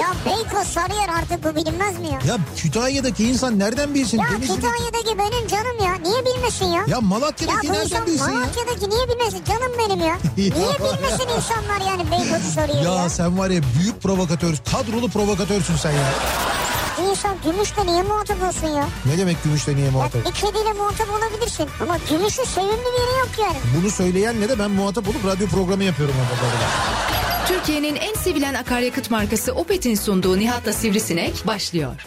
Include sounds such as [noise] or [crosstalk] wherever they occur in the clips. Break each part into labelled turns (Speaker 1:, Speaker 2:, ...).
Speaker 1: Ya Beykoz Sarıyer artık bu bilinmez mi ya?
Speaker 2: Ya Kütahya'daki insan nereden bilsin?
Speaker 1: Ya
Speaker 2: Denizli'de-
Speaker 1: Kütahya'daki benim canım ya. Niye bilmesin ya?
Speaker 2: Ya
Speaker 1: Ya
Speaker 2: Malatya'daki
Speaker 1: bu
Speaker 2: nereden
Speaker 1: insan
Speaker 2: bilsin ya?
Speaker 1: Malatya'daki niye bilmesin canım benim ya? Niye bilmesin insanlar yani Beykoz'u soruyor ya?
Speaker 2: Ya sen var ya büyük provokatör, kadrolu provokatörsün sen ya.
Speaker 1: İnsan gümüşle niye muhatap olsun ya?
Speaker 2: Ne demek gümüşle niye
Speaker 1: Bak
Speaker 2: muhatap?
Speaker 1: bir kediyle muhatap olabilirsin ama gümüşün sevimli bir yeri yok yani.
Speaker 2: Bunu söyleyenle de ben muhatap olup radyo programı yapıyorum. orada böyle.
Speaker 3: Türkiye'nin en sevilen akaryakıt markası Opet'in sunduğu Nihat'la Sivrisinek başlıyor.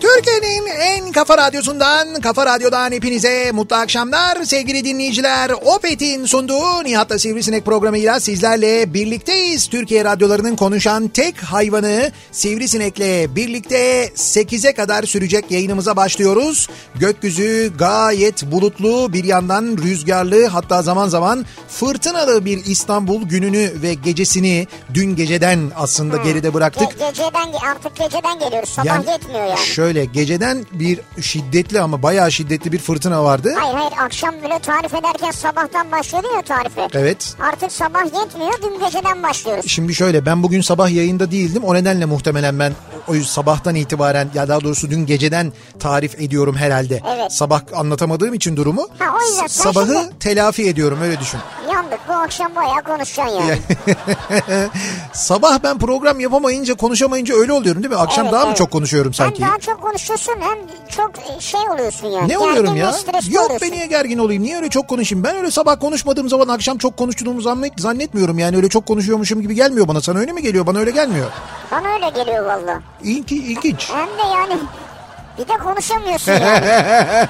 Speaker 2: Türkiye'nin en kafa radyosundan, kafa radyodan hepinize mutlu akşamlar sevgili dinleyiciler. Opet'in sunduğu Nihat'la Sivrisinek programıyla sizlerle birlikteyiz. Türkiye radyolarının konuşan tek hayvanı Sivrisinek'le birlikte 8'e kadar sürecek yayınımıza başlıyoruz. Gökyüzü gayet bulutlu, bir yandan rüzgarlı hatta zaman zaman fırtınalı bir İstanbul gününü ve gecesini dün geceden aslında geride bıraktık.
Speaker 1: Ge- geceden ge- artık geceden geliyoruz. Sabah yetmiyor yani.
Speaker 2: Şöyle geceden bir şiddetli ama bayağı şiddetli bir fırtına vardı.
Speaker 1: Hayır hayır akşam böyle tarif ederken sabahtan başladı ya tarife.
Speaker 2: Evet.
Speaker 1: Artık sabah yetmiyor dün geceden başlıyoruz.
Speaker 2: Şimdi şöyle ben bugün sabah yayında değildim. O nedenle muhtemelen ben o yüzden sabahtan itibaren ya daha doğrusu dün geceden tarif ediyorum herhalde.
Speaker 1: Evet.
Speaker 2: Sabah anlatamadığım için durumu.
Speaker 1: Ha, o yüzden
Speaker 2: s-
Speaker 1: sen
Speaker 2: sabahı
Speaker 1: şimdi-
Speaker 2: telafi ediyorum öyle düşün. [laughs]
Speaker 1: Yandık bu akşam bayağı konuşacaksın yani.
Speaker 2: sabah ben program yapamayınca konuşamayınca öyle oluyorum değil mi? Akşam
Speaker 1: Evet,
Speaker 2: daha mı
Speaker 1: evet.
Speaker 2: çok konuşuyorum sanki?
Speaker 1: Hem daha çok konuşuyorsun hem çok şey oluyorsun yani.
Speaker 2: Ne
Speaker 1: Gergin
Speaker 2: oluyorum
Speaker 1: ve
Speaker 2: ya?
Speaker 1: stresli
Speaker 2: Yok
Speaker 1: oluyorsun.
Speaker 2: ben niye gergin olayım? Niye öyle çok konuşayım? Ben öyle sabah konuşmadığım zaman akşam çok konuştuğumu zannet- zannetmiyorum. Yani öyle çok konuşuyormuşum gibi gelmiyor bana. Sana öyle mi geliyor? Bana öyle gelmiyor.
Speaker 1: Bana öyle geliyor valla.
Speaker 2: İlki, ilginç.
Speaker 1: Hem de yani [laughs] bir de
Speaker 2: [laughs]
Speaker 1: konuşamıyorsun yani.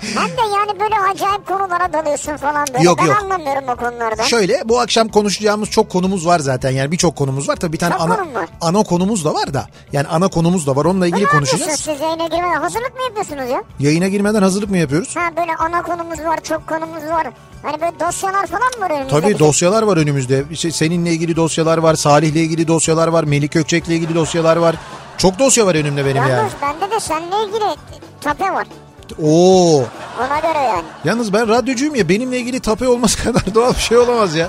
Speaker 1: Hem de yani böyle acayip konulara dalıyorsun falan böyle.
Speaker 2: Yok,
Speaker 1: ben
Speaker 2: yok.
Speaker 1: anlamıyorum o konularda.
Speaker 2: Şöyle bu akşam konuşacağımız çok konumuz var zaten. Yani birçok konumuz var. Tabii bir tane
Speaker 1: Çok
Speaker 2: ana,
Speaker 1: konum var.
Speaker 2: ana konumuz da var da. Yani ana konumuz da var. Onunla
Speaker 1: ne
Speaker 2: ilgili
Speaker 1: yapıyorsunuz
Speaker 2: konuşacağız.
Speaker 1: siz yayına girmeden? Hazırlık mı yapıyorsunuz ya?
Speaker 2: Yayına girmeden hazırlık mı yapıyoruz?
Speaker 1: Ha böyle ana konumuz var, çok konumuz var. Hani böyle dosyalar falan mı var önümüzde?
Speaker 2: Tabii dosyalar var önümüzde. İşte seninle ilgili dosyalar var, Salih'le ilgili dosyalar var, Melih Gökçek'le ilgili dosyalar var. Çok dosya var önümde benim yani.
Speaker 1: Yalnız bende de seninle ilgili tape var.
Speaker 2: Oo.
Speaker 1: Ona göre yani.
Speaker 2: Yalnız ben radyocuyum ya benimle ilgili tape olması [laughs] kadar doğal bir şey olamaz ya.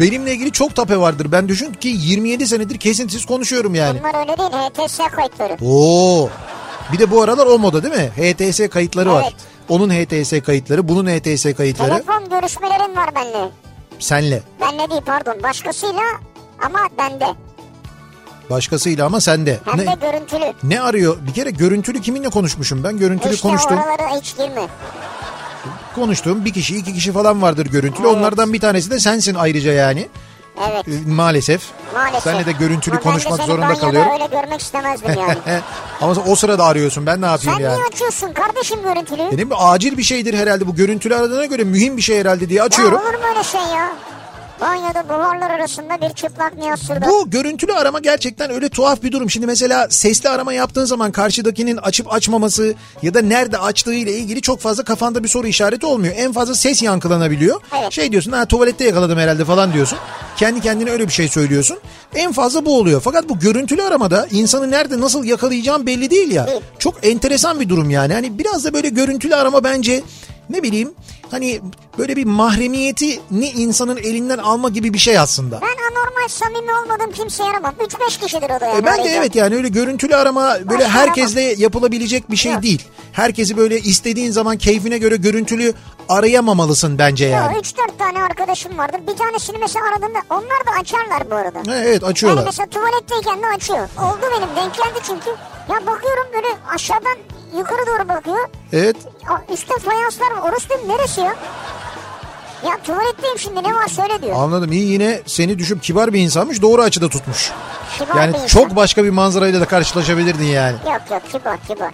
Speaker 2: Benimle ilgili çok tape vardır. Ben düşün ki 27 senedir kesintisiz konuşuyorum yani.
Speaker 1: Bunlar öyle değil. HTS kayıtları.
Speaker 2: Oo. Bir de bu aralar o moda değil mi? HTS kayıtları var.
Speaker 1: Evet.
Speaker 2: Onun HTS kayıtları, bunun HTS kayıtları
Speaker 1: Telefon görüşmelerin var benimle.
Speaker 2: senle.
Speaker 1: Benle değil pardon. Başkasıyla ama bende.
Speaker 2: Başkasıyla ama sende.
Speaker 1: Hem
Speaker 2: Ne,
Speaker 1: de görüntülü.
Speaker 2: ne arıyor? Bir kere görüntülü kiminle konuşmuşum ben? Görüntülü
Speaker 1: İşte
Speaker 2: konuştum.
Speaker 1: oralara hiç girme.
Speaker 2: Konuştuğum bir kişi, iki kişi falan vardır görüntülü.
Speaker 1: Evet.
Speaker 2: Onlardan bir tanesi de sensin ayrıca yani.
Speaker 1: Evet
Speaker 2: Ee, Maalesef.
Speaker 1: maalesef.
Speaker 2: Senle de görüntülü
Speaker 1: Ama
Speaker 2: konuşmak
Speaker 1: ben de seni
Speaker 2: zorunda
Speaker 1: banyoda
Speaker 2: kalıyorum.
Speaker 1: öyle görmek
Speaker 2: [laughs]
Speaker 1: istemezdim yani.
Speaker 2: He, Ama sen o sırada arıyorsun ben ne
Speaker 1: Sen
Speaker 2: yapayım
Speaker 1: niye
Speaker 2: yani. E,
Speaker 1: açıyorsun kardeşim görüntülü?
Speaker 2: Benim bir acil bir şeydir herhalde bu görüntülü aradığına göre mühim bir şey herhalde diye
Speaker 1: Ya
Speaker 2: açıyorum.
Speaker 1: olur mu öyle şey ya? Banyoda buharlar arasında bir çıplak niyaz sürdü.
Speaker 2: Bu görüntülü arama gerçekten öyle tuhaf bir durum. Şimdi mesela sesli arama yaptığın zaman karşıdakinin açıp açmaması ya da nerede açtığı ile ilgili çok fazla kafanda bir soru işareti olmuyor. En fazla ses yankılanabiliyor.
Speaker 1: Evet.
Speaker 2: Şey diyorsun ha tuvalette yakaladım herhalde falan diyorsun. Kendi kendine öyle bir şey söylüyorsun. En fazla bu oluyor. Fakat bu görüntülü aramada insanı nerede nasıl yakalayacağım belli değil ya.
Speaker 1: Değil.
Speaker 2: Çok enteresan bir durum yani. Hani biraz da böyle görüntülü arama bence ne bileyim hani böyle bir mahremiyeti ni insanın elinden alma gibi bir şey aslında.
Speaker 1: Ben anormal samimi olmadığım kimseye yaramam. 3-5 kişidir o da yani.
Speaker 2: E ben de
Speaker 1: arayacağım.
Speaker 2: evet yani öyle görüntülü arama böyle
Speaker 1: arama.
Speaker 2: herkesle yapılabilecek bir şey
Speaker 1: Yok.
Speaker 2: değil. Herkesi böyle istediğin zaman keyfine göre görüntülü arayamamalısın bence yani.
Speaker 1: 3-4 tane arkadaşım vardır. Bir tanesini mesela aradığında onlar da açarlar bu arada.
Speaker 2: Ha, E, Evet
Speaker 1: Yani
Speaker 2: açıyorlar.
Speaker 1: mesela tuvaletteyken de açıyor. Oldu benim denk geldi çünkü. Ya bakıyorum böyle aşağıdan yukarı doğru bakıyor.
Speaker 2: Evet.
Speaker 1: Aa, Üstte fayanslar var. Orası dedim neresi ya? Ya tuvaletteyim şimdi ne var söyle diyor.
Speaker 2: Anladım. İyi yine seni düşüp kibar bir insanmış. Doğru açıda tutmuş.
Speaker 1: Kibar bir
Speaker 2: Yani
Speaker 1: insan.
Speaker 2: çok başka bir manzarayla da karşılaşabilirdin yani.
Speaker 1: Yok yok kibar kibar.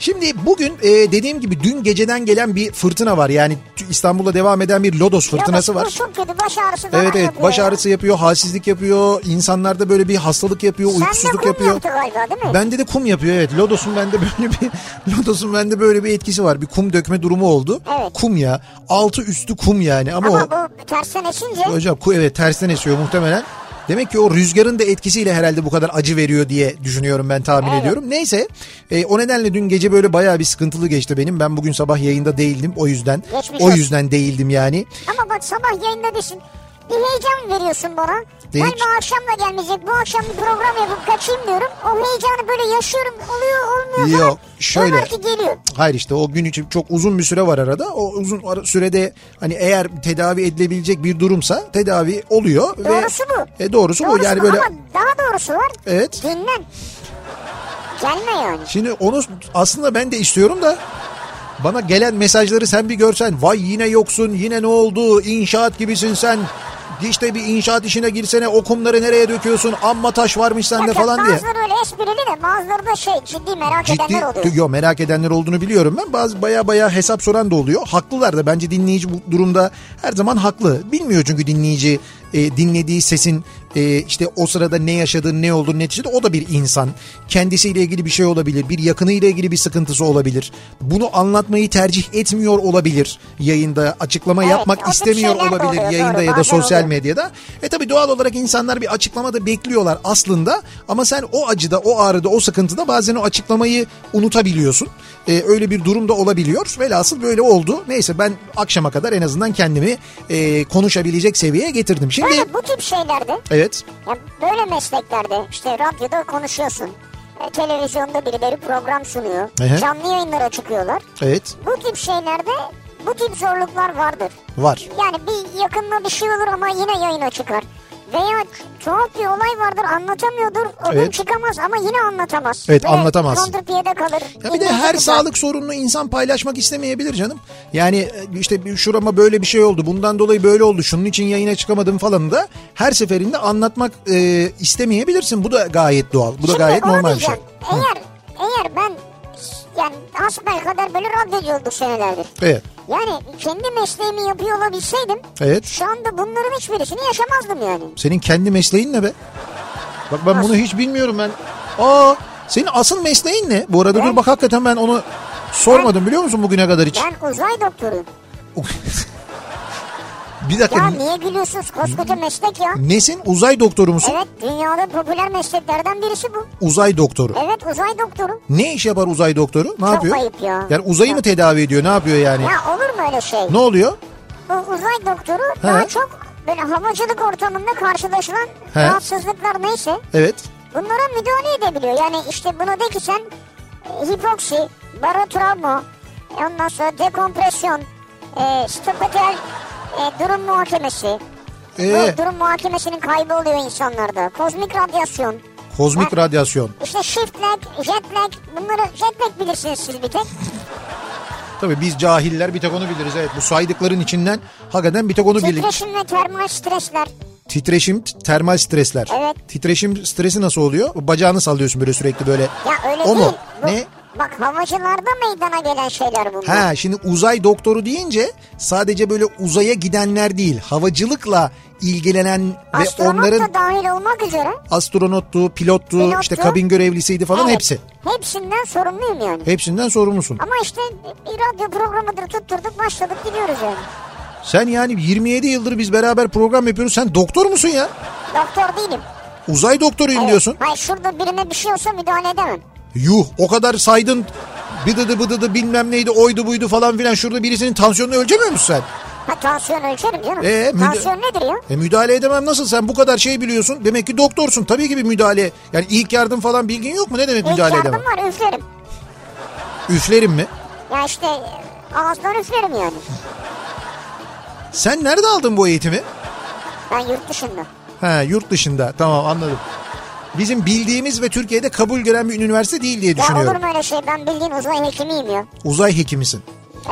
Speaker 2: Şimdi bugün e, dediğim gibi dün geceden gelen bir fırtına var. Yani t- İstanbul'da devam eden bir lodos fırtınası
Speaker 1: Yalnız
Speaker 2: var.
Speaker 1: bu Çok kötü baş ağrısı falan
Speaker 2: Evet evet
Speaker 1: yapıyor
Speaker 2: baş
Speaker 1: ya.
Speaker 2: ağrısı yapıyor, halsizlik yapıyor, insanlarda böyle bir hastalık yapıyor,
Speaker 1: Sen de
Speaker 2: uykusuzluk
Speaker 1: kum
Speaker 2: yapıyor.
Speaker 1: yaptı galiba değil mi?
Speaker 2: Bende de kum yapıyor evet. Lodos'un bende böyle bir [laughs] Lodos'un bende böyle bir etkisi var. Bir kum dökme durumu oldu.
Speaker 1: Evet.
Speaker 2: Kum ya. Altı üstü kum yani ama, o
Speaker 1: Ama bu tersten esince
Speaker 2: hocam ku- evet tersten esiyor muhtemelen. Demek ki o rüzgarın da etkisiyle herhalde bu kadar acı veriyor diye düşünüyorum ben tahmin
Speaker 1: Evet.
Speaker 2: ediyorum. Neyse e, o nedenle dün gece böyle bayağı bir sıkıntılı geçti benim. Ben bugün sabah yayında değildim o yüzden.
Speaker 1: Geçmiş
Speaker 2: o
Speaker 1: olsun.
Speaker 2: yüzden değildim yani.
Speaker 1: ama bak sabah yayında düşün. Bir heyecan veriyorsun bana.
Speaker 2: Değil.
Speaker 1: Galiba akşam da gelmeyecek. Bu akşam bir program yapıp kaçayım diyorum. O heyecanı böyle yaşıyorum. Oluyor olmuyor
Speaker 2: Yok,
Speaker 1: falan.
Speaker 2: şöyle.
Speaker 1: Diyorlar ki geliyor.
Speaker 2: Hayır işte o gün için çok uzun bir süre var arada. O uzun ara- sürede hani eğer tedavi edilebilecek bir durumsa tedavi oluyor.
Speaker 1: Doğrusu bu.
Speaker 2: E, doğrusu,
Speaker 1: Doğrusu
Speaker 2: bu yani böyle. E?
Speaker 1: Ama daha doğrusu var.
Speaker 2: Evet.
Speaker 1: Dinlen. Gelme yani.
Speaker 2: Şimdi onu aslında ben de istiyorum da bana gelen mesajları sen bir görsen. Vay yine yoksun yine ne oldu inşaat gibisin sen. İşte bir inşaat işine girsene o kumları nereye döküyorsun amma taş varmış sende
Speaker 1: Yok,
Speaker 2: falan diye.
Speaker 1: Bazıları öyle esprili de bazıları da şey ciddi merak edenler oluyor.
Speaker 2: Ciddi, yo merak edenler olduğunu biliyorum ben. Bazı baya baya hesap soran da oluyor. Haklılar da bence dinleyici bu durumda her zaman haklı. Bilmiyor çünkü dinleyici e, dinlediği sesin e, işte o sırada ne yaşadığı ne olduğu neticede o da bir insan. Kendisiyle ilgili bir şey olabilir. Bir yakınıyla ilgili bir sıkıntısı olabilir. Bunu anlatmayı tercih etmiyor olabilir. Yayında açıklama
Speaker 1: Evet, o
Speaker 2: yapmak
Speaker 1: tür
Speaker 2: istemiyor
Speaker 1: şeyler de
Speaker 2: olabilir
Speaker 1: oluyor,
Speaker 2: yayında
Speaker 1: doğru,
Speaker 2: ya da
Speaker 1: bazen
Speaker 2: sosyal
Speaker 1: oluyor.
Speaker 2: medyada. E tabi doğal olarak insanlar bir açıklama da bekliyorlar aslında ama sen o acıda, o ağrıda, o sıkıntıda bazen o açıklamayı unutabiliyorsun. E, öyle bir durum da olabiliyor. Velhasıl böyle oldu. Neyse ben akşama kadar en azından kendimi e, konuşabilecek seviyeye getirdim. Şimdi
Speaker 1: Böyle bu tip şeylerde
Speaker 2: evet
Speaker 1: ya böyle mesleklerde işte radyoda konuşuyorsun. e, Televizyonda birileri program sunuyor.
Speaker 2: Ehe.
Speaker 1: Canlı yayınlara çıkıyorlar.
Speaker 2: evet
Speaker 1: Bu tip şeylerde bu tip zorluklar vardır.
Speaker 2: var.
Speaker 1: Yani bir yakınına bir şey olur ama yine yayına çıkar. Veya tuhaf bir olay vardır anlatamıyordur. O gün
Speaker 2: Evet.
Speaker 1: çıkamaz ama yine anlatamaz.
Speaker 2: Evet, anlatamaz.
Speaker 1: Kontrpiyede kalır.
Speaker 2: Ya bir de
Speaker 1: İnanılmaz
Speaker 2: her
Speaker 1: bir-
Speaker 2: sağlık sorununu insan paylaşmak istemeyebilir canım. Yani e, işte bir şurama böyle bir şey oldu, bundan dolayı böyle oldu, şunun için yayına çıkamadım falan da her seferinde anlatmak e, istemeyebilirsin. Bu da gayet doğal, bu da
Speaker 1: Şimdi
Speaker 2: gayet
Speaker 1: onu
Speaker 2: normal bir şey.
Speaker 1: diyeceğim. Eğer, eğer ben yani kadar böyle radyocu olduk senelerdir.
Speaker 2: Evet,
Speaker 1: Yani kendi mesleğimi yapıyor olabilseydim
Speaker 2: evet.
Speaker 1: şu anda bunların hiçbirisini yaşamazdım yani.
Speaker 2: Senin kendi mesleğin ne be? Bak ben bunu hiç bilmiyorum ben. Aa, senin asıl mesleğin ne? Bu arada dur bak hakikaten ben onu sormadım biliyor musun bugüne kadar hiç?
Speaker 1: Ben uzay doktoruyum.
Speaker 2: [laughs] bir dakika.
Speaker 1: Ya niye gülüyorsunuz koskoca meslek ya?
Speaker 2: Nesin? Uzay doktoru musun?
Speaker 1: Evet dünyada popüler mesleklerden birisi bu.
Speaker 2: Uzay doktoru.
Speaker 1: Evet uzay doktoru.
Speaker 2: Ne iş yapar uzay doktoru? Ne yapıyor?
Speaker 1: ayıp ya.
Speaker 2: Yani uzayı mı tedavi ediyor? Ne yapıyor yani?
Speaker 1: Ya olur mu öyle şey?
Speaker 2: Ne oluyor?
Speaker 1: Bu uzay doktoru daha çok böyle havacılık ortamında karşılaşılan
Speaker 2: He.
Speaker 1: rahatsızlıklar neyse
Speaker 2: Evet.
Speaker 1: bunlara müdahale edebiliyor. Yani işte buna de ki sen e, hipoksi, barotravma, e, ondan sonra dekompresyon, e, stopatel e, durum muhakemesi.
Speaker 2: Ee,
Speaker 1: Bu durum muhakemesinin kaybı oluyor insanlarda. Kozmik radyasyon.
Speaker 2: kozmik radyasyon.
Speaker 1: İşte shift lag, jet lag bunları jet lag bilirsiniz siz bir tek.
Speaker 2: Tabii biz cahiller bir tek onu biliriz. Evet bu saydıkların içinden hakikaten bir tek onu biliriz.
Speaker 1: Titreşim ve termal stresler.
Speaker 2: Titreşim, t- termal stresler.
Speaker 1: Evet.
Speaker 2: Titreşim stresi nasıl oluyor? Bacağını sallıyorsun böyle sürekli böyle.
Speaker 1: Ya öyle
Speaker 2: O
Speaker 1: değil.
Speaker 2: mu?
Speaker 1: Bu-
Speaker 2: Ne?
Speaker 1: Bak havacılarda meydana gelen şeyler bunlar.
Speaker 2: Ha şimdi uzay doktoru deyince sadece böyle uzaya gidenler değil, havacılıkla ilgilenen ve
Speaker 1: Astronot
Speaker 2: onların
Speaker 1: da dahil olmak üzere.
Speaker 2: astronottu, pilottu,
Speaker 1: Pilottu.
Speaker 2: işte kabin görevlisiydi falan
Speaker 1: Evet.
Speaker 2: hepsi.
Speaker 1: Hepsinden sorumluyum yani.
Speaker 2: Hepsinden sorumlusun.
Speaker 1: Ama işte bir radyo programıdır tutturduk başladık gidiyoruz yani.
Speaker 2: Sen yani 27 yıldır biz beraber program yapıyoruz. Sen doktor musun ya?
Speaker 1: Doktor değilim.
Speaker 2: Uzay doktoruyum
Speaker 1: Evet.
Speaker 2: diyorsun.
Speaker 1: Hayır şurada birine bir şey olsa müdahale edemem.
Speaker 2: Yuh o kadar saydın. Bıdıdı bıdıdı bilmem neydi oydu buydu falan filan. Şurada birisinin tansiyonunu ölçemiyor musun sen?
Speaker 1: Ha tansiyon ölçerim canım.
Speaker 2: Ee, müda-
Speaker 1: tansiyon nedir ya?
Speaker 2: E müdahale edemem nasıl? Sen bu kadar şey biliyorsun. Demek ki doktorsun. Tabii ki bir müdahale. Yani ilk yardım falan bilgin yok mu? Ne demek
Speaker 1: İlk
Speaker 2: müdahale
Speaker 1: yardım
Speaker 2: edemem?
Speaker 1: var üflerim.
Speaker 2: Üflerim mi?
Speaker 1: Ya işte e, Ağızdan üflerim yani.
Speaker 2: Sen nerede aldın bu eğitimi?
Speaker 1: Ben yurt dışında.
Speaker 2: Ha yurt dışında. Tamam anladım. Bizim bildiğimiz ve Türkiye'de kabul gören bir üniversite değil diye
Speaker 1: Ya olur
Speaker 2: düşünüyorum.
Speaker 1: mu öyle şey? Ben bildiğin uzay hekimiyim ya.
Speaker 2: Uzay hekimisin.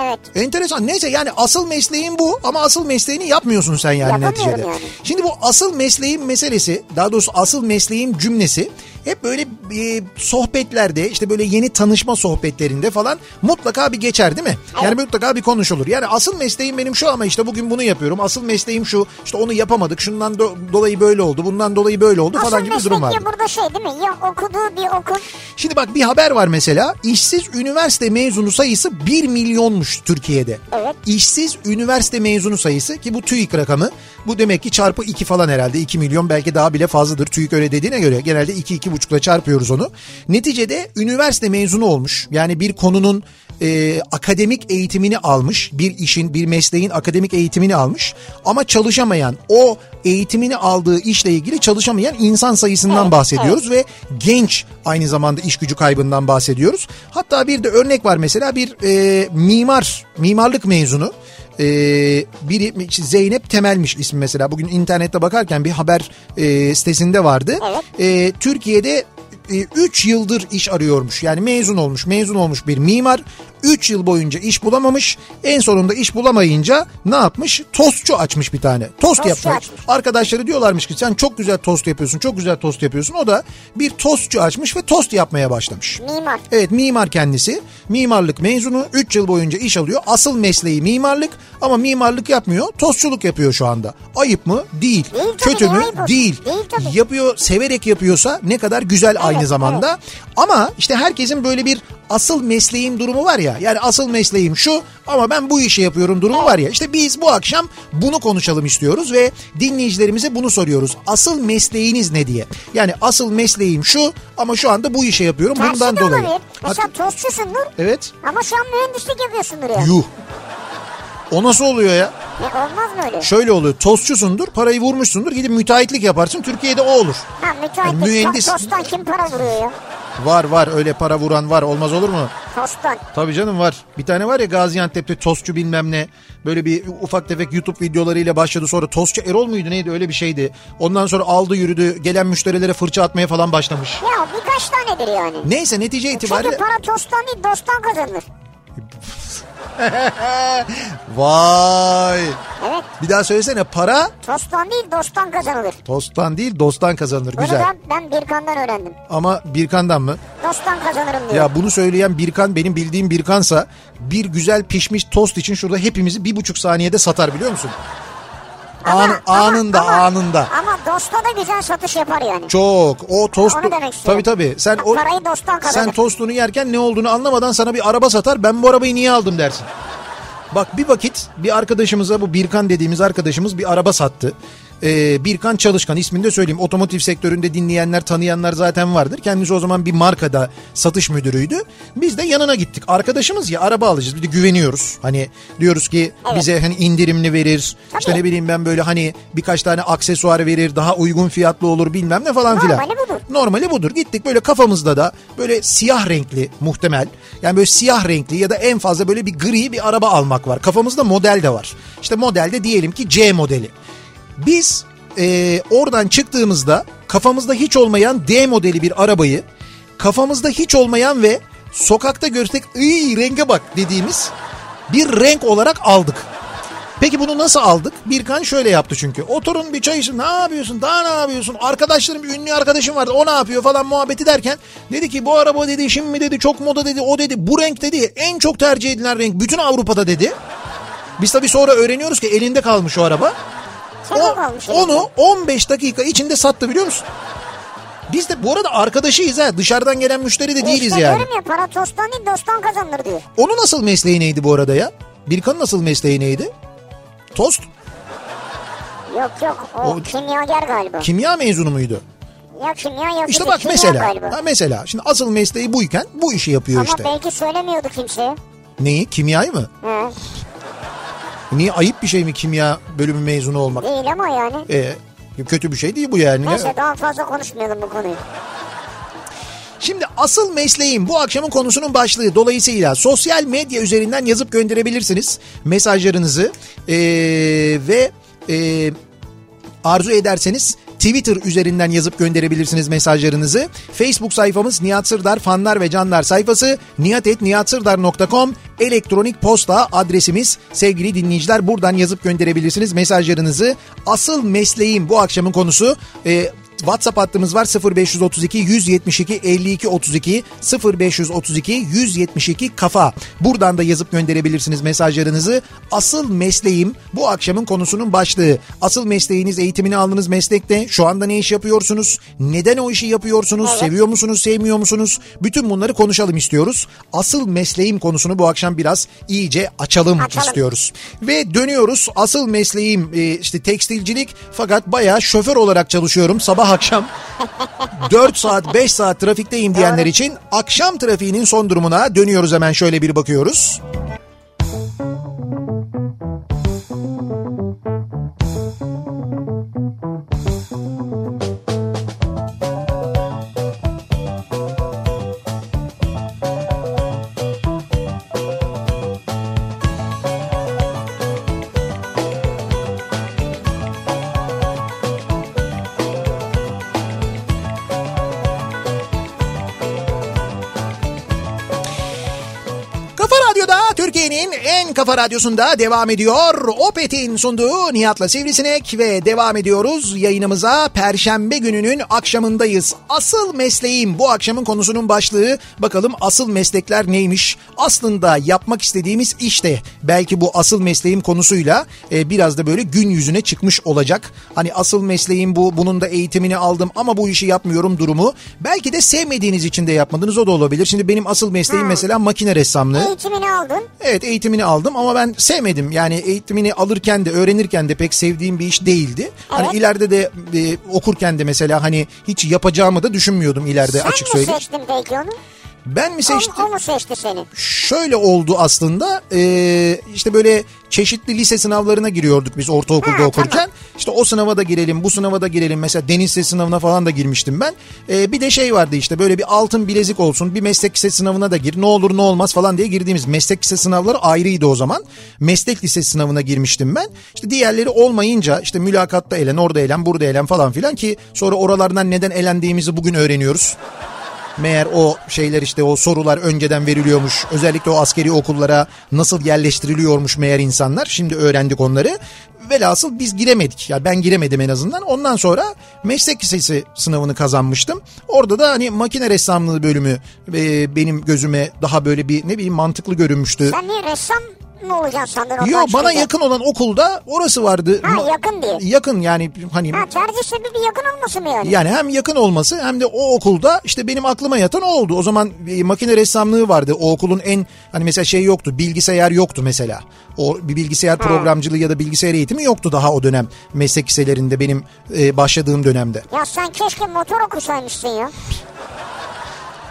Speaker 1: Evet.
Speaker 2: Enteresan. Neyse yani asıl mesleğin bu ama asıl mesleğini yapmıyorsun sen yani
Speaker 1: Yapamıyorum
Speaker 2: neticede.
Speaker 1: yani.
Speaker 2: Şimdi bu asıl mesleğin meselesi daha doğrusu asıl mesleğin cümlesi hep böyle e, sohbetlerde işte böyle yeni tanışma sohbetlerinde falan mutlaka bir geçer değil mi? Yani mutlaka bir konuşulur. Yani asıl mesleğim benim şu ama işte bugün bunu yapıyorum. Asıl mesleğim şu işte onu yapamadık şundan do- dolayı böyle oldu bundan dolayı böyle oldu
Speaker 1: Asıl
Speaker 2: falan gibi bir durum
Speaker 1: meslek
Speaker 2: vardı.
Speaker 1: ya burada şey değil mi? Ya okuduğu bir okul.
Speaker 2: Şimdi bak bir haber var mesela. İşsiz üniversite mezunu sayısı 1 milyonmuş Türkiye'de.
Speaker 1: Evet.
Speaker 2: İşsiz üniversite mezunu sayısı ki bu TÜİK rakamı. Bu demek ki çarpı 2 falan herhalde. 2 milyon belki daha bile fazladır. TÜİK öyle dediğine göre genelde 2-2,5'la çarpıyoruz onu. Neticede üniversite mezunu olmuş. Yani bir konunun e, akademik eğitimini almış. Bir işin, bir mesleğin akademik eğitimini almış. Ama çalışamayan, o eğitimini aldığı işle ilgili çalışamayan insan sayısından
Speaker 1: Evet,
Speaker 2: bahsediyoruz ve genç aynı zamanda iş gücü kaybından bahsediyoruz. Hatta bir de örnek var mesela bir e, mimar, mimarlık mezunu e, biri Zeynep Temelmiş ismi mesela bugün internette bakarken bir haber e, sitesinde vardı. E, Türkiye'de 3 yıldır iş arıyormuş. Yani mezun olmuş, mezun olmuş bir mimar 3 yıl boyunca iş bulamamış. En sonunda iş bulamayınca ne yapmış? Tostçu açmış bir tane. Tost
Speaker 1: Tostçu
Speaker 2: yapmış.
Speaker 1: açmış.
Speaker 2: Arkadaşları diyorlarmış ki sen çok güzel tost yapıyorsun, çok güzel tost yapıyorsun. O da bir tostçu açmış ve tost yapmaya başlamış.
Speaker 1: Mimar.
Speaker 2: Evet mimar kendisi. Mimarlık mezunu 3 yıl boyunca iş alıyor. Asıl mesleği mimarlık ama mimarlık yapmıyor. Tostçuluk yapıyor şu anda. Ayıp mı? Değil.
Speaker 1: Değil tabii,
Speaker 2: Kötü
Speaker 1: ne
Speaker 2: mü?
Speaker 1: ayıbı?
Speaker 2: Değil.
Speaker 1: Değil tabii.
Speaker 2: Yapıyor, severek yapıyorsa ne kadar güzel aynı
Speaker 1: evet.
Speaker 2: zamanda. Ama işte herkesin böyle bir asıl mesleğim durumu var ya. Yani asıl mesleğim şu ama ben bu işi yapıyorum durumu var ya. İşte biz bu akşam bunu konuşalım istiyoruz ve dinleyicilerimize bunu soruyoruz. Asıl mesleğiniz ne diye. Yani asıl mesleğim şu ama şu anda bu işi yapıyorum
Speaker 1: Tersi
Speaker 2: bundan
Speaker 1: de
Speaker 2: dolayı.
Speaker 1: olabilir. Mesela
Speaker 2: Hak-
Speaker 1: tostçusun Nur.
Speaker 2: Evet.
Speaker 1: Ama şu an mühendislik yapıyorsundur ya.
Speaker 2: Yuh. O nasıl oluyor ya?
Speaker 1: Ne, olmaz mı öyle?
Speaker 2: Şöyle oluyor. Tostçusundur, parayı vurmuşsundur. Gidip müteahhitlik yaparsın. Türkiye'de o olur.
Speaker 1: Ha müteahhit.
Speaker 2: Yani E, mühendis-
Speaker 1: Tosttan kim para vuruyor ya?
Speaker 2: Var var öyle para vuran var. Olmaz olur mu?
Speaker 1: Tosttan.
Speaker 2: Tabii canım var. Bir tane var ya Gaziantep'te tostçu bilmem ne. Böyle bir ufak tefek YouTube videolarıyla başladı. Sonra tostçu Erol muydu neydi öyle bir şeydi. Ondan sonra aldı yürüdü. Gelen müşterilere fırça atmaya falan başlamış.
Speaker 1: Ya birkaç tanedir yani.
Speaker 2: Neyse netice
Speaker 1: Çünkü
Speaker 2: itibariyle...
Speaker 1: para tosttan değil dosttan kazanılır.
Speaker 2: [laughs] Vay!
Speaker 1: Evet.
Speaker 2: Bir daha söylesene para
Speaker 1: Tosttan değil dosttan kazanılır.
Speaker 2: tosttan değil dosttan kazanılır.
Speaker 1: Bunu
Speaker 2: Güzel.
Speaker 1: ben, ben Birkan'dan öğrendim.
Speaker 2: Ama Birkan'dan mı?
Speaker 1: Dosttan kazanırım diyor.
Speaker 2: Ya bunu söyleyen Birkan benim bildiğim Birkan'sa bir güzel pişmiş tost için şurada hepimizi bir buçuk saniyede satar biliyor musun?
Speaker 1: Ama-
Speaker 2: An-
Speaker 1: ama-
Speaker 2: anında
Speaker 1: ama-
Speaker 2: anında.
Speaker 1: Ama dosta da güzel satış yapar yani.
Speaker 2: Çok o tostu.
Speaker 1: Onu demek
Speaker 2: Tabii
Speaker 1: istiyorum.
Speaker 2: tabii. Sen o
Speaker 1: Parayı dosttan kazanır.
Speaker 2: sen tostunu yerken ne olduğunu anlamadan sana bir araba satar. Ben bu arabayı niye aldım dersin. Bak bir vakit bir arkadaşımıza bu Birkan dediğimiz arkadaşımız bir araba sattı. Ee, Birkan Çalışkan ismini de söyleyeyim. Otomotiv sektöründe dinleyenler tanıyanlar zaten vardır. Kendisi o zaman bir markada satış müdürüydü. Biz de yanına gittik. Arkadaşımız ya araba alacağız. Bir de güveniyoruz. Hani diyoruz ki bize hani indirimli verir. İşte ne bileyim ben böyle hani birkaç tane aksesuar verir. Daha uygun fiyatlı olur bilmem ne falan filan.
Speaker 1: Normali budur.
Speaker 2: Normali budur. Gittik böyle kafamızda da böyle siyah renkli muhtemel. Yani böyle siyah renkli ya da en fazla böyle bir gri bir araba almak var. Kafamızda model de var. İşte modelde diyelim ki C modeli. Biz eee, oradan çıktığımızda kafamızda hiç olmayan D modeli bir arabayı kafamızda hiç olmayan ve sokakta görsek iyi renge bak dediğimiz bir renk olarak aldık. Peki bunu nasıl aldık? Birkan şöyle yaptı çünkü. Oturun bir çay için ne yapıyorsun? Daha ne yapıyorsun? Arkadaşlarım ünlü arkadaşım vardı. O ne yapıyor falan muhabbeti derken dedi ki bu araba dedi şimdi dedi çok moda dedi. O dedi bu renk dedi en çok tercih edilen renk bütün Avrupa'da dedi. Biz tabii sonra öğreniyoruz ki elinde kalmış o araba.
Speaker 1: Çabuk olmuş.
Speaker 2: onu 15 dakika içinde sattı biliyor musun? Biz de bu arada arkadaşıyız ha. Dışarıdan gelen müşteri de değiliz
Speaker 1: işte
Speaker 2: yani.
Speaker 1: diyorum ya para tosttan değil dosttan kazanılır diyor.
Speaker 2: Onun nasıl mesleği neydi bu arada ya? Birkan'ın nasıl mesleği neydi? Tost.
Speaker 1: Yok yok o,
Speaker 2: O-
Speaker 1: kimyager galiba.
Speaker 2: Kimya mezunu muydu?
Speaker 1: Ya kimya yok.
Speaker 2: İşte
Speaker 1: dedi,
Speaker 2: bak
Speaker 1: kimya
Speaker 2: mesela.
Speaker 1: galiba.
Speaker 2: Ha mesela. Şimdi asıl mesleği buyken bu işi yapıyor
Speaker 1: Ama
Speaker 2: işte.
Speaker 1: belki söylemiyordu kimseye.
Speaker 2: Neyi? Kimyayı mı?
Speaker 1: He,
Speaker 2: Niye ayıp bir şey mi kimya bölümü mezunu olmak?
Speaker 1: değil ama yani.
Speaker 2: E, kötü bir şey değil bu yani.
Speaker 1: Neyse daha fazla konuşmayalım bu konuyu.
Speaker 2: Şimdi asıl mesleğim bu akşamın konusunun başlığı. Dolayısıyla sosyal medya üzerinden yazıp gönderebilirsiniz mesajlarınızı. Ee, ve e, arzu ederseniz Twitter üzerinden yazıp gönderebilirsiniz mesajlarınızı. Facebook sayfamız Nihat Sırdar fanlar ve canlar sayfası niyatetniyatsırdar.com elektronik posta adresimiz sevgili dinleyiciler buradan yazıp gönderebilirsiniz mesajlarınızı. Asıl mesleğim bu akşamın konusu Ee, WhatsApp hattımız var 0532 172 52 32 0532 172 kafa. Buradan da yazıp gönderebilirsiniz mesajlarınızı. Asıl mesleğim bu akşamın konusunun başlığı. Asıl mesleğiniz eğitimini aldığınız meslekte şu anda ne iş yapıyorsunuz? Neden o işi yapıyorsunuz? Seviyor musunuz? Sevmiyor musunuz? Bütün bunları konuşalım istiyoruz. Asıl mesleğim konusunu bu akşam biraz iyice açalım,
Speaker 1: Açalım.
Speaker 2: istiyoruz. Ve dönüyoruz asıl mesleğim e, işte tekstilcilik fakat bayağı şoför olarak çalışıyorum sabah akşam. 4 saat 5 saat trafikteyim diyenler için akşam trafiğinin son durumuna dönüyoruz hemen şöyle bir bakıyoruz. Kafa Radyo'da Türkiye'nin en kafa radyosunda devam ediyor. Opet'in sunduğu Nihat'la Sivrisinek ve devam ediyoruz yayınımıza. Perşembe gününün akşamındayız. Asıl mesleğim bu akşamın konusunun başlığı. Bakalım asıl meslekler neymiş? Aslında yapmak istediğimiz işte belki bu asıl mesleğim konusuyla e, biraz da böyle gün yüzüne çıkmış olacak. Hani asıl mesleğim bu, bunun da eğitimini aldım ama bu işi yapmıyorum durumu. Belki de sevmediğiniz için de yapmadınız o da olabilir. Şimdi benim asıl mesleğim mesela makine ressamlığı.
Speaker 1: Eğitimini aldın.
Speaker 2: Evet eğitimini aldım ama ben sevmedim. Yani eğitimini alırken de öğrenirken de pek sevdiğim bir iş değildi. Hani ileride de e, okurken de mesela hani hiç yapacağımı da düşünmüyordum ileride
Speaker 1: Sen
Speaker 2: e, açık
Speaker 1: mi
Speaker 2: söyleyeyim.
Speaker 1: seçtin peki onu?
Speaker 2: Ben mi
Speaker 1: O-
Speaker 2: seçtim?
Speaker 1: O, mu seçti seni?
Speaker 2: Şöyle oldu aslında e, işte böyle çeşitli lise sınavlarına giriyorduk biz ortaokulda
Speaker 1: Ha,
Speaker 2: okurken.
Speaker 1: tamam.
Speaker 2: İşte o sınava da girelim bu sınava da girelim mesela deniz sesi sınavına falan da girmiştim ben. E, bir de şey vardı işte böyle bir altın bilezik olsun bir meslek lisesi sınavına da gir ne olur ne olmaz falan diye girdiğimiz meslek lisesi sınavları ayrıydı o zaman. Meslek lisesi sınavına girmiştim ben. İşte diğerleri olmayınca işte mülakatta elen orada elen burada elen falan filan ki sonra oralardan neden elendiğimizi bugün öğreniyoruz. Meğer o şeyler işte o sorular önceden veriliyormuş. Özellikle o askeri okullara nasıl yerleştiriliyormuş meğer insanlar. Şimdi öğrendik onları. Velhasıl biz giremedik. Ya ben giremedim en azından. Ondan sonra meslek lisesi sınavını kazanmıştım. Orada da hani makine ressamlığı bölümü e, benim gözüme daha böyle bir ne bileyim mantıklı görünmüştü.
Speaker 1: Sen niye ressam mı olacaksın sandın? oradan
Speaker 2: Yok bana
Speaker 1: çıkınca?
Speaker 2: yakın olan okulda orası vardı.
Speaker 1: Ha,
Speaker 2: Ma-
Speaker 1: yakın diye.
Speaker 2: Yakın yani hani
Speaker 1: Ha tercih sebebi yakın olması mı yani?
Speaker 2: yani hem yakın olması hem de o okulda işte benim aklıma yatan o oldu. O zaman e, makine ressamlığı vardı. O okulun en hani mesela şey yoktu. Bilgisayar yoktu mesela. O bir bilgisayar programcılığı ya da bilgisayar eğitimi yoktu daha o dönem meslek liselerinde benim e, başladığım dönemde.
Speaker 1: Ya sen keşke motor okusaymışsın ya.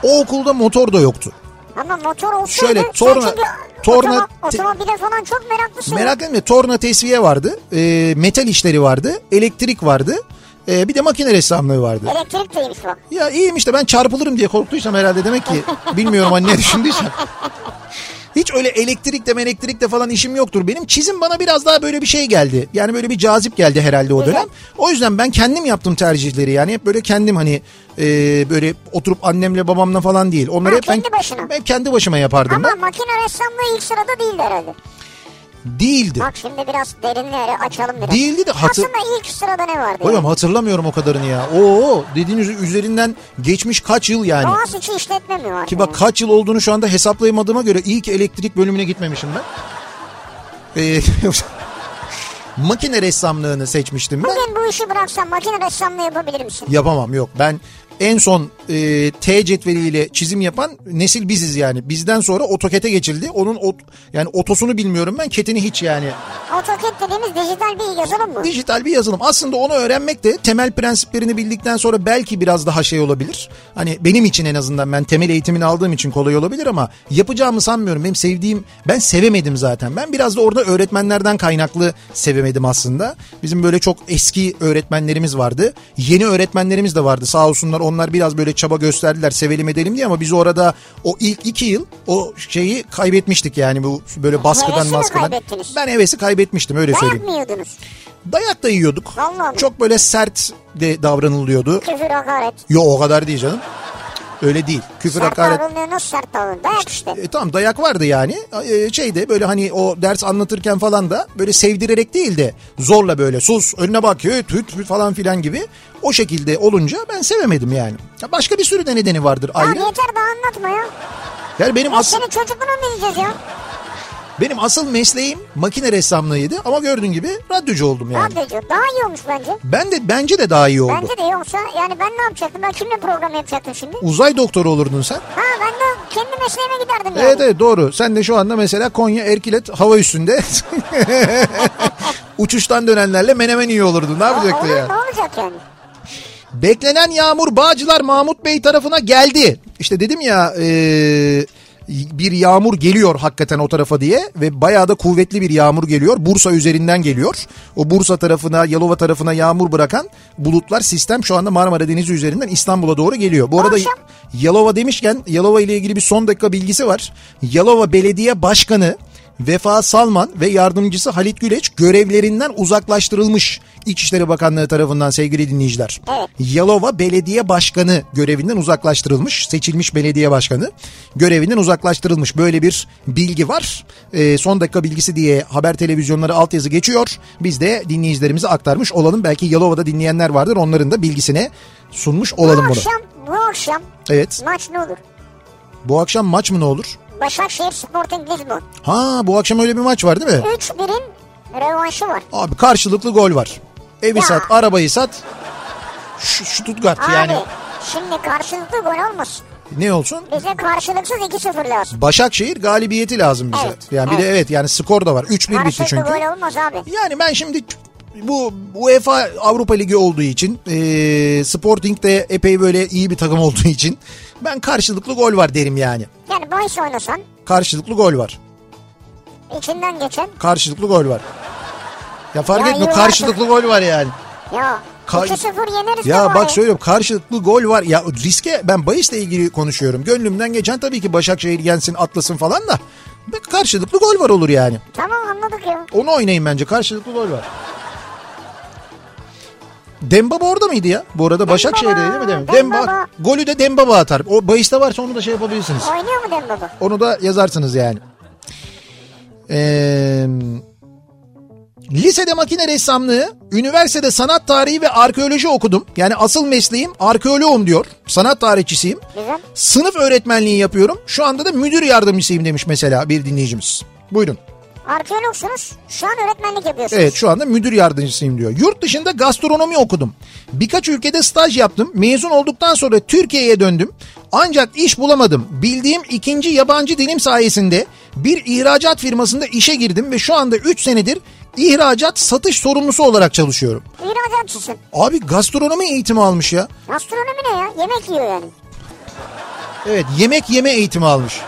Speaker 2: O okulda motor da yoktu.
Speaker 1: Ama motor olsaydı
Speaker 2: Şöyle,
Speaker 1: sen
Speaker 2: torna-
Speaker 1: çünkü
Speaker 2: torna-
Speaker 1: otomo-
Speaker 2: te-
Speaker 1: otomobile falan çok meraklısın.
Speaker 2: Merak etme torna tesviye vardı. E, metal işleri vardı. Elektrik vardı. E, bir de makine ressamlığı vardı.
Speaker 1: Elektrik değilmiş bak.
Speaker 2: Ya iyiyim işte ben çarpılırım diye korktuysam herhalde demek ki bilmiyorum hani ne düşündüysem. Hiç öyle elektrik de elektrik de falan işim yoktur benim. Çizim bana biraz daha böyle bir şey geldi. Yani böyle bir cazip geldi herhalde o dönem. O yüzden ben kendim yaptım tercihleri yani hep böyle kendim hani e, böyle oturup annemle babamla falan değil. Onları
Speaker 1: Ha,
Speaker 2: hep ben,
Speaker 1: kendi başına.
Speaker 2: ben kendi başıma yapardım
Speaker 1: Ama makine ressamlığı ilk sırada değildi herhalde.
Speaker 2: ben. Değildi.
Speaker 1: Bak şimdi biraz derinlere açalım biraz.
Speaker 2: Değildi de hatır-
Speaker 1: Aslında ilk sırada ne vardı?
Speaker 2: Hocam hatırlamıyorum o kadarını ya. Oo dediğiniz üzerinden geçmiş kaç yıl yani.
Speaker 1: Boğaziçi işletme mi vardı?
Speaker 2: Ki bak kaç yıl olduğunu şu anda hesaplayamadığıma göre iyi ki elektrik bölümüne gitmemişim ben. Ee, [laughs] makine ressamlığını seçmiştim ben.
Speaker 1: Bugün bu işi bıraksan makine ressamlığı yapabilir misin?
Speaker 2: Yapamam yok. Ben en son e, T cetveliyle çizim yapan nesil biziz yani. Bizden sonra otokete geçildi. Onun ot, yani otosunu bilmiyorum ben. Ketini hiç yani.
Speaker 1: AutoCAD dediğimiz dijital bir yazılım mı?
Speaker 2: Dijital bir yazılım. Aslında onu öğrenmek de temel prensiplerini bildikten sonra belki biraz daha şey olabilir. Hani benim için en azından ben temel eğitimini aldığım için kolay olabilir ama yapacağımı sanmıyorum. Benim sevdiğim ben sevemedim zaten. Ben biraz da orada öğretmenlerden kaynaklı sevemedim aslında. Bizim böyle çok eski öğretmenlerimiz vardı. Yeni öğretmenlerimiz de vardı. Sağ olsunlar Onlar biraz böyle çaba gösterdiler sevelim edelim diye ama biz orada o ilk iki yıl o şeyi kaybetmiştik yani bu böyle baskıdan
Speaker 1: Hevesi mi
Speaker 2: baskıdan.
Speaker 1: kaybettiniz?
Speaker 2: Ben hevesi kaybetmiştim öyle
Speaker 1: Dayak
Speaker 2: söyleyeyim.
Speaker 1: mı yiyordunuz?
Speaker 2: Dayak da yiyorduk.
Speaker 1: Vallahi mi?
Speaker 2: Çok böyle sert de davranılıyordu.
Speaker 1: Küfür, hakaret.
Speaker 2: Yo o kadar değil canım. Öyle değil. Küfür
Speaker 1: Sert
Speaker 2: hakaret.
Speaker 1: davranılıyor nasıl sert davranılıyor? Dayak işte.
Speaker 2: E, tamam dayak vardı yani. E, şeyde böyle hani o ders anlatırken falan da böyle sevdirerek değil de zorla böyle sus önüne bak hüt hüt hüt falan filan gibi o şekilde olunca ben sevemedim yani. Ya Başka bir sürü de nedeni vardır
Speaker 1: Ya
Speaker 2: ayrı.
Speaker 1: yeter daha anlatma ya.
Speaker 2: Yani benim
Speaker 1: Biz
Speaker 2: asıl
Speaker 1: senin çocukluğuna mı diyeceğiz ya?
Speaker 2: benim asıl mesleğim makine ressamlığıydı ama gördüğün gibi radyocu oldum yani.
Speaker 1: Radyocu daha iyi olmuş bence.
Speaker 2: Ben de bence de daha iyi oldu.
Speaker 1: Bence de yoksa yani ben ne yapacaktım? Ben kimle program yapacaktım şimdi?
Speaker 2: Uzay doktoru olurdun sen.
Speaker 1: Ha ben de kendi mesleğime giderdim yani.
Speaker 2: Evet evet doğru. Sen de şu anda mesela Konya Erkilet hava üstünde [laughs] uçuştan dönenlerle menemen iyi olurdun. Ne
Speaker 1: O-
Speaker 2: yapacaktı
Speaker 1: olur,
Speaker 2: ya?
Speaker 1: Ne olacak yani?
Speaker 2: Beklenen yağmur Bağcılar Mahmut Bey tarafına geldi. İşte dedim ya e, bir yağmur geliyor hakikaten o tarafa diye ve bayağı da kuvvetli bir yağmur geliyor. Bursa üzerinden geliyor. O Bursa tarafına Yalova tarafına yağmur bırakan bulutlar sistem şu anda Marmara Denizi üzerinden İstanbul'a doğru geliyor. Bu arada
Speaker 1: Akşam.
Speaker 2: Yalova demişken Yalova ile ilgili bir son dakika bilgisi var. Yalova Belediye Başkanı Vefa Salman ve yardımcısı Halit Güleç görevlerinden uzaklaştırılmış İçişleri Bakanlığı tarafından sevgili dinleyiciler.
Speaker 1: Evet.
Speaker 2: Yalova Belediye Başkanı görevinden uzaklaştırılmış. Seçilmiş belediye başkanı görevinden uzaklaştırılmış. Böyle bir bilgi var. Ee, son dakika bilgisi diye haber televizyonları altyazı geçiyor. Biz de dinleyicilerimize aktarmış olalım. Belki Yalova'da dinleyenler vardır. Onların da bilgisine sunmuş olalım
Speaker 1: bu
Speaker 2: bunu.
Speaker 1: akşam, bu akşam
Speaker 2: Evet.
Speaker 1: maç ne olur?
Speaker 2: Bu akşam maç mı ne olur?
Speaker 1: Başakşehir Sporting Lisbon.
Speaker 2: Ha bu akşam öyle bir maç var değil mi?
Speaker 1: 3-1'in rövanşı var.
Speaker 2: Abi karşılıklı gol var. Evi
Speaker 1: Ya.
Speaker 2: sat, arabayı sat. Şu, şu Stuttgart
Speaker 1: Abi
Speaker 2: yani
Speaker 1: şimdi karşılıklı gol olmasın.
Speaker 2: ne olsun?
Speaker 1: Bize karşılıksız 2-0 lazım.
Speaker 2: Başakşehir galibiyeti lazım bize.
Speaker 1: Evet,
Speaker 2: yani bir de evet yani skor da var. 3-1 bitti
Speaker 1: Karşılıklı
Speaker 2: çünkü.
Speaker 1: gol olmaz abi.
Speaker 2: Yani ben şimdi bu UEFA Avrupa Ligi olduğu için e, Sporting de epey böyle iyi bir takım olduğu için ben karşılıklı gol var derim yani.
Speaker 1: Yani bahis oynasan
Speaker 2: Karşılıklı gol var.
Speaker 1: içinden geçen
Speaker 2: Karşılıklı gol var. Ya fark
Speaker 1: Ya
Speaker 2: etmiyor
Speaker 1: yok.
Speaker 2: karşılıklı gol var yani.
Speaker 1: ya
Speaker 2: Kar-
Speaker 1: 2-0 yeneriz de
Speaker 2: Ya
Speaker 1: bari.
Speaker 2: bak söylüyorum karşılıklı gol var. Ya riske ben bahisle ilgili konuşuyorum. Gönlümden geçen tabii ki Başakşehir yensin atlasın falan da. Bak karşılıklı gol var olur yani.
Speaker 1: Tamam anladık ya.
Speaker 2: Onu oynayın bence karşılıklı gol var. Dembaba orada mıydı ya? Bu arada Başakşehir'de değil mi? Dembaba. Dembaba.
Speaker 1: Dembaba.
Speaker 2: Golü de Dembaba atar. O bahiste varsa onu da şey yapabilirsiniz.
Speaker 1: Oynuyor mu Dembaba?
Speaker 2: Onu da yazarsınız yani. Ee, lisede makine ressamlığı, üniversitede sanat tarihi ve arkeoloji okudum. Yani asıl mesleğim arkeoloğum diyor. Sanat tarihçisiyim.
Speaker 1: Güzel.
Speaker 2: Sınıf öğretmenliği yapıyorum. Şu anda da müdür yardımcısıyım demiş mesela bir dinleyicimiz. Buyurun.
Speaker 1: Arkeologsunuz. Şu an öğretmenlik yapıyorsunuz.
Speaker 2: Evet şu anda müdür yardımcısıyım diyor. Yurt dışında gastronomi okudum. Birkaç ülkede staj yaptım. Mezun olduktan sonra Türkiye'ye döndüm. Ancak iş bulamadım. Bildiğim ikinci yabancı dilim sayesinde bir ihracat firmasında işe girdim ve şu anda 3 senedir ihracat satış sorumlusu olarak çalışıyorum.
Speaker 1: İhracatçısın.
Speaker 2: Abi gastronomi eğitimi almış ya.
Speaker 1: Gastronomi ne ya? Yemek yiyor yani.
Speaker 2: Evet yemek yeme eğitimi almış.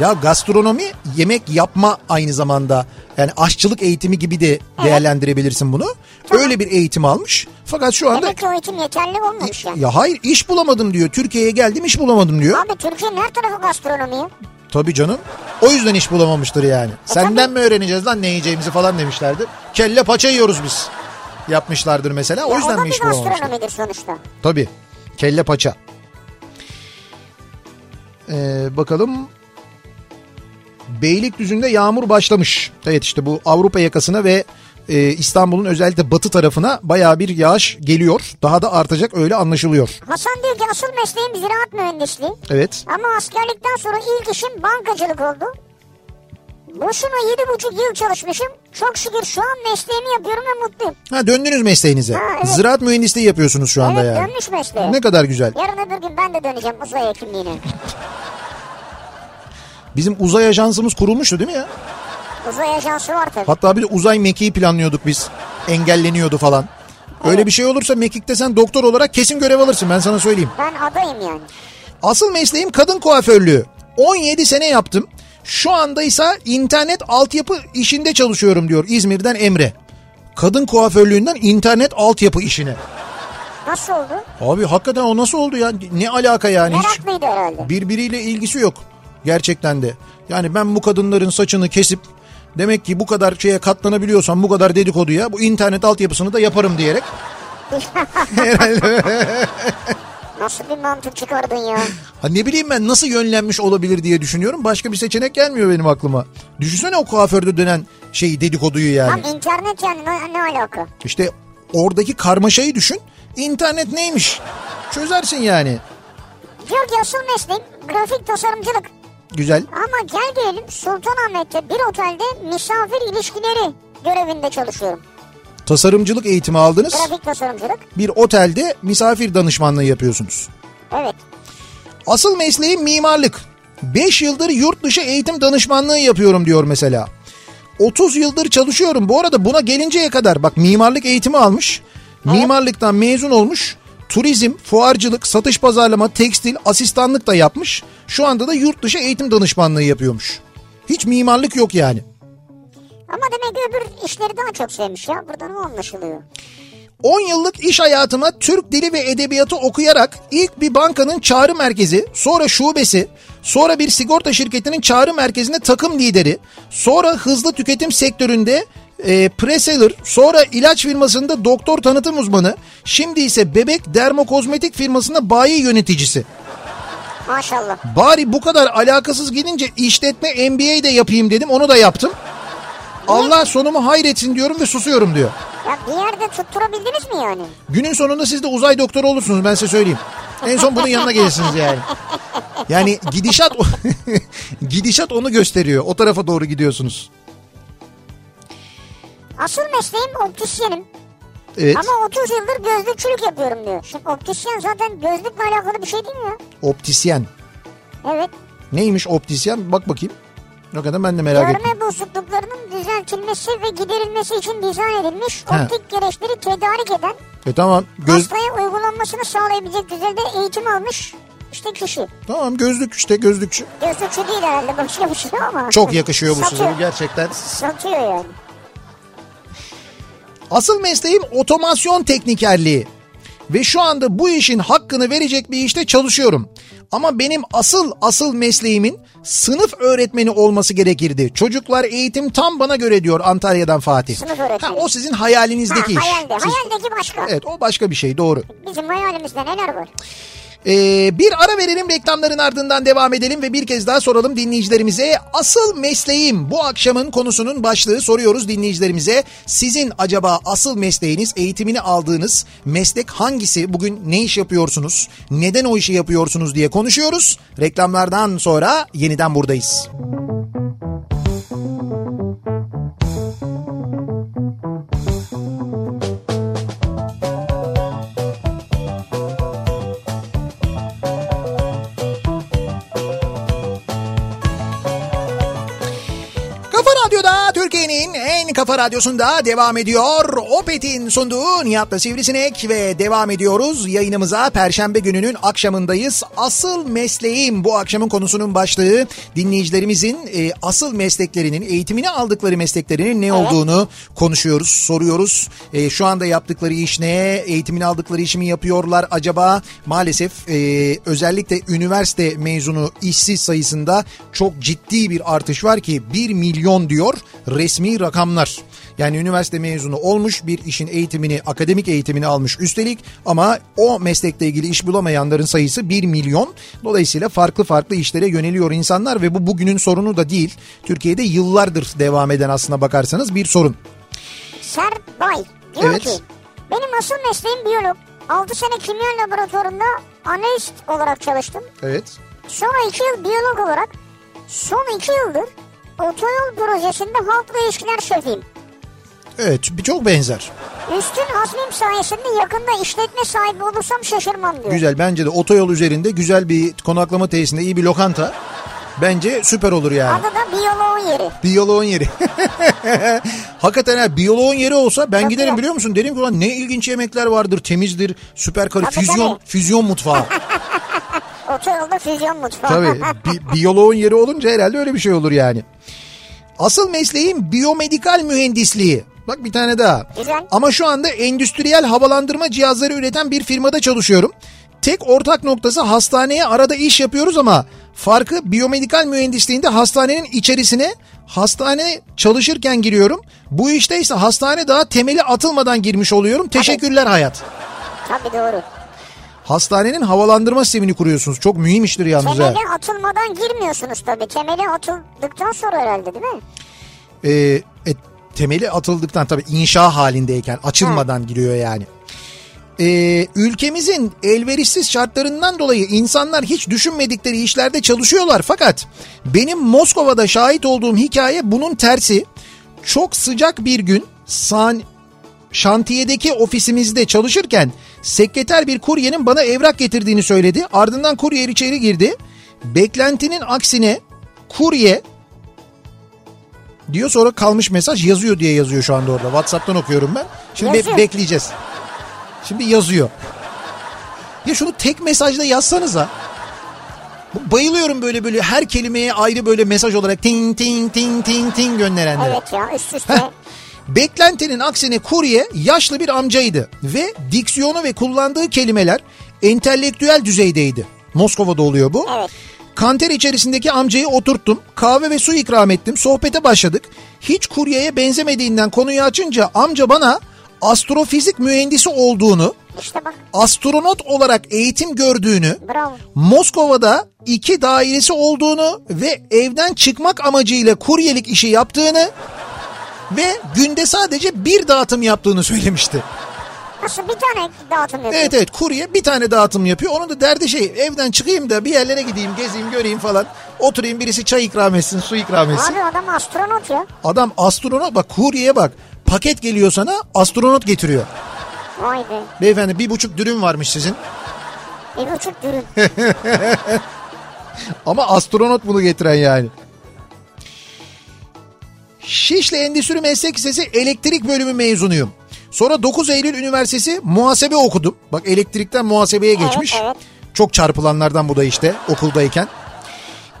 Speaker 2: Ya gastronomi yemek yapma aynı zamanda. Yani aşçılık eğitimi gibi de değerlendirebilirsin bunu. Öyle bir eğitim almış. Fakat şu anda
Speaker 1: Demek ki o eğitim yeterli olmamış yani.
Speaker 2: Ya hayır iş bulamadım diyor. Türkiye'ye geldim iş bulamadım diyor.
Speaker 1: Abi Türkiye'nin her tarafı gastronomi ya.
Speaker 2: Tabii canım. O yüzden iş bulamamıştır yani.
Speaker 1: E
Speaker 2: Senden mi öğreneceğiz lan ne yiyeceğimizi falan demişlerdir. Kelle paça yiyoruz biz. Yapmışlardır mesela. O
Speaker 1: Ya
Speaker 2: yüzden
Speaker 1: da
Speaker 2: mi
Speaker 1: bir
Speaker 2: iş bulamamıştır?
Speaker 1: gastronomidir sonuçta.
Speaker 2: Tabii. Kelle paça. Ee, bakalım. Beylikdüzü'nde yağmur başlamış. Evet işte bu Avrupa yakasına ve e, İstanbul'un özellikle batı tarafına bayağı bir yağış geliyor. Daha da artacak öyle anlaşılıyor.
Speaker 1: Hasan diyor ki asıl mesleğim ziraat mühendisliği.
Speaker 2: Evet.
Speaker 1: Ama askerlikten sonra ilk işim bankacılık oldu. Boşuna yedi buçuk yıl çalışmışım. Çok şükür şu an mesleğimi yapıyorum ve mutluyum.
Speaker 2: Ha döndünüz mesleğinize.
Speaker 1: Ha, evet.
Speaker 2: Ziraat mühendisliği yapıyorsunuz şu anda
Speaker 1: evet
Speaker 2: yani.
Speaker 1: dönmüş mesleğe.
Speaker 2: Ne kadar güzel.
Speaker 1: Yarın öbür gün ben de döneceğim uzay hekimliğine.
Speaker 2: Bizim uzay ajansımız kurulmuştu değil mi ya?
Speaker 1: Uzay ajansı var tabii.
Speaker 2: Hatta bir de uzay mekiği planlıyorduk biz. Engelleniyordu falan. Öyle bir şey olursa mekikte sen doktor olarak kesin görev alırsın ben sana söyleyeyim.
Speaker 1: Ben adayım yani.
Speaker 2: Asıl mesleğim kadın kuaförlüğü. 17 sene yaptım. Şu anda ise internet altyapı işinde çalışıyorum diyor İzmir'den Emre. Kadın kuaförlüğünden internet altyapı işine.
Speaker 1: Nasıl oldu?
Speaker 2: Abi hakikaten o nasıl oldu ya? Ne alaka yani? Hiç
Speaker 1: Meraklıydı herhalde.
Speaker 2: birbiriyle ilgisi yok. Gerçekten de. Yani ben bu kadınların saçını kesip demek ki bu kadar şeye katlanabiliyorsam bu kadar dedikoduya bu internet altyapısını da yaparım diyerek.
Speaker 1: Nasıl bir mantık çıkardın ya?
Speaker 2: Ha ne bileyim ben nasıl yönlenmiş olabilir diye düşünüyorum. Başka bir seçenek gelmiyor benim aklıma. Düşünsene o kuaförde dönen şeyi dedikoduyu yani.
Speaker 1: Tam internet yani ne, ne alaka?
Speaker 2: İşte oradaki karmaşayı düşün. İnternet neymiş? Çözersin yani.
Speaker 1: Diyor ki asıl mesleğim grafik tasarımcılık.
Speaker 2: Güzel.
Speaker 1: Ama gel gelelim Sultanahmet'te bir otelde misafir ilişkileri görevinde çalışıyorum.
Speaker 2: Tasarımcılık eğitimi aldınız.
Speaker 1: Grafik tasarımcılık.
Speaker 2: Bir otelde misafir danışmanlığı yapıyorsunuz.
Speaker 1: Evet.
Speaker 2: Asıl mesleğim mimarlık. 5 yıldır yurt dışı eğitim danışmanlığı yapıyorum diyor mesela. 30 yıldır çalışıyorum. Bu arada buna gelinceye kadar bak mimarlık eğitimi almış. Mimarlıktan mezun olmuş. Turizm, fuarcılık, satış pazarlama, tekstil, asistanlık da yapmış. Şu anda da yurt dışı eğitim danışmanlığı yapıyormuş. Hiç mimarlık yok yani.
Speaker 1: Ama demek ki öbür işleri daha çok sevmiş ya. Buradan o anlaşılıyor.
Speaker 2: 10 yıllık iş hayatıma Türk dili ve edebiyatı okuyarak ilk bir bankanın çağrı merkezi, sonra şubesi, sonra bir sigorta şirketinin çağrı merkezinde takım lideri, sonra hızlı tüketim sektöründe e, preseller, sonra ilaç firmasında doktor tanıtım uzmanı, şimdi ise bebek dermokozmetik firmasında bayi yöneticisi.
Speaker 1: Maşallah.
Speaker 2: Bari bu kadar alakasız gidince işletme MBA de yapayım dedim onu da yaptım. Allah sonumu hayretsin diyorum ve susuyorum diyor.
Speaker 1: Ya bir yerde tutturabildiniz mi yani?
Speaker 2: Günün sonunda siz de uzay doktoru olursunuz ben size söyleyeyim. En son bunun yanına gelirsiniz yani. Yani gidişat [laughs] gidişat onu gösteriyor. O tarafa doğru gidiyorsunuz.
Speaker 1: Asıl mesleğim optisyenim.
Speaker 2: Evet.
Speaker 1: Ama 30 yıldır gözlükçülük yapıyorum diyor. Şimdi optisyen zaten gözlükle alakalı bir şey değil mi ya?
Speaker 2: Optisyen.
Speaker 1: Evet.
Speaker 2: Neymiş optisyen? Bak bakayım. Ne kadar ben de merak ettim.
Speaker 1: Görme bozukluklarının düzeltilmesi ve giderilmesi için dizayn edilmiş
Speaker 2: Ha.
Speaker 1: optik gereçleri tedarik eden
Speaker 2: E tamam. Göz,
Speaker 1: hastaya uygulanmasını sağlayabilecek düzeyde eğitim almış işte kişi.
Speaker 2: tamam gözlük işte gözlükçü.
Speaker 1: Gözlükçü değil herhalde başka bir şey ama.
Speaker 2: Çok yakışıyor bu size
Speaker 1: Satıyor.
Speaker 2: gerçekten.
Speaker 1: Satıyor yani.
Speaker 2: Asıl mesleğim otomasyon teknikerliği. Ve şu anda bu işin hakkını verecek bir işte çalışıyorum. Ama benim asıl asıl mesleğimin sınıf öğretmeni olması gerekirdi. Çocuklar eğitim tam bana göre diyor Antalya'dan Fatih.
Speaker 1: Sınıf öğretmeni.
Speaker 2: Ha, o sizin
Speaker 1: Ha,
Speaker 2: hayalinizdeki iş.
Speaker 1: hayalde.
Speaker 2: Siz-
Speaker 1: Hayaldeki başka.
Speaker 2: Evet o başka bir şey doğru.
Speaker 1: Bizim hayalimizde neler var?
Speaker 2: Ee, bir ara verelim reklamların ardından devam edelim ve bir kez daha soralım dinleyicilerimize. Asıl mesleğim bu akşamın konusunun başlığı soruyoruz dinleyicilerimize. Sizin acaba asıl mesleğiniz eğitimini aldığınız meslek hangisi? Bugün ne iş yapıyorsunuz? Neden o işi yapıyorsunuz diye konuşuyoruz. Reklamlardan sonra yeniden buradayız. Kafa Radyo'da Türkiye'nin en kafa radyosunda devam ediyor. Opet'in sunduğu Nihat'la Sivrisinek ve devam ediyoruz. Yayınımıza Perşembe gününün akşamındayız. Asıl mesleğim bu akşamın konusunun başlığı. Dinleyicilerimizin e, asıl mesleklerinin, eğitimini aldıkları mesleklerinin ne olduğunu konuşuyoruz, soruyoruz. E, şu anda yaptıkları iş ne? Eğitimini aldıkları işi mi yapıyorlar acaba? Maalesef e, özellikle üniversite mezunu işsiz sayısında çok ciddi bir artış var ki 1 milyon diyor resmi rakamlar. Yani üniversite mezunu olmuş bir işin eğitimini, akademik eğitimini almış üstelik ama o meslekle ilgili iş bulamayanların sayısı 1 milyon. Dolayısıyla farklı farklı işlere yöneliyor insanlar ve bu bugünün sorunu da değil. Türkiye'de yıllardır devam eden aslına bakarsanız bir sorun.
Speaker 1: Serbay diyor
Speaker 2: Evet.
Speaker 1: ki benim asıl mesleğim biyolog. 6 sene kimya laboratuvarında analist olarak çalıştım.
Speaker 2: Evet.
Speaker 1: Sonra 2 yıl biyolog olarak son 2 yıldır otoyol projesinde halkla ilişkiler şefiyim.
Speaker 2: Evet çok benzer.
Speaker 1: Üstün azmim sayesinde yakında işletme sahibi olursam şaşırmam diyor.
Speaker 2: Güzel bence de otoyol üzerinde güzel bir konaklama tesisinde iyi bir lokanta. Bence süper olur yani.
Speaker 1: Adı da biyoloğun yeri.
Speaker 2: Biyoloğun yeri. [laughs] Hakikaten ha biyoloğun yeri olsa ben
Speaker 1: Çok
Speaker 2: giderim
Speaker 1: güzel.
Speaker 2: biliyor musun? Derim ki ulan ne ilginç yemekler vardır temizdir süper kalori
Speaker 1: Tabii,
Speaker 2: füzyon,
Speaker 1: tabii.
Speaker 2: füzyon mutfağı.
Speaker 1: Otoyolda füzyon mutfağı.
Speaker 2: Tabii bi- biyoloğun yeri olunca herhalde öyle bir şey olur yani. Asıl mesleğim biyomedikal mühendisliği. Bak bir tane daha.
Speaker 1: Güzel.
Speaker 2: Ama şu anda endüstriyel havalandırma cihazları üreten bir firmada çalışıyorum. Tek ortak noktası hastaneye arada iş yapıyoruz ama farkı biyomedikal mühendisliğinde hastanenin içerisine hastane çalışırken giriyorum. Bu işte ise hastane daha temeli atılmadan girmiş oluyorum. Teşekkürler hayat.
Speaker 1: [laughs] Tabii doğru.
Speaker 2: Hastanenin havalandırma sistemini kuruyorsunuz. Çok mühim iştir yalnız. ha.
Speaker 1: Temele atılmadan girmiyorsunuz tabii. Temele atıldıktan sonra herhalde değil mi?
Speaker 2: Ee, e, temeli atıldıktan tabii inşa halindeyken açılmadan giriyor yani. Ee, ülkemizin elverişsiz şartlarından dolayı insanlar hiç düşünmedikleri işlerde çalışıyorlar fakat benim Moskova'da şahit olduğum hikaye bunun tersi. Çok sıcak bir gün san şantiyedeki ofisimizde çalışırken sekreter bir kuryenin bana evrak getirdiğini söyledi. Ardından kurye içeri girdi. Beklentinin aksine kurye diyor sonra kalmış mesaj yazıyor diye yazıyor şu anda orada. WhatsApp'tan okuyorum ben. Şimdi be-
Speaker 1: Yazıyor.
Speaker 2: bekleyeceğiz. Şimdi yazıyor. Ya şunu tek mesajda yazsanıza. Bayılıyorum böyle böyle her kelimeye ayrı böyle mesaj olarak ting ting ting ting ting gönderenlere.
Speaker 1: Evet ya
Speaker 2: [laughs]
Speaker 1: üst üste.
Speaker 2: Beklentinin aksine kurye yaşlı bir amcaydı ve diksiyonu ve kullandığı kelimeler entelektüel düzeydeydi. Moskova'da oluyor bu.
Speaker 1: Evet.
Speaker 2: Kanter içerisindeki amcayı oturttum. Kahve ve su ikram ettim. Sohbete başladık. Hiç kuryeye benzemediğinden konuyu açınca amca bana astrofizik mühendisi olduğunu,
Speaker 1: işte bak
Speaker 2: astronot olarak eğitim gördüğünü,
Speaker 1: bravo.
Speaker 2: Moskova'da iki dairesi olduğunu ve evden çıkmak amacıyla kuryelik işi yaptığını ve günde sadece bir dağıtım yaptığını söylemişti.
Speaker 1: Nasıl bir tane dağıtım yapıyor?
Speaker 2: Evet evet kurye bir tane dağıtım yapıyor. Onun da derdi şey evden çıkayım da bir yerlere gideyim gezeyim göreyim falan. Oturayım birisi çay ikram etsin su ikram etsin.
Speaker 1: Abi adam astronot ya.
Speaker 2: Adam astronot bak kuryeye bak paket geliyor sana astronot getiriyor.
Speaker 1: Vay be.
Speaker 2: Beyefendi bir buçuk dürüm varmış sizin
Speaker 1: Bir
Speaker 2: [laughs]
Speaker 1: buçuk dürüm.
Speaker 2: Ama astronot bunu getiren yani. Şişli Endüstri Meslek Lisesi elektrik bölümü mezunuyum. Sonra 9 Eylül Üniversitesi muhasebe okudum. Bak elektrikten muhasebeye geçmiş.
Speaker 1: evet.
Speaker 2: Çok çarpılanlardan bu da işte okuldayken.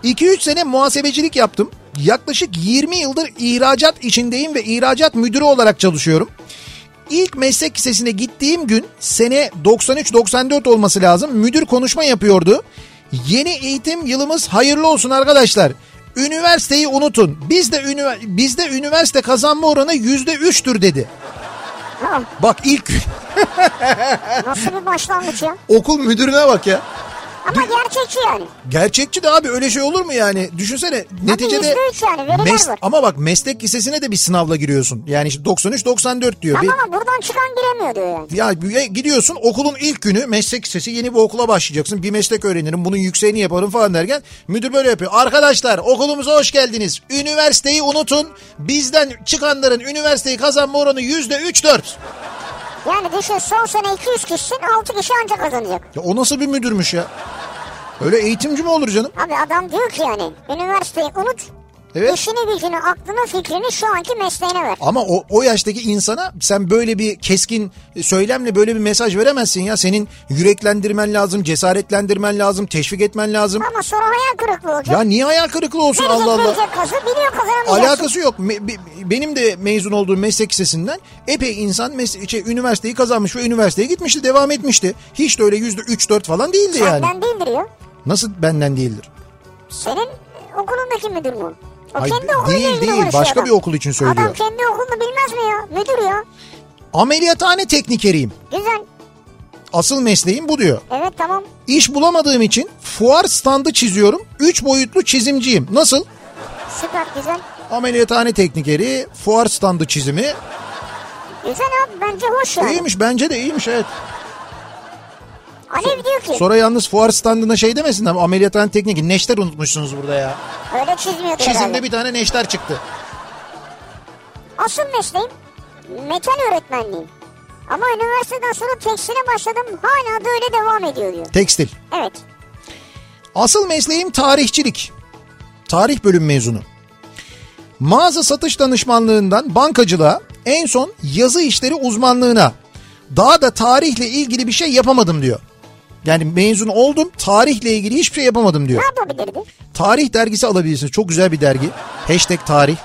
Speaker 2: 2-3 sene muhasebecilik yaptım. Yaklaşık 20 yıldır ihracat içindeyim ve ihracat müdürü olarak çalışıyorum. İlk meslek lisesine gittiğim gün sene 93-94 olması lazım. Müdür konuşma yapıyordu. Yeni eğitim yılımız hayırlı olsun arkadaşlar. Üniversiteyi unutun. Bizde ünivers- bizde üniversite kazanma oranı yüzde üçtür dedi.
Speaker 1: Ha,
Speaker 2: Bak ilk gün [laughs]
Speaker 1: Nasıl bir başlangıç ya?
Speaker 2: okul müdürüne bak ya.
Speaker 1: Ama gerçekçi yani.
Speaker 2: Gerçekçi de abi öyle şey olur mu yani? Düşünsene neticede
Speaker 1: yüzde üç yani, veriler var.
Speaker 2: ama bak meslek lisesine de bir sınavla giriyorsun. Yani işte 93 94 diyor. Bir-
Speaker 1: Tamam ama buradan çıkan giremiyor diyor yani.
Speaker 2: Ya bir- gidiyorsun okulun ilk günü meslek lisesi yeni bir okula başlayacaksın. Bir meslek öğrenirim bunun yükseğini yaparım falan derken müdür böyle yapıyor. Arkadaşlar okulumuza hoş geldiniz. Üniversiteyi unutun. Bizden çıkanların üniversiteyi kazanma oranı yüzde 3-4.
Speaker 1: Yani düşün son sene 200 kişisin 6 kişi ancak kazanacak.
Speaker 2: Ya o nasıl bir müdürmüş ya? Öyle eğitimci mi olur canım?
Speaker 1: Abi adam diyor ki yani üniversiteyi unut.
Speaker 2: Evet.
Speaker 1: İşini gücünü aklını fikrini şu anki mesleğine ver.
Speaker 2: Ama o, o yaştaki insana sen böyle bir keskin söylemle böyle bir mesaj veremezsin ya. Senin yüreklendirmen lazım, cesaretlendirmen lazım, teşvik etmen lazım.
Speaker 1: Ama sonra hayal kırıklığı olacak.
Speaker 2: Ya niye hayal kırıklığı olsun
Speaker 1: verecek
Speaker 2: Allah Allah.
Speaker 1: verecek kazı biliyor kazanamayacaksın.
Speaker 2: Alakası yok. Me- be- benim de mezun olduğum meslek lisesinden epey insan meslek, şey, üniversiteyi kazanmış ve üniversiteye gitmişti, devam etmişti. Hiç de öyle yüzde 3-4 falan değildi yani.
Speaker 1: Senden değildir ya.
Speaker 2: Nasıl benden değildir?
Speaker 1: Senin e, okulundaki müdür mü? O
Speaker 2: Ay,
Speaker 1: kendi
Speaker 2: de-
Speaker 1: okuluyla
Speaker 2: değil,
Speaker 1: ilgili
Speaker 2: değil.
Speaker 1: uğraşıyor
Speaker 2: Başka
Speaker 1: adam.
Speaker 2: bir okul için söylüyor.
Speaker 1: Adam kendi okulunu bilmez mi ya? Müdür ya.
Speaker 2: Ameliyathane teknikeriyim.
Speaker 1: Güzel.
Speaker 2: Asıl mesleğim bu diyor.
Speaker 1: Evet tamam.
Speaker 2: İş bulamadığım için fuar standı çiziyorum. 3 boyutlu çizimciyim. Nasıl?
Speaker 1: Süper güzel.
Speaker 2: Ameliyathane teknikeri, fuar standı çizimi.
Speaker 1: Güzel abi bence hoş yani.
Speaker 2: İyiymiş bence de iyiymiş evet.
Speaker 1: Alev diyor ki
Speaker 2: Sonra yalnız fuar standına şey demesinler. Ameliyathane tekniği neşter unutmuşsunuz burada ya.
Speaker 1: öyle çizmiyordu herhalde.
Speaker 2: Çizimde bir tane neşter çıktı.
Speaker 1: Asıl mesleğim metal öğretmenliği. Ama üniversiteden sonra tekstile başladım hala da öyle devam ediyor diyor.
Speaker 2: Tekstil.
Speaker 1: Evet.
Speaker 2: Asıl mesleğim tarihçilik. Tarih bölüm mezunu. Mağaza satış danışmanlığından bankacılığa, en son yazı işleri uzmanlığına. Daha da tarihle ilgili bir şey yapamadım diyor. Yani mezun oldum, tarihle ilgili hiçbir şey yapamadım diyor.
Speaker 1: Ne yapabilirdi?
Speaker 2: Tarih dergisi alabilirsiniz. Çok güzel bir dergi. Hashtag tarih.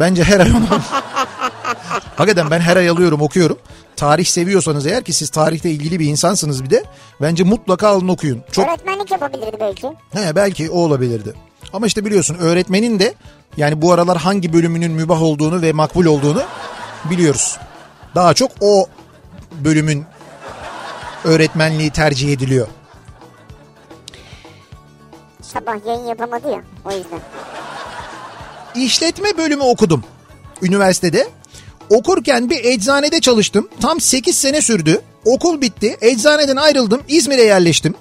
Speaker 2: Bence her ay onu al- [laughs] Hakikaten ben her ay alıyorum okuyorum. Tarih seviyorsanız eğer ki siz tarihte ilgili bir insansınız bir de. Bence mutlaka alın okuyun. Çok
Speaker 1: Öğretmenlik yapabilirdi belki.
Speaker 2: He, belki o olabilirdi. Ama işte biliyorsun öğretmenin de yani bu aralar hangi bölümünün mübah olduğunu ve makbul olduğunu biliyoruz. Daha çok o bölümün öğretmenliği tercih ediliyor.
Speaker 1: Sabah yayın yapamadı ya o yüzden.
Speaker 2: İşletme bölümü okudum üniversitede. Okurken bir eczanede çalıştım. Tam 8 sene sürdü. Okul bitti. Eczaneden ayrıldım. İzmir'e yerleştim.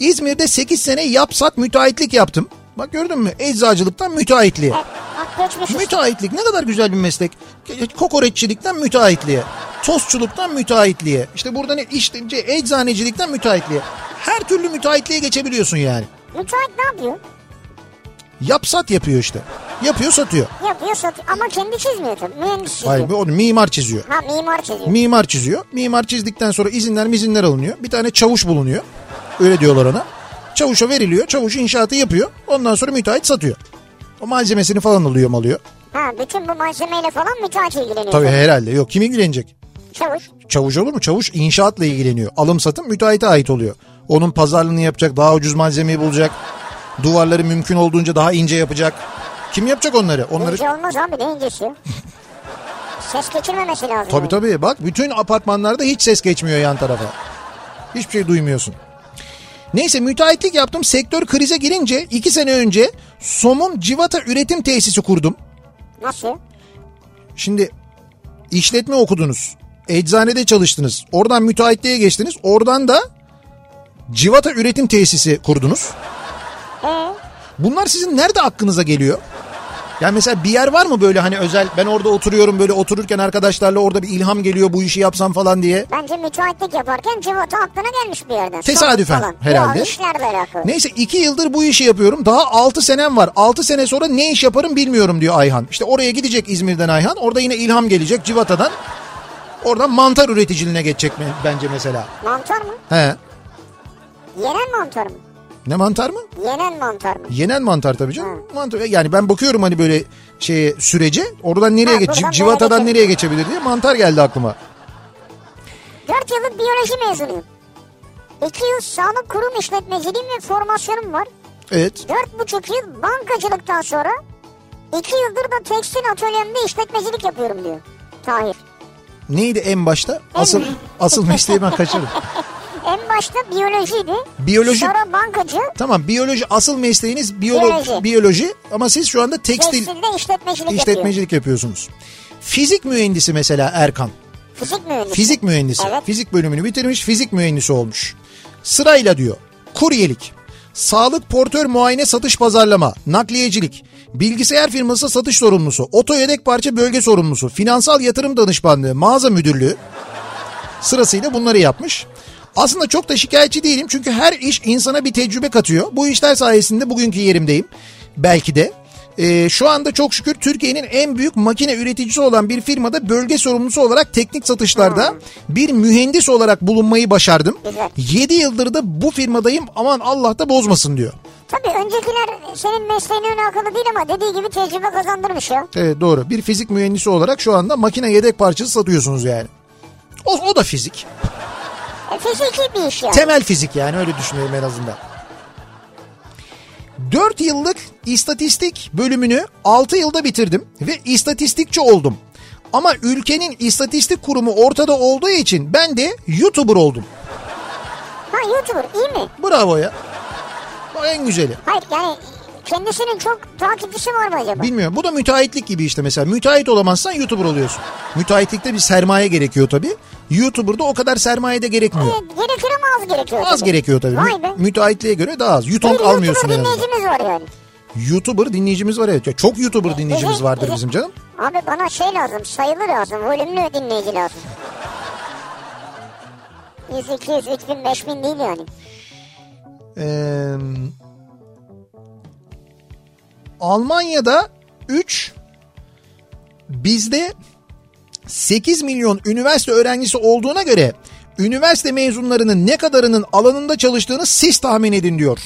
Speaker 2: İzmir'de 8 sene yapsat müteahhitlik yaptım. Bak gördün mü? Eczacılıktan müteahhitliğe.
Speaker 1: E, bak geçmiş işte.
Speaker 2: Müteahhitlik ne kadar güzel bir meslek. Kokoreççilikten müteahhitliğe. Tostçuluktan müteahhitliğe. İşte burada ne işte eczanecilikten müteahhitliğe. Her türlü müteahhitliğe geçebiliyorsun yani.
Speaker 1: Müteahhit ne yapıyor?
Speaker 2: Yapsat yapıyor işte. Yapıyor satıyor.
Speaker 1: Yapıyor satıyor ama kendi çizmiyor tabii. Mühendis çiziyor.
Speaker 2: Hayır onu mimar çiziyor.
Speaker 1: Ha mimar çiziyor.
Speaker 2: Mimar çiziyor. Mimar çizdikten sonra izinler mizinler alınıyor. Bir tane çavuş bulunuyor. Öyle diyorlar ona. Çavuşa veriliyor. Çavuş inşaatı yapıyor. Ondan sonra müteahhit satıyor. O malzemesini falan alıyor alıyor.
Speaker 1: ha bütün bu malzemeyle falan müteahhit ilgileniyor.
Speaker 2: Tabii herhalde yok. Kim ilgilenecek?
Speaker 1: Çavuş.
Speaker 2: Çavuş olur mu? Çavuş inşaatla ilgileniyor. Alım satım müteahhite ait oluyor. Onun pazarlığını yapacak, daha ucuz malzemeyi bulacak. Duvarları mümkün olduğunca daha ince yapacak. Kim yapacak onları? Onları
Speaker 1: İnce olmaz abi ne
Speaker 2: [laughs]
Speaker 1: incesi? Ses geçirmemesi lazım.
Speaker 2: Tabii tabii bak bütün apartmanlarda hiç ses geçmiyor yan tarafa. Hiçbir şey duymuyorsun. Neyse müteahhitlik yaptım. Sektör krize girince iki sene önce Somum Civata Üretim Tesisi kurdum.
Speaker 1: Nasıl?
Speaker 2: Şimdi işletme okudunuz. Eczanede çalıştınız. Oradan müteahhitliğe geçtiniz. Oradan da Civata Üretim Tesisi kurdunuz.
Speaker 1: Ee,
Speaker 2: Bunlar sizin nerede aklınıza geliyor? Yani mesela bir yer var mı böyle hani özel ben orada oturuyorum böyle otururken arkadaşlarla orada bir ilham geliyor bu işi yapsam falan diye.
Speaker 1: bence müteahhitlik yaparken civata aklına gelmiş bir yerden.
Speaker 2: Tesadüfen
Speaker 1: Sonra falan.
Speaker 2: herhalde.
Speaker 1: Ya işlerle alakalı.
Speaker 2: Neyse iki yıldır bu işi yapıyorum. Daha altı senem var. Altı sene sonra ne iş yaparım bilmiyorum diyor Ayhan. İşte oraya gidecek İzmir'den Ayhan. Orada yine ilham gelecek Civata'dan. Oradan mantar üreticiliğine geçecek mi bence mesela.
Speaker 1: Mantar mı?
Speaker 2: He.
Speaker 1: Yenen mantar mı?
Speaker 2: Ne mantar mı?
Speaker 1: Yenen mantar mı?
Speaker 2: Yenen mantar tabii canım. Mantar. Yani ben bakıyorum hani böyle şeye sürece oradan nereye
Speaker 1: Ha,
Speaker 2: geçecek?
Speaker 1: buradan
Speaker 2: Civata'dan
Speaker 1: nereye
Speaker 2: nereye geçebilir diye mantar geldi aklıma.
Speaker 1: 4 yıllık biyoloji mezunuyum. 2 yıl sağlık kurum işletmeciliğim ve formasyonum var.
Speaker 2: Evet.
Speaker 1: 4,5 yıl bankacılıktan sonra 2 yıldır da tekstil atölyemde işletmecilik yapıyorum diyor. Tahir.
Speaker 2: Neydi en başta? Asıl
Speaker 1: [laughs]
Speaker 2: asıl mesleği ben kaçırdım.
Speaker 1: En başta biyolojiydi.
Speaker 2: Biyoloji-
Speaker 1: Sonra bankacı.
Speaker 2: Tamam biyoloji asıl mesleğiniz biyolo-
Speaker 1: Biyoloji.
Speaker 2: biyoloji ama siz şu anda tekstil
Speaker 1: Tekstilde işletmecilik yapıyor.
Speaker 2: İşletmecilik yapıyorsunuz. Fizik mühendisi mesela Erkan.
Speaker 1: Fizik mühendisi.
Speaker 2: Fizik mühendisi.
Speaker 1: Evet.
Speaker 2: Fizik bölümünü bitirmiş, fizik mühendisi olmuş. Sırayla diyor. Kuryelik, sağlık portör muayene satış pazarlama, nakliyecilik, bilgisayar firması satış sorumlusu, oto yedek parça bölge sorumlusu, finansal yatırım danışmanlığı, mağaza müdürlüğü sırasıyla bunları yapmış. Aslında çok da şikayetçi değilim çünkü her iş insana bir tecrübe katıyor. Bu işler sayesinde bugünkü yerimdeyim. Belki de. Ee, şu anda çok şükür Türkiye'nin en büyük makine üreticisi olan bir firmada bölge sorumlusu olarak teknik satışlarda bir mühendis olarak bulunmayı başardım.
Speaker 1: Güzel.
Speaker 2: 7 yıldır da bu firmadayım aman Allah da bozmasın diyor.
Speaker 1: Tabii öncekiler senin mesleğine alakalı değil ama dediği gibi tecrübe kazandırmış ya.
Speaker 2: Evet doğru bir fizik mühendisi olarak şu anda makine yedek parçası satıyorsunuz yani. O, o da fizik.
Speaker 1: E, fiziki bir iş ya.
Speaker 2: Temel fizik yani öyle düşünüyorum en azından. 4 yıllık istatistik bölümünü 6 yılda bitirdim ve istatistikçi oldum. Ama ülkenin istatistik kurumu ortada olduğu için ben de YouTuber oldum.
Speaker 1: ha YouTuber iyi mi?
Speaker 2: Bravo ya. O en güzeli.
Speaker 1: Hayır yani kendisinin çok takipçisi var mı acaba?
Speaker 2: Bilmiyorum. Bu da müteahhitlik gibi işte mesela. Müteahhit olamazsan YouTuber oluyorsun. Müteahhitlikte bir sermaye gerekiyor tabii. YouTuber'da o kadar sermaye de gerekmiyor.
Speaker 1: E, gerekir ama az gerekiyor.
Speaker 2: Az gerekiyor tabii.
Speaker 1: Vay be.
Speaker 2: Mü- Müteahhitliğe göre daha az.
Speaker 1: Bir
Speaker 2: Yutonk
Speaker 1: YouTuber
Speaker 2: almıyorsun en azından.
Speaker 1: dinleyicimiz var yani.
Speaker 2: YouTuber dinleyicimiz var evet. Ya Çok YouTuber dinleyicimiz
Speaker 1: Evet,
Speaker 2: vardır
Speaker 1: evet.
Speaker 2: bizim canım.
Speaker 1: Abi bana şey lazım, sayılı lazım, volümlü dinleyici lazım. 100, 200, 3000, 5000 değil yani.
Speaker 2: Ee, Almanya'da 3 bizde 8 milyon üniversite öğrencisi olduğuna göre üniversite mezunlarının ne kadarının alanında çalıştığını siz tahmin edin diyor.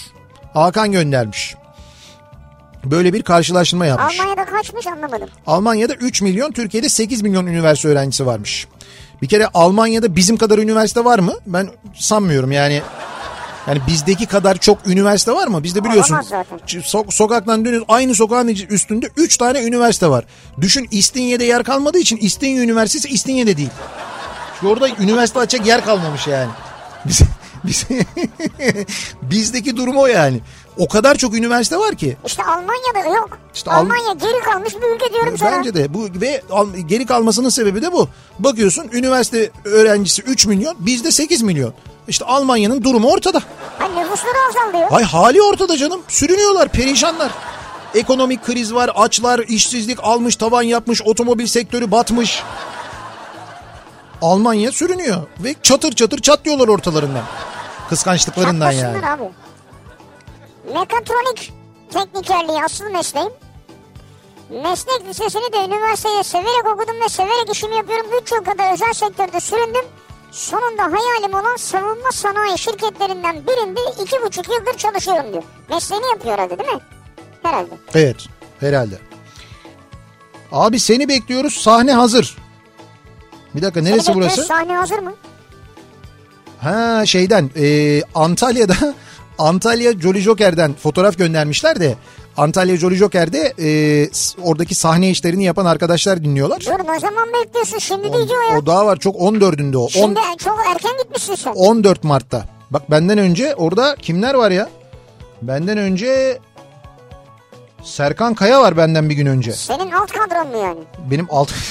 Speaker 2: Hakan göndermiş. Böyle bir karşılaştırma yapmış.
Speaker 1: Almanya'da kaçmış anlamadım.
Speaker 2: Almanya'da 3 milyon, Türkiye'de 8 milyon üniversite öğrencisi varmış. Bir kere Almanya'da bizim kadar üniversite var mı? Ben sanmıyorum yani. Yani bizdeki kadar çok üniversite var mı? Bizde biliyorsun
Speaker 1: Olamaz zaten.
Speaker 2: ç- so- sokaktan dönüyoruz aynı sokağın iç- üstünde 3 tane üniversite var. Düşün İstinye'de yer kalmadığı için İstinye Üniversitesi İstinye'de değil. Çünkü orada üniversite açacak yer kalmamış yani. Biz, [laughs] biz, bizdeki durum o yani. O kadar çok üniversite var ki.
Speaker 1: İşte Almanya'da yok.
Speaker 2: İşte Al- E,
Speaker 1: Almanya geri kalmış bir ülke diyorum sana.
Speaker 2: Bence de bu ve al- geri kalmasının sebebi de bu. Bakıyorsun üniversite öğrencisi 3 milyon, bizde 8 milyon. İşte Almanya'nın durumu ortada.
Speaker 1: Hani nüfusları azalıyor.
Speaker 2: Hay hali ortada canım. Sürünüyorlar, perişanlar. Ekonomik kriz var, açlar, işsizlik almış, tavan yapmış, otomobil sektörü batmış. Almanya sürünüyor ve çatır çatır çatlıyorlar ortalarından. Kıskançlıklarından yani.
Speaker 1: Çatlasınlar abi. Mekatronik teknikerliği asıl mesleğim. Meslek lisesini de üniversiteye severek okudum ve severek işimi yapıyorum. 3 yıl kadar özel sektörde süründüm. Sonunda hayalim olan savunma sanayi şirketlerinden birinde 2,5 yıldır çalışıyorum diyor. Mesleğini yapıyor herhalde değil mi? Herhalde.
Speaker 2: Evet herhalde. Abi seni bekliyoruz sahne hazır. Bir dakika neresi
Speaker 1: Peki,
Speaker 2: burası?
Speaker 1: Sahne hazır mı?
Speaker 2: Ha şeyden e, Antalya'da [laughs] Antalya Jolly Joker'den fotoğraf göndermişler de Antalya Jolly Joker'de e, s- oradaki sahne işlerini yapan arkadaşlar dinliyorlar.
Speaker 1: Dur ne zaman bekliyorsun? Şimdi değil diyor ya.
Speaker 2: O daha var çok 14'ünde o. On-
Speaker 1: Şimdi e, çok erken gitmişsin sen.
Speaker 2: 14 Mart'ta. Bak benden önce orada kimler var ya? Benden önce Serkan Kaya var benden bir gün önce.
Speaker 1: Senin alt kadron mu yani?
Speaker 2: Benim alt [laughs]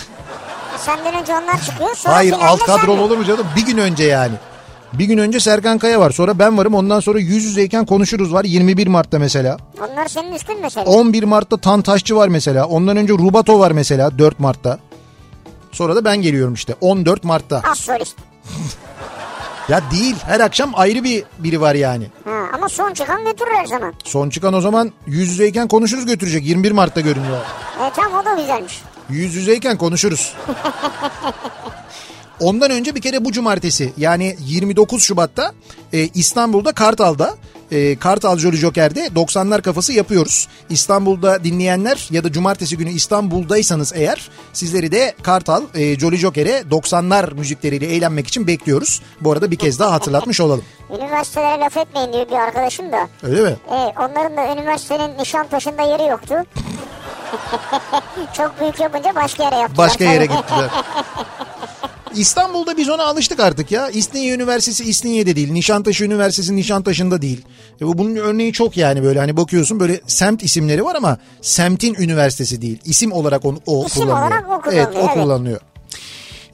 Speaker 1: Senden önce onlar çıkıyor. Sonra
Speaker 2: Hayır
Speaker 1: finalde
Speaker 2: alt
Speaker 1: sen
Speaker 2: kadrom
Speaker 1: mi?
Speaker 2: olur mu canım? Bir gün önce yani. Bir gün önce Serkan Kaya var. Sonra ben varım. Ondan sonra yüz yüzeyken konuşuruz var. 21 Mart'ta mesela.
Speaker 1: Onlar senin üstün mesela.
Speaker 2: 11 Mart'ta Tantaşçı var mesela. Ondan önce Rubato var mesela 4 Mart'ta. Sonra da ben geliyorum işte 14 Mart'ta.
Speaker 1: Az solist.
Speaker 2: Ya değil her akşam ayrı bir biri var yani.
Speaker 1: Ha, ama son çıkan götürür her zaman.
Speaker 2: Son çıkan o zaman yüz yüzeyken konuşuruz götürecek 21 Mart'ta görünüyor.
Speaker 1: E, tam o da güzelmiş.
Speaker 2: Yüz yüzeyken konuşuruz. Ondan önce bir kere bu cumartesi yani 29 Şubat'ta e, İstanbul'da Kartal'da e, Kartal Jolly Joker'de 90'lar kafası yapıyoruz. İstanbul'da dinleyenler ya da cumartesi günü İstanbul'daysanız eğer sizleri de Kartal e, Jolly Joker'e 90'lar müzikleriyle eğlenmek için bekliyoruz. Bu arada bir kez daha hatırlatmış olalım.
Speaker 1: Üniversitelere laf etmeyin diyor bir arkadaşım da.
Speaker 2: Öyle mi?
Speaker 1: E, onların da üniversitenin Nişantaşı'nda yeri yoktu. [laughs] Çok büyük yapınca başka yere yaptılar.
Speaker 2: Başka yere
Speaker 1: Tabii. [laughs]
Speaker 2: gittiler. İstanbul'da biz ona alıştık artık ya. İstinye Üniversitesi İstinye'de değil. Nişantaşı Üniversitesi Nişantaşı'nda değil. E bu bunun örneği çok yani böyle hani bakıyorsun böyle semt isimleri var ama semtin üniversitesi değil. İsim olarak onu, o
Speaker 1: İsim
Speaker 2: kullanılıyor.
Speaker 1: olarak o
Speaker 2: evet,
Speaker 1: kullanılıyor,
Speaker 2: o
Speaker 1: evet.
Speaker 2: kullanılıyor.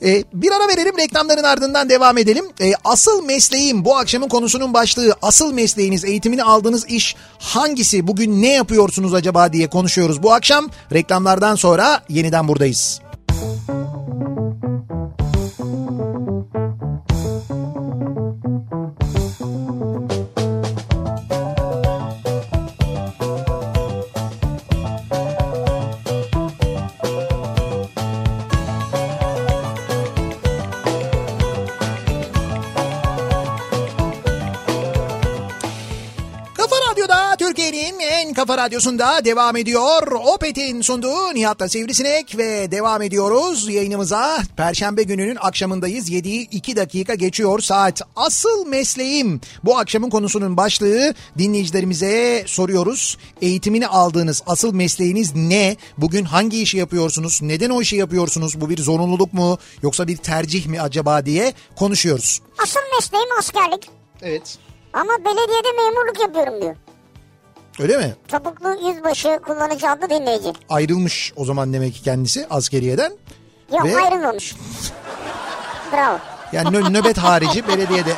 Speaker 2: E, bir ara verelim reklamların ardından devam edelim. E, asıl mesleğim bu akşamın konusunun başlığı. Asıl mesleğiniz eğitimini aldığınız iş hangisi? Bugün ne yapıyorsunuz acaba diye konuşuyoruz bu akşam. Reklamlardan sonra yeniden buradayız. Kafa Radyo'da Türkiye'nin en kafa radyosunda devam ediyor. Opet'in sunduğu Nihat'la Sivrisinek ve devam ediyoruz yayınımıza. Perşembe gününün akşamındayız. 7'yi 2 dakika geçiyor saat. Asıl mesleğim bu akşamın konusunun başlığı dinleyicilerimize soruyoruz. Eğitimini aldığınız asıl mesleğiniz ne? Bugün hangi işi yapıyorsunuz? Neden o işi yapıyorsunuz? Bu bir zorunluluk mu? Yoksa bir tercih mi acaba diye konuşuyoruz.
Speaker 1: Asıl mesleğim askerlik.
Speaker 2: Evet.
Speaker 1: Ama belediyede memurluk yapıyorum diyor.
Speaker 2: Öyle mi?
Speaker 1: Topuklu yüzbaşı kullanıcı adlı dinleyici.
Speaker 2: Ayrılmış o zaman demek ki kendisi askeriyeden.
Speaker 1: Yok
Speaker 2: Ve-
Speaker 1: ayrılmamış. Bravo.
Speaker 2: Yani nö- nöbet harici belediyede.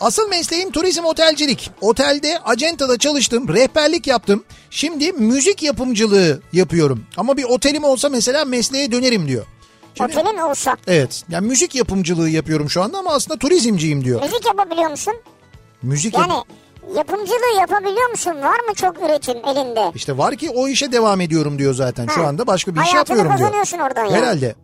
Speaker 2: Asıl mesleğim turizm otelcilik. Otelde, acentada çalıştım, rehberlik yaptım. Şimdi müzik yapımcılığı yapıyorum. Ama bir otelim olsa mesela mesleğe dönerim diyor. Şimdi-
Speaker 1: Otelin olsa.
Speaker 2: Evet. Yani müzik yapımcılığı yapıyorum şu anda ama aslında turizmciyim diyor.
Speaker 1: Müzik yapabiliyor musun?
Speaker 2: Müzik yap-
Speaker 1: Yani yapımcılığı yapabiliyor musun? Var mı çok üretim elinde?
Speaker 2: İşte var ki o işe devam ediyorum diyor zaten. Şu
Speaker 1: Ha.
Speaker 2: anda başka bir iş
Speaker 1: Hayatını
Speaker 2: yapıyorum diyor.
Speaker 1: kazanıyorsun oradan yani.
Speaker 2: Herhalde.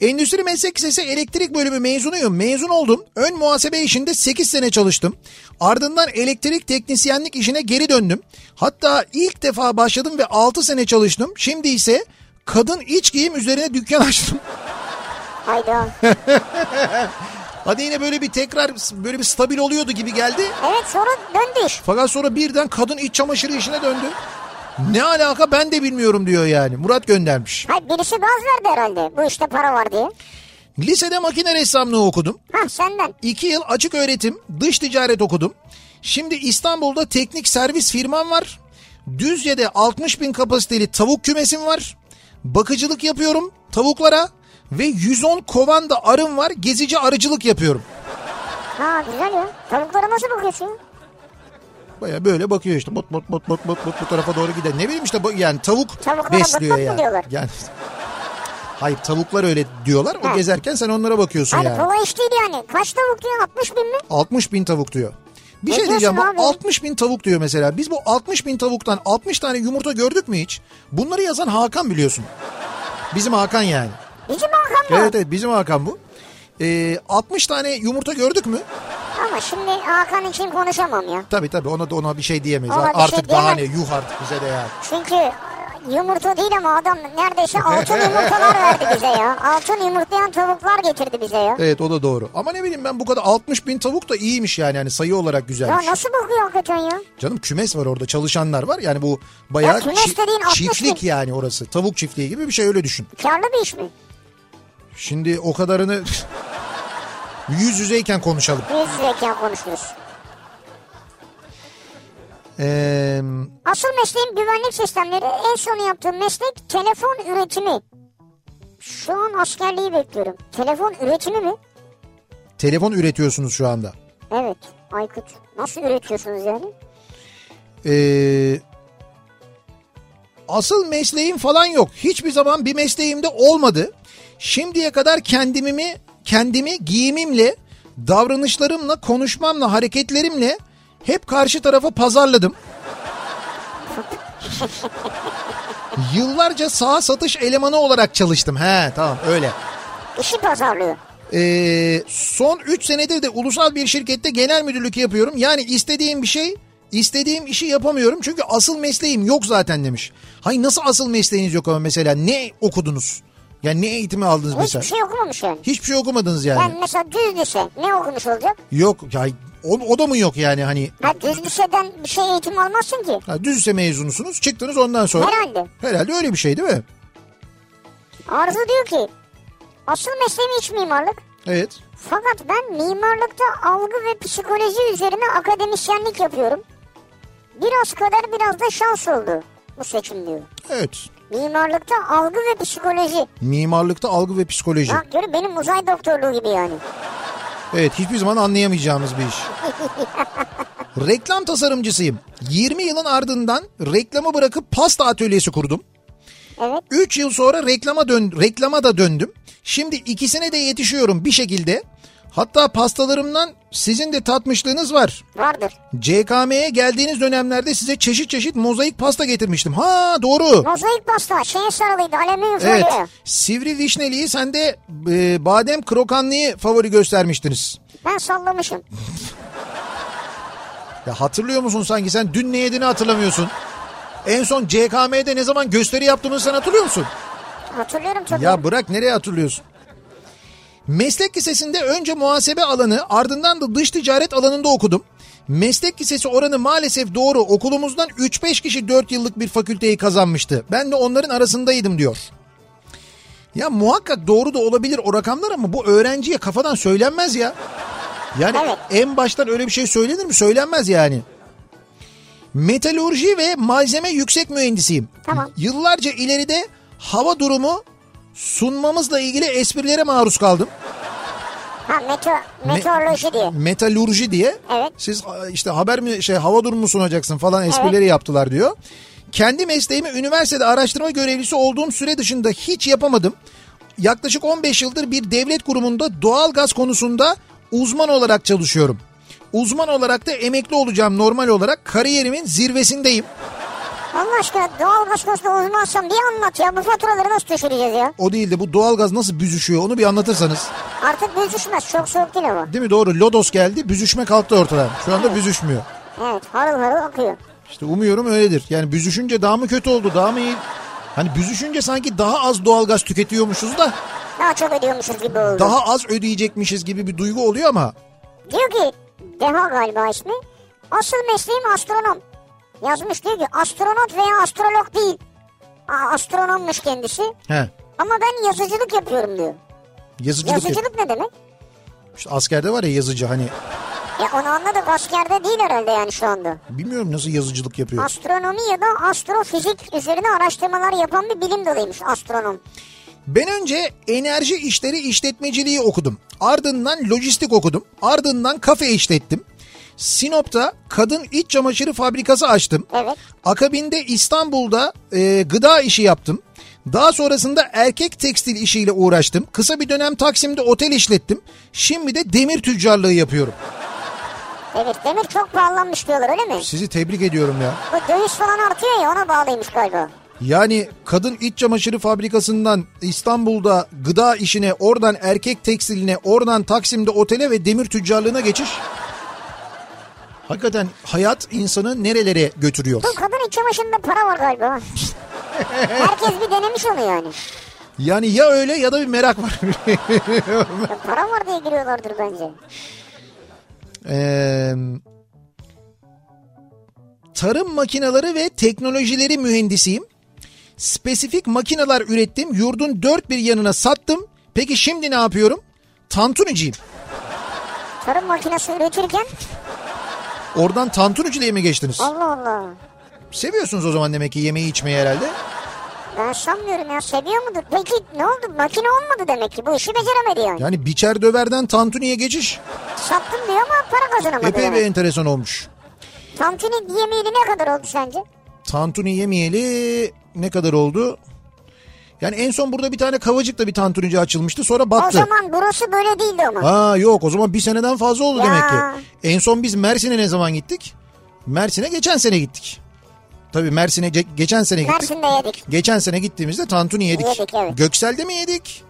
Speaker 2: Endüstri Meslek Lisesi elektrik bölümü mezunuyum. Mezun oldum. Ön muhasebe işinde 8 sene çalıştım. Ardından elektrik teknisyenlik işine geri döndüm. Hatta ilk defa başladım ve 6 sene çalıştım. Şimdi ise kadın iç giyim üzerine dükkan [laughs] açtım. [laughs]
Speaker 1: Hayda.
Speaker 2: Hadi yine böyle bir tekrar böyle bir stabil oluyordu gibi geldi.
Speaker 1: Evet sonra döndü iş.
Speaker 2: Fakat sonra birden kadın iç çamaşırı işine döndü. Ne alaka ben de bilmiyorum diyor yani. Murat göndermiş.
Speaker 1: Hayır birisi gaz verdi herhalde. Bu işte para var diye.
Speaker 2: Lisede makine ressamlığı okudum.
Speaker 1: Hah senden.
Speaker 2: 2 yıl açık öğretim, dış ticaret okudum. Şimdi İstanbul'da teknik servis firmam var. Düzce'de 60 bin kapasiteli tavuk kümesim var. Bakıcılık yapıyorum tavuklara ve 110 kovan da arım var. Gezici arıcılık yapıyorum.
Speaker 1: Ha güzel ya. Tavuklara nasıl bakıyorsun?
Speaker 2: Baya böyle bakıyor işte bot bot bot bot bot bot bu tarafa doğru gider. Ne bileyim işte bu- yani tavuk
Speaker 1: Tavuklara
Speaker 2: besliyor
Speaker 1: bot bot mu
Speaker 2: yani.
Speaker 1: diyorlar?
Speaker 2: yani. Hayır tavuklar öyle diyorlar. O
Speaker 1: Ha.
Speaker 2: gezerken sen onlara bakıyorsun
Speaker 1: Abi
Speaker 2: yani.
Speaker 1: kolay iş değil yani. Kaç tavuk ya? 60 bin mi?
Speaker 2: 60 bin tavuk diyor. Bir
Speaker 1: Ne
Speaker 2: şey diyeceğim
Speaker 1: diyorsun
Speaker 2: bu
Speaker 1: abi?
Speaker 2: 60 bin tavuk diyor mesela. Biz bu 60 bin tavuktan 60 tane yumurta gördük mü hiç? Bunları yazan Hakan biliyorsun. Bizim Hakan yani.
Speaker 1: Bizim Hakan mı?
Speaker 2: Evet evet bizim Hakan bu. Ee, 60 tane yumurta gördük mü?
Speaker 1: Ama şimdi Hakan için konuşamam ya.
Speaker 2: Tabii tabii ona da ona bir şey diyemeyiz.
Speaker 1: Ona bir şey
Speaker 2: artık daha ne
Speaker 1: diyemem.
Speaker 2: yuh artık bize de yani.
Speaker 1: Çünkü e, yumurta değil ama adam
Speaker 2: [laughs]
Speaker 1: neredeyse altın yumurtalar verdi bize ya. Altın yumurtlayan tavuklar getirdi bize ya.
Speaker 2: Evet o da doğru. Ama ne bileyim ben bu kadar 60 bin tavuk da iyiymiş yani. yani sayı olarak güzelmiş.
Speaker 1: Ya nasıl bakıyor hakikaten ya?
Speaker 2: Canım kümes var orada çalışanlar var. Yani bu bayağı
Speaker 1: Ya kümes
Speaker 2: çi-
Speaker 1: dediğin 60 bin.
Speaker 2: çiftlik yani orası. Tavuk çiftliği gibi bir şey öyle düşün.
Speaker 1: Karlı bir iş mi?
Speaker 2: Şimdi o kadarını yüz yüzeyken konuşalım.
Speaker 1: Yüz yüzeyken konuşuruz.
Speaker 2: Ee,
Speaker 1: Asıl mesleğim güvenlik sistemleri. En son yaptığım meslek telefon üretimi. Şu an askerliği bekliyorum. Telefon üretimi mi?
Speaker 2: telefon üretiyorsunuz şu anda.
Speaker 1: Evet. Aykut. Nasıl üretiyorsunuz yani?
Speaker 2: Ee, asıl mesleğim falan yok. Hiçbir zaman bir mesleğimde olmadı. Şimdiye kadar kendimi kendimi giyimimle, davranışlarımla, konuşmamla, hareketlerimle hep karşı tarafa pazarladım. Yıllarca saha satış elemanı olarak çalıştım. He tamam öyle.
Speaker 1: İşi pazarlıyor.
Speaker 2: Ee, son 3 senedir de ulusal bir şirkette genel müdürlük yapıyorum. Yani istediğim bir şey, istediğim işi yapamıyorum. Çünkü asıl mesleğim yok zaten demiş. Hayır nasıl asıl mesleğiniz yok ama mesela ne okudunuz? Yani ne eğitimi aldınız
Speaker 1: Hiçbir
Speaker 2: mesela?
Speaker 1: şey okumamış yani.
Speaker 2: Hiçbir şey okumadınız yani.
Speaker 1: Ben mesela düz lise ne okumuş olacağım?
Speaker 2: Yok ya o, o da mı yok yani hani
Speaker 1: Ha düz liseden bir şey eğitim almazsın ki.
Speaker 2: ha, düz lise mezunusunuz çıktınız ondan sonra.
Speaker 1: Herhalde.
Speaker 2: Herhalde öyle bir şey değil mi?
Speaker 1: Arzu diyor ki asıl mesleğim iç mimarlık.
Speaker 2: Evet.
Speaker 1: Fakat ben mimarlıkta algı ve psikoloji üzerine akademisyenlik yapıyorum. Biraz kadar biraz da şans oldu bu seçim diyor.
Speaker 2: Evet.
Speaker 1: Mimarlıkta algı ve psikoloji.
Speaker 2: Mimarlıkta algı ve psikoloji.
Speaker 1: Bak görüyor musun? benim uzay doktorluğu gibi yani.
Speaker 2: Evet hiçbir zaman anlayamayacağımız bir iş. Reklam tasarımcısıyım. 20 yılın ardından reklamı bırakıp pasta atölyesi kurdum.
Speaker 1: Evet.
Speaker 2: 3 yıl sonra reklama dön reklama da döndüm. Şimdi ikisine de yetişiyorum bir şekilde. Hatta pastalarımdan sizin de tatmışlığınız var.
Speaker 1: Vardır.
Speaker 2: CKM'ye geldiğiniz dönemlerde size çeşit çeşit mozaik pasta getirmiştim. Ha doğru.
Speaker 1: Mozaik pasta şeye sarılıydı alüminyum
Speaker 2: Evet.
Speaker 1: folyoya.
Speaker 2: Sivri vişneliği sen de e, badem krokanlıyı favori göstermiştiniz.
Speaker 1: Ben sallamışım.
Speaker 2: Ya hatırlıyor musun sanki sen dün ne yediğini hatırlamıyorsun. En son CKM'de ne zaman gösteri yaptığımızı sen hatırlıyor musun?
Speaker 1: Hatırlıyorum çok.
Speaker 2: Ya bırak nereye hatırlıyorsun? Meslek lisesinde önce muhasebe alanı ardından da dış ticaret alanında okudum. Meslek lisesi oranı maalesef doğru okulumuzdan 3-5 kişi 4 yıllık bir fakülteyi kazanmıştı. Ben de onların arasındaydım diyor. Ya muhakkak doğru da olabilir o rakamlar ama bu öğrenciye kafadan söylenmez ya. Yani
Speaker 1: Evet.
Speaker 2: en baştan öyle bir şey söylenir mi? Söylenmez yani. Metalurji ve malzeme yüksek mühendisiyim.
Speaker 1: Tamam.
Speaker 2: Yıllarca ileride hava durumu sunmamızla ilgili esprilere maruz kaldım.
Speaker 1: Ha meteo, meteoroloji diye.
Speaker 2: Metalurji diye.
Speaker 1: Evet.
Speaker 2: Siz a, işte haber mi şey hava durumu sunacaksın falan esprileri yaptılar diyor. Kendi mesleğimi üniversitede araştırma görevlisi olduğum süre dışında hiç yapamadım. Yaklaşık 15 yıldır bir devlet kurumunda doğalgaz konusunda uzman olarak çalışıyorum. Uzman olarak da emekli olacağım normal olarak kariyerimin zirvesindeyim.
Speaker 1: Allah aşkına doğalgaz konusunda uzmansan bir anlat ya. Bu faturaları nasıl düşüreceğiz ya?
Speaker 2: O değil de bu doğalgaz nasıl büzüşüyor onu bir anlatırsanız.
Speaker 1: Artık büzüşmez. Çok soğuk değil ama.
Speaker 2: Değil mi doğru lodos geldi büzüşme kalktı ortadan. Şu anda büzüşmüyor.
Speaker 1: Evet harıl harıl akıyor.
Speaker 2: İşte umuyorum öyledir. Yani büzüşünce daha mı kötü oldu daha mı iyi? Hani büzüşünce sanki daha az doğalgaz tüketiyormuşuz da
Speaker 1: Daha çok ödüyormuşuz gibi oldu.
Speaker 2: daha az ödeyecekmişiz gibi bir duygu oluyor ama
Speaker 1: Diyor ki Deha galiba ismi. Asıl mesleğim astronom. Yazmış diyor ki astronot veya astrolog değil. Aa, astronommuş kendisi.
Speaker 2: he,
Speaker 1: Ama ben yazıcılık yapıyorum diyor.
Speaker 2: yazıcılık, yok.
Speaker 1: Yazıcılık ne demek?
Speaker 2: İşte askerde var ya yazıcı hani
Speaker 1: Ya onu anladık askerde değil herhalde yani şu anda.
Speaker 2: bilmiyorum nasıl yazıcılık yapıyor.
Speaker 1: Astronomi ya da astrofizik üzerine araştırmalar yapan bir bilim dalıymış astronom.
Speaker 2: Ben önce enerji işleri işletmeciliği okudum. Ardından lojistik okudum. Ardından kafe işlettim. Sinop'ta kadın iç çamaşırı fabrikası açtım.
Speaker 1: Evet.
Speaker 2: Akabinde İstanbul'da e, gıda işi yaptım. Daha sonrasında erkek tekstil işiyle uğraştım. Kısa bir dönem Taksim'de otel işlettim. Şimdi de demir tüccarlığı yapıyorum.
Speaker 1: Evet demir çok pahalanmış diyorlar öyle mi?
Speaker 2: Sizi tebrik ediyorum ya.
Speaker 1: Bu döviz falan artıyor ya ona bağlıymış galiba.
Speaker 2: Yani kadın iç çamaşırı fabrikasından İstanbul'da gıda işine, oradan erkek tekstiline, oradan Taksim'de otele ve demir tüccarlığına geçiş. Hakikaten hayat insanı nerelere götürüyor?
Speaker 1: Bu kadın iç çamaşırında para var galiba. Herkes bir denemiş onu yani.
Speaker 2: Yani ya öyle ya da bir merak var.
Speaker 1: Ya para var diye giriyorlardır bence.
Speaker 2: Ee, tarım makineleri ve teknolojileri mühendisiyim. Spesifik makineler ürettim. Yurdun dört bir yanına sattım. Peki şimdi ne yapıyorum? Tantuniciyim.
Speaker 1: Tarım makinesi üretirken
Speaker 2: Oradan tantuniciliğe mi geçtiniz?
Speaker 1: Allah Allah.
Speaker 2: Seviyorsunuz o zaman demek ki yemeği içmeyi herhalde.
Speaker 1: Ben sanmıyorum ya seviyor mudur? Peki ne oldu? Makine olmadı demek ki. Bu işi beceremedi yani.
Speaker 2: Yani biçer döverden tantuniye geçiş
Speaker 1: Sattım diyor ama para kazanamadı.
Speaker 2: epey
Speaker 1: yani.
Speaker 2: bir enteresan olmuş.
Speaker 1: Tantuni yemeğini ne kadar oldu sence?
Speaker 2: Tantuni yemeyeli ne kadar oldu? Yani en son burada bir tane kavacıkta bir tantunici açılmıştı sonra
Speaker 1: O
Speaker 2: battı.
Speaker 1: zaman burası böyle değildi ama. [laughs]
Speaker 2: Ha yok o zaman bir seneden fazla oldu
Speaker 1: Ya.
Speaker 2: demek ki. En son biz Mersin'e ne zaman gittik? Mersin'e geçen sene gittik. Tabii Mersin'e ge- geçen sene gittik.
Speaker 1: Mersin'de yedik.
Speaker 2: Geçen sene gittiğimizde tantuni yedik.
Speaker 1: Yedik, evet.
Speaker 2: Göksel'de mi yedik?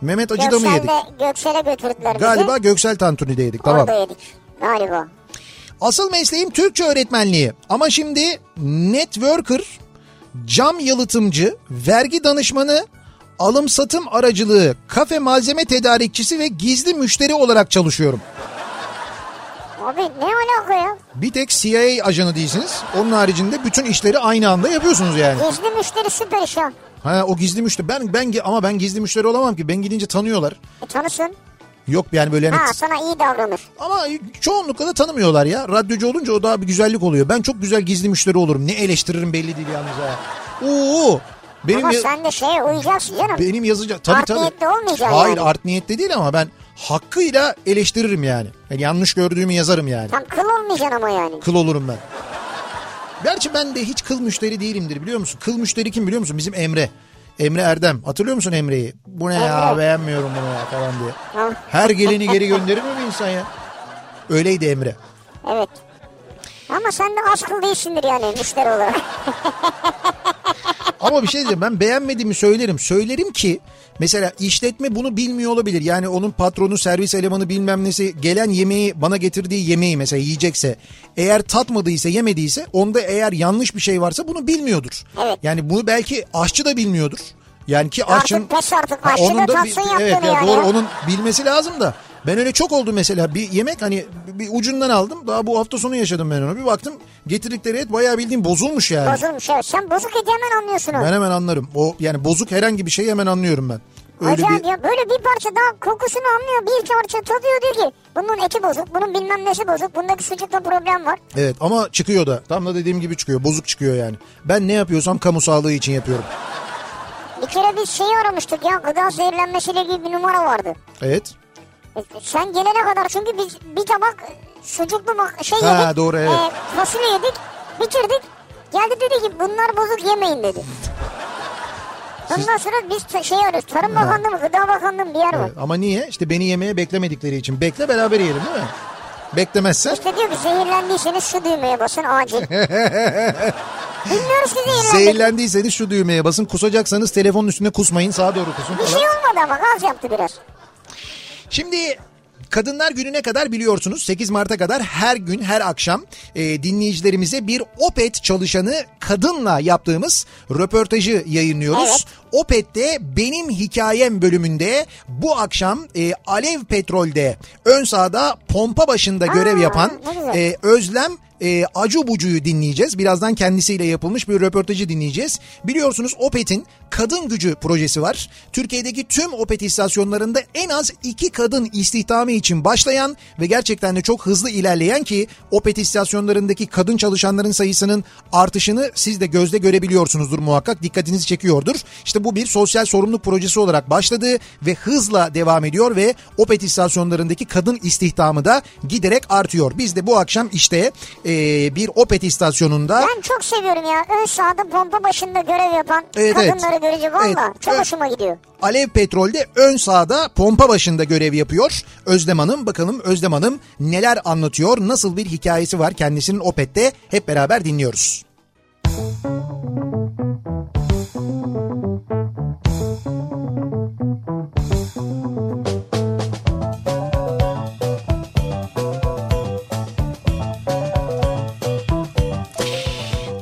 Speaker 2: Mehmet Acı'da mı yedik?
Speaker 1: Göksel'de, Göksel'e götürdüler bizi.
Speaker 2: Galiba Göksel tantuni'de yedik
Speaker 1: Orada
Speaker 2: tamam.
Speaker 1: yedik. Galiba.
Speaker 2: Asıl mesleğim Türkçe öğretmenliği. Ama şimdi networker, cam yalıtımcı, vergi danışmanı, alım satım aracılığı, kafe malzeme tedarikçisi ve gizli müşteri olarak çalışıyorum.
Speaker 1: Abi ne alaka ya?
Speaker 2: Bir tek CIA ajanı değilsiniz. Onun haricinde bütün işleri aynı anda yapıyorsunuz yani.
Speaker 1: Gizli müşteri süper iş ya.
Speaker 2: Ha o gizli müşteri. Ben ben gi- ama ben gizli müşteri olamam ki. Ben gidince tanıyorlar.
Speaker 1: E, tanısın.
Speaker 2: Yok yani böyle hani-
Speaker 1: Ha sana iyi davranır.
Speaker 2: ama çoğunlukla da tanımıyorlar ya. Radyocu olunca o daha bir güzellik oluyor. Ben çok güzel gizli müşteri olurum. Ne eleştiririm belli değil yalnız ha. Oo! Benim
Speaker 1: Ama
Speaker 2: ya-
Speaker 1: sen de şeye uyacaksın canım.
Speaker 2: benim yazıcı tabii
Speaker 1: Art
Speaker 2: tabii.
Speaker 1: niyetli olmayacaksın
Speaker 2: Hayır
Speaker 1: yani.
Speaker 2: art niyetli değil ama ben hakkıyla eleştiririm yani. yani yanlış gördüğümü yazarım yani.
Speaker 1: Tam kıl olmayacaksın ama yani.
Speaker 2: Kıl olurum ben. Gerçi ben de hiç kıl müşteri değilimdir biliyor musun? Kıl müşteri kim biliyor musun? Bizim Emre. Emre Erdem. Hatırlıyor musun Emre'yi? Bu ne ya
Speaker 1: Emre.
Speaker 2: beğenmiyorum bunu ya falan diye.
Speaker 1: Ha,
Speaker 2: Her geleni geri gönderir mi bir insan ya? Öyleydi Emre.
Speaker 1: evet. Ama sen de az kıl değilsindir yani müşteri olarak.
Speaker 2: Ama bir şey diyeceğim ben beğenmediğimi söylerim. Söylerim ki mesela işletme bunu bilmiyor olabilir. Yani onun patronu, servis elemanı bilmem nesi gelen yemeği bana getirdiği yemeği mesela yiyecekse eğer tatmadıysa yemediyse onda eğer yanlış bir şey varsa bunu bilmiyordur.
Speaker 1: Evet.
Speaker 2: Yani bunu belki aşçı da bilmiyordur. Yani ki aşçının...
Speaker 1: Artık pes artık,
Speaker 2: Ha,
Speaker 1: aşçı da
Speaker 2: bir-
Speaker 1: tatsın
Speaker 2: Evet
Speaker 1: yaptığını
Speaker 2: ya
Speaker 1: yani
Speaker 2: doğru
Speaker 1: ya.
Speaker 2: onun bilmesi lazım da. Ben öyle çok oldu mesela bir yemek hani bir ucundan aldım daha bu hafta sonu yaşadım ben onu bir baktım getirdikleri et bayağı bildiğim bozulmuş yani.
Speaker 1: Bozulmuş evet. Sen bozuk eti hemen anlıyorsun onu.
Speaker 2: Ben hemen anlarım. O yani bozuk herhangi bir şeyi hemen anlıyorum ben. Öyle
Speaker 1: Acayip
Speaker 2: bir
Speaker 1: ya böyle bir parça daha kokusunu anlıyor. Bir parça tadıyor diyor ki bunun eti bozuk, bunun bilmem nesi bozuk, bundaki sucukta problem var.
Speaker 2: Evet ama çıkıyor da. Tam da dediğim gibi çıkıyor. Bozuk çıkıyor yani. Ben ne yapıyorsam kamu sağlığı için yapıyorum.
Speaker 1: Bir kere biz şeyi aramıştık ya gıda zehirlenmesiyle ilgili bir numara vardı.
Speaker 2: Evet.
Speaker 1: E, Sen gelene kadar çünkü biz bir tabak sucuklu mak- şey
Speaker 2: Ha,
Speaker 1: yedik.
Speaker 2: doğru, evet.
Speaker 1: e, fasulye yedik, bitirdik. Geldi dedi ki bunlar bozuk yemeyin dedi. Ondan sonra biz ta- şey arıyoruz. Tarım Bakanlığı mı, Gıda Bakanlığı mı bir yer var.
Speaker 2: Evet. Ee, Ama niye? İşte beni yemeye beklemedikleri için. Bekle beraber yiyelim değil mi? Beklemezsen [laughs]
Speaker 1: İşte diyor ki zehirlendiyseniz şu düğmeye basın acil. Bilmiyoruz ki zehirlendik.
Speaker 2: Zehirlendiyseniz şu düğmeye basın. Kusacaksanız telefonun üstüne kusmayın. Sağa doğru kusun
Speaker 1: Bir
Speaker 2: falan.
Speaker 1: şey olmadı ama gaz yaptı biraz.
Speaker 2: Şimdi Kadınlar Günü'ne kadar biliyorsunuz 8 Mart'a kadar her gün her akşam e, dinleyicilerimize bir Opet çalışanı kadınla yaptığımız röportajı yayınlıyoruz.
Speaker 1: Evet.
Speaker 2: Opet'te Benim Hikayem bölümünde bu akşam e, Alev Petrol'de ön sahada pompa başında görev
Speaker 1: Aa,
Speaker 2: yapan
Speaker 1: ne güzel.
Speaker 2: e, Özlem e, Acu Bucu'yu dinleyeceğiz. Birazdan kendisiyle yapılmış bir röportajı dinleyeceğiz. Biliyorsunuz Opet'in kadın gücü projesi var. Türkiye'deki tüm Opet istasyonlarında en az iki kadın istihdamı için başlayan ve gerçekten de çok hızlı ilerleyen ki Opet istasyonlarındaki kadın çalışanların sayısının artışını siz de gözde görebiliyorsunuzdur muhakkak. Dikkatinizi çekiyordur. İşte bu bir sosyal sorumluluk projesi olarak başladı ve hızla devam ediyor ve Opet istasyonlarındaki kadın istihdamı da giderek artıyor. Biz de bu akşam işte eee, bir Opet istasyonunda
Speaker 1: Ben çok seviyorum ya. Ön sahada pompa başında görev yapan
Speaker 2: Evet,
Speaker 1: kadınları
Speaker 2: evet.
Speaker 1: görünce valla
Speaker 2: Evet,
Speaker 1: çok
Speaker 2: evet.
Speaker 1: hoşuma gidiyor.
Speaker 2: Alev Petrol'de ön sahada pompa başında görev yapıyor. Özlem Hanım bakalım Özlem Hanım neler anlatıyor? Nasıl bir hikayesi var kendisinin Opet'te? Hep beraber dinliyoruz.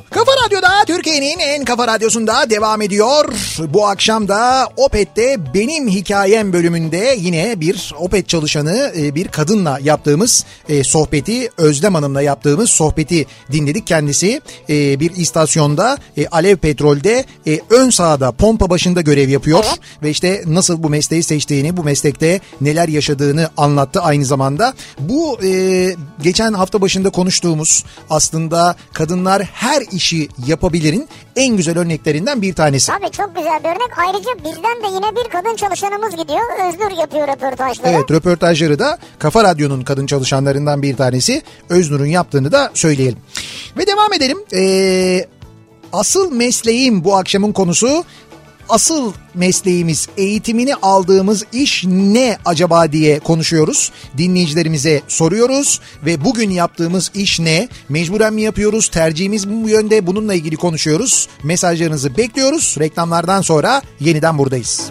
Speaker 2: Kafa Radyo'da Türkiye'nin en kafa radyosunda devam ediyor. Bu akşam da Opet'te Benim Hikayem bölümünde yine bir Opet çalışanı e, bir kadınla yaptığımız e, sohbeti Özlem Hanım'la yaptığımız sohbeti dinledik. Kendisi e, bir istasyonda e, Alev Petrol'de e, ön sahada pompa başında görev yapıyor. Ve işte nasıl bu mesleği seçtiğini bu meslekte neler yaşadığını anlattı aynı zamanda. Bu e, geçen hafta başında konuştuğumuz aslında kadınlar her işi yapabilirin en güzel örneklerinden bir tanesi.
Speaker 1: Tabii çok güzel bir örnek. Ayrıca bizden de yine bir kadın çalışanımız gidiyor. Özgür yapıyor röportajları.
Speaker 2: Evet röportajları da Kafa Radyo'nun kadın çalışanlarından bir tanesi Öznur'un yaptığını da söyleyelim. Ve devam edelim. Ee, asıl mesleğim bu akşamın konusu asıl mesleğimiz eğitimini aldığımız iş ne acaba diye konuşuyoruz. Dinleyicilerimize soruyoruz ve bugün yaptığımız iş ne? Mecburen mi yapıyoruz? Tercihimiz bu yönde bununla ilgili konuşuyoruz. Mesajlarınızı bekliyoruz. Reklamlardan sonra yeniden buradayız.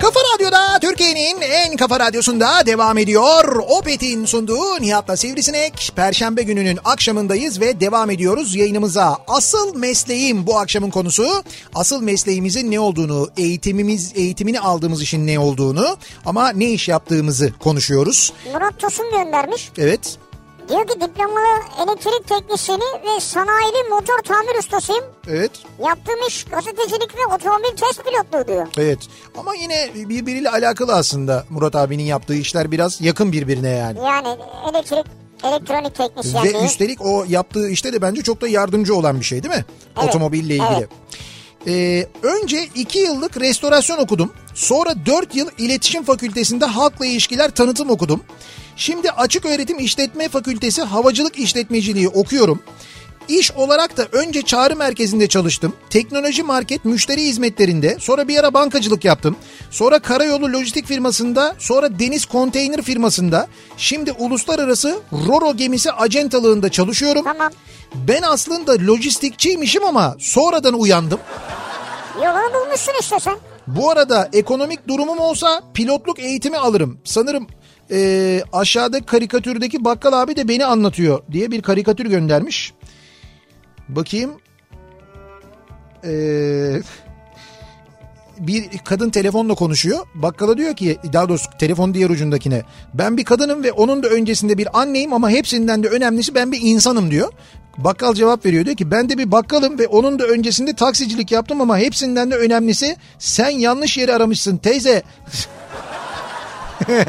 Speaker 2: Kafa Radyo'da Türkiye'nin en kafa radyosunda devam ediyor. Opet'in sunduğu Nihat'la Sivrisinek. Perşembe gününün akşamındayız ve devam ediyoruz yayınımıza. Asıl mesleğim bu akşamın konusu. Asıl mesleğimizin ne olduğunu, eğitimimiz eğitimini aldığımız işin ne olduğunu ama ne iş yaptığımızı konuşuyoruz.
Speaker 1: Murat Tosun göndermiş.
Speaker 2: Evet.
Speaker 1: Diyor ki diplomalı elektrik teknisyeni ve sanayili motor tamir ustasıyım.
Speaker 2: Evet,
Speaker 1: Yaptığım iş gazetecilik ve otomobil test pilotluğu diyor.
Speaker 2: evet. Ama yine birbiriyle alakalı aslında Murat abinin yaptığı işler biraz yakın birbirine yani.
Speaker 1: Yani elektrik, elektronik teknisyenliği.
Speaker 2: Ve üstelik o yaptığı işte de bence çok da yardımcı olan bir şey değil mi?
Speaker 1: Evet,
Speaker 2: Otomobille ilgili.
Speaker 1: evet.
Speaker 2: Ee, önce 2 yıllık restorasyon okudum. Sonra 4 yıl iletişim fakültesinde halkla ilişkiler tanıtım okudum. Şimdi açık öğretim işletme fakültesi havacılık işletmeciliği okuyorum. İş olarak da önce çağrı merkezinde çalıştım. Teknoloji market müşteri hizmetlerinde. Sonra bir ara bankacılık yaptım. Sonra karayolu lojistik firmasında. Sonra deniz konteyner firmasında. Şimdi uluslararası Roro gemisi acentalığında çalışıyorum.
Speaker 1: Tamam.
Speaker 2: Ben aslında lojistikçiymişim ama sonradan uyandım.
Speaker 1: Yolunu bulmuşsun işte sen.
Speaker 2: Bu arada ekonomik durumum olsa pilotluk eğitimi alırım. Sanırım eee aşağıda karikatürdeki bakkal abi de beni anlatıyor diye bir karikatür göndermiş. Bakayım. Eee, bir kadın telefonla konuşuyor. Bakkala diyor ki daha doğrusu telefon diğer ucundakine. Ben bir kadınım ve onun da öncesinde bir anneyim ama hepsinden de önemlisi ben bir insanım diyor. Bakkal cevap veriyor diyor ki ben de bir bakkalım ve onun da öncesinde taksicilik yaptım ama hepsinden de önemlisi sen yanlış yeri aramışsın teyze. [laughs]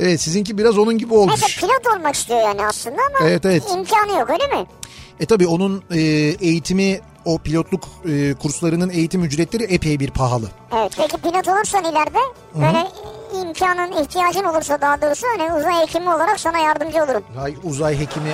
Speaker 2: evet sizinki biraz onun gibi
Speaker 1: Neyse
Speaker 2: olmuş.
Speaker 1: pilot olmak istiyor yani aslında ama
Speaker 2: Evet, evet.
Speaker 1: imkanı yok öyle mi?
Speaker 2: E tabi onun e, eğitimi o pilotluk e, kurslarının eğitim ücretleri epey bir pahalı.
Speaker 1: Evet peki pilot olursan ileride böyle imkanın, ihtiyacın olursa daha doğrusu hani uzay hekimi olarak sana yardımcı olurum.
Speaker 2: Ay, uzay hekimi.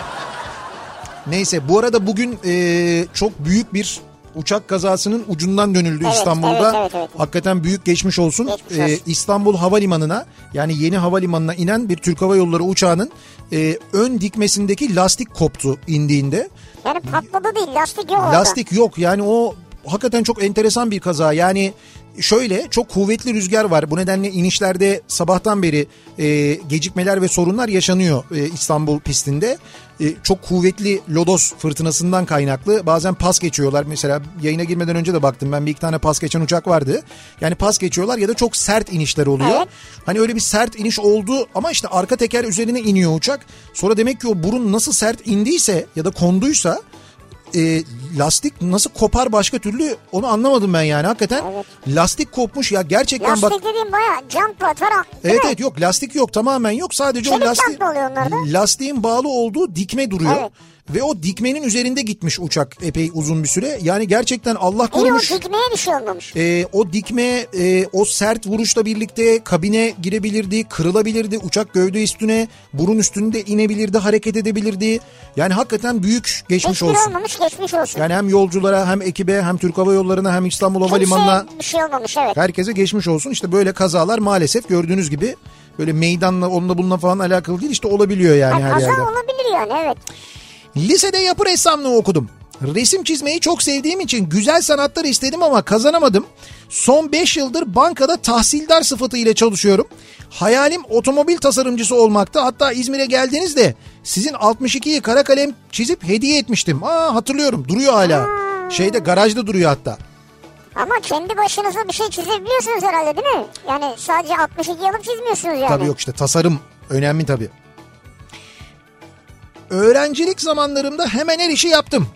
Speaker 2: Neyse bu arada bugün e, çok büyük bir uçak kazasının ucundan dönüldü
Speaker 1: Evet,
Speaker 2: İstanbul'da.
Speaker 1: evet, evet, evet.
Speaker 2: Hakikaten büyük geçmiş olsun. E,
Speaker 1: Geçmiş olsun.
Speaker 2: İstanbul Havalimanı'na yani yeni havalimanına inen bir Türk Hava Yolları uçağının e, ön dikmesindeki lastik koptu indiğinde.
Speaker 1: Yani patladı değil lastik yok orada.
Speaker 2: Lastik yok yani o hakikaten çok enteresan bir kaza yani şöyle çok kuvvetli rüzgar var bu nedenle inişlerde sabahtan beri e, gecikmeler ve sorunlar yaşanıyor e, İstanbul pistinde E, çok kuvvetli lodos fırtınasından kaynaklı bazen pas geçiyorlar mesela yayına girmeden önce de baktım ben bir iki tane pas geçen uçak vardı yani pas geçiyorlar ya da çok sert inişler oluyor
Speaker 1: Evet.
Speaker 2: hani öyle bir sert iniş oldu ama işte arka teker üzerine iniyor uçak sonra demek ki o burun nasıl sert indiyse ya da konduysa e, lastik nasıl kopar başka türlü onu anlamadım ben yani hakikaten. Lastik kopmuş ya gerçekten
Speaker 1: Lastik
Speaker 2: bak.
Speaker 1: dediğim baya jump atarak değil
Speaker 2: Evet
Speaker 1: mi?
Speaker 2: evet yok lastik yok tamamen yok sadece o
Speaker 1: Çelik
Speaker 2: lastik
Speaker 1: jant oluyor onlarda.
Speaker 2: lastiğin bağlı olduğu dikme duruyor.
Speaker 1: Evet.
Speaker 2: Ve o dikmenin üzerinde gitmiş uçak epey uzun bir süre. Yani gerçekten Allah
Speaker 1: İyi o
Speaker 2: korumuş.
Speaker 1: dikmeye bir şey olmamış.
Speaker 2: E, o dikme, e, o sert vuruşla birlikte kabine girebilirdi, kırılabilirdi. Uçak gövde üstüne, burun üstünde inebilirdi, hareket edebilirdi. Yani hakikaten büyük geçmiş
Speaker 1: Hiçbir
Speaker 2: olsun.
Speaker 1: olmamış geçmiş olsun.
Speaker 2: Yani hem yolculara hem ekibe hem Türk Hava Yolları'na hem İstanbul Havalimanı'na
Speaker 1: Kimseye bir şey olmamış evet.
Speaker 2: herkese geçmiş olsun. İşte böyle kazalar maalesef gördüğünüz gibi böyle meydanla onunla bununla falan alakalı değil işte olabiliyor yani
Speaker 1: Ha,
Speaker 2: her
Speaker 1: kaza
Speaker 2: yerde.
Speaker 1: olabilir yani evet.
Speaker 2: Lisede yapı ressamlığı okudum. Resim çizmeyi çok sevdiğim için güzel sanatlar istedim ama kazanamadım. Son 5 yıldır bankada tahsildar sıfatı ile çalışıyorum. Hayalim otomobil tasarımcısı olmakta. Hatta İzmir'e geldiğinizde sizin 62'yi kara kalem çizip hediye etmiştim. Aa hatırlıyorum duruyor hala. Şeyde garajda duruyor hatta.
Speaker 1: Ama kendi başınıza bir şey çizebiliyorsunuz herhalde değil mi? Yani sadece 62 yılım çizmiyorsunuz yani.
Speaker 2: Tabii yok işte tasarım önemli tabii. Öğrencilik zamanlarımda hemen her işi yaptım.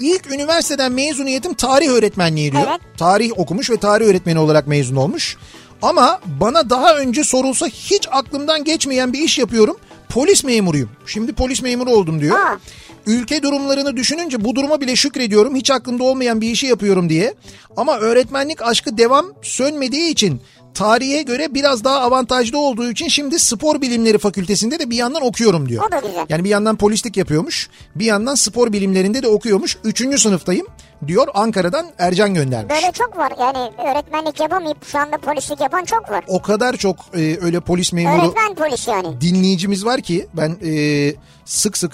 Speaker 2: İlk üniversiteden mezuniyetim tarih öğretmenliği diyor.
Speaker 1: Evet.
Speaker 2: Tarih okumuş ve tarih öğretmeni olarak mezun olmuş. Ama bana daha önce sorulsa hiç aklımdan geçmeyen bir iş yapıyorum. Polis memuruyum. Şimdi polis memuru oldum diyor.
Speaker 1: Aa.
Speaker 2: Ülke durumlarını düşününce bu duruma bile şükrediyorum. Hiç aklımda olmayan bir işi yapıyorum diye. Ama öğretmenlik aşkı devam sönmediği için tarihe göre biraz daha avantajlı olduğu için şimdi spor bilimleri fakültesinde de bir yandan okuyorum diyor.
Speaker 1: O da güzel.
Speaker 2: Yani bir yandan polislik yapıyormuş, bir yandan spor bilimlerinde de okuyormuş. Üçüncü sınıftayım diyor Ankara'dan Ercan göndermiş.
Speaker 1: Böyle çok var yani öğretmenlik yapamayıp şu anda polislik yapan çok var.
Speaker 2: O kadar çok e, öyle polis memuru
Speaker 1: Öğretmen polis yani.
Speaker 2: dinleyicimiz var ki ben e, sık sık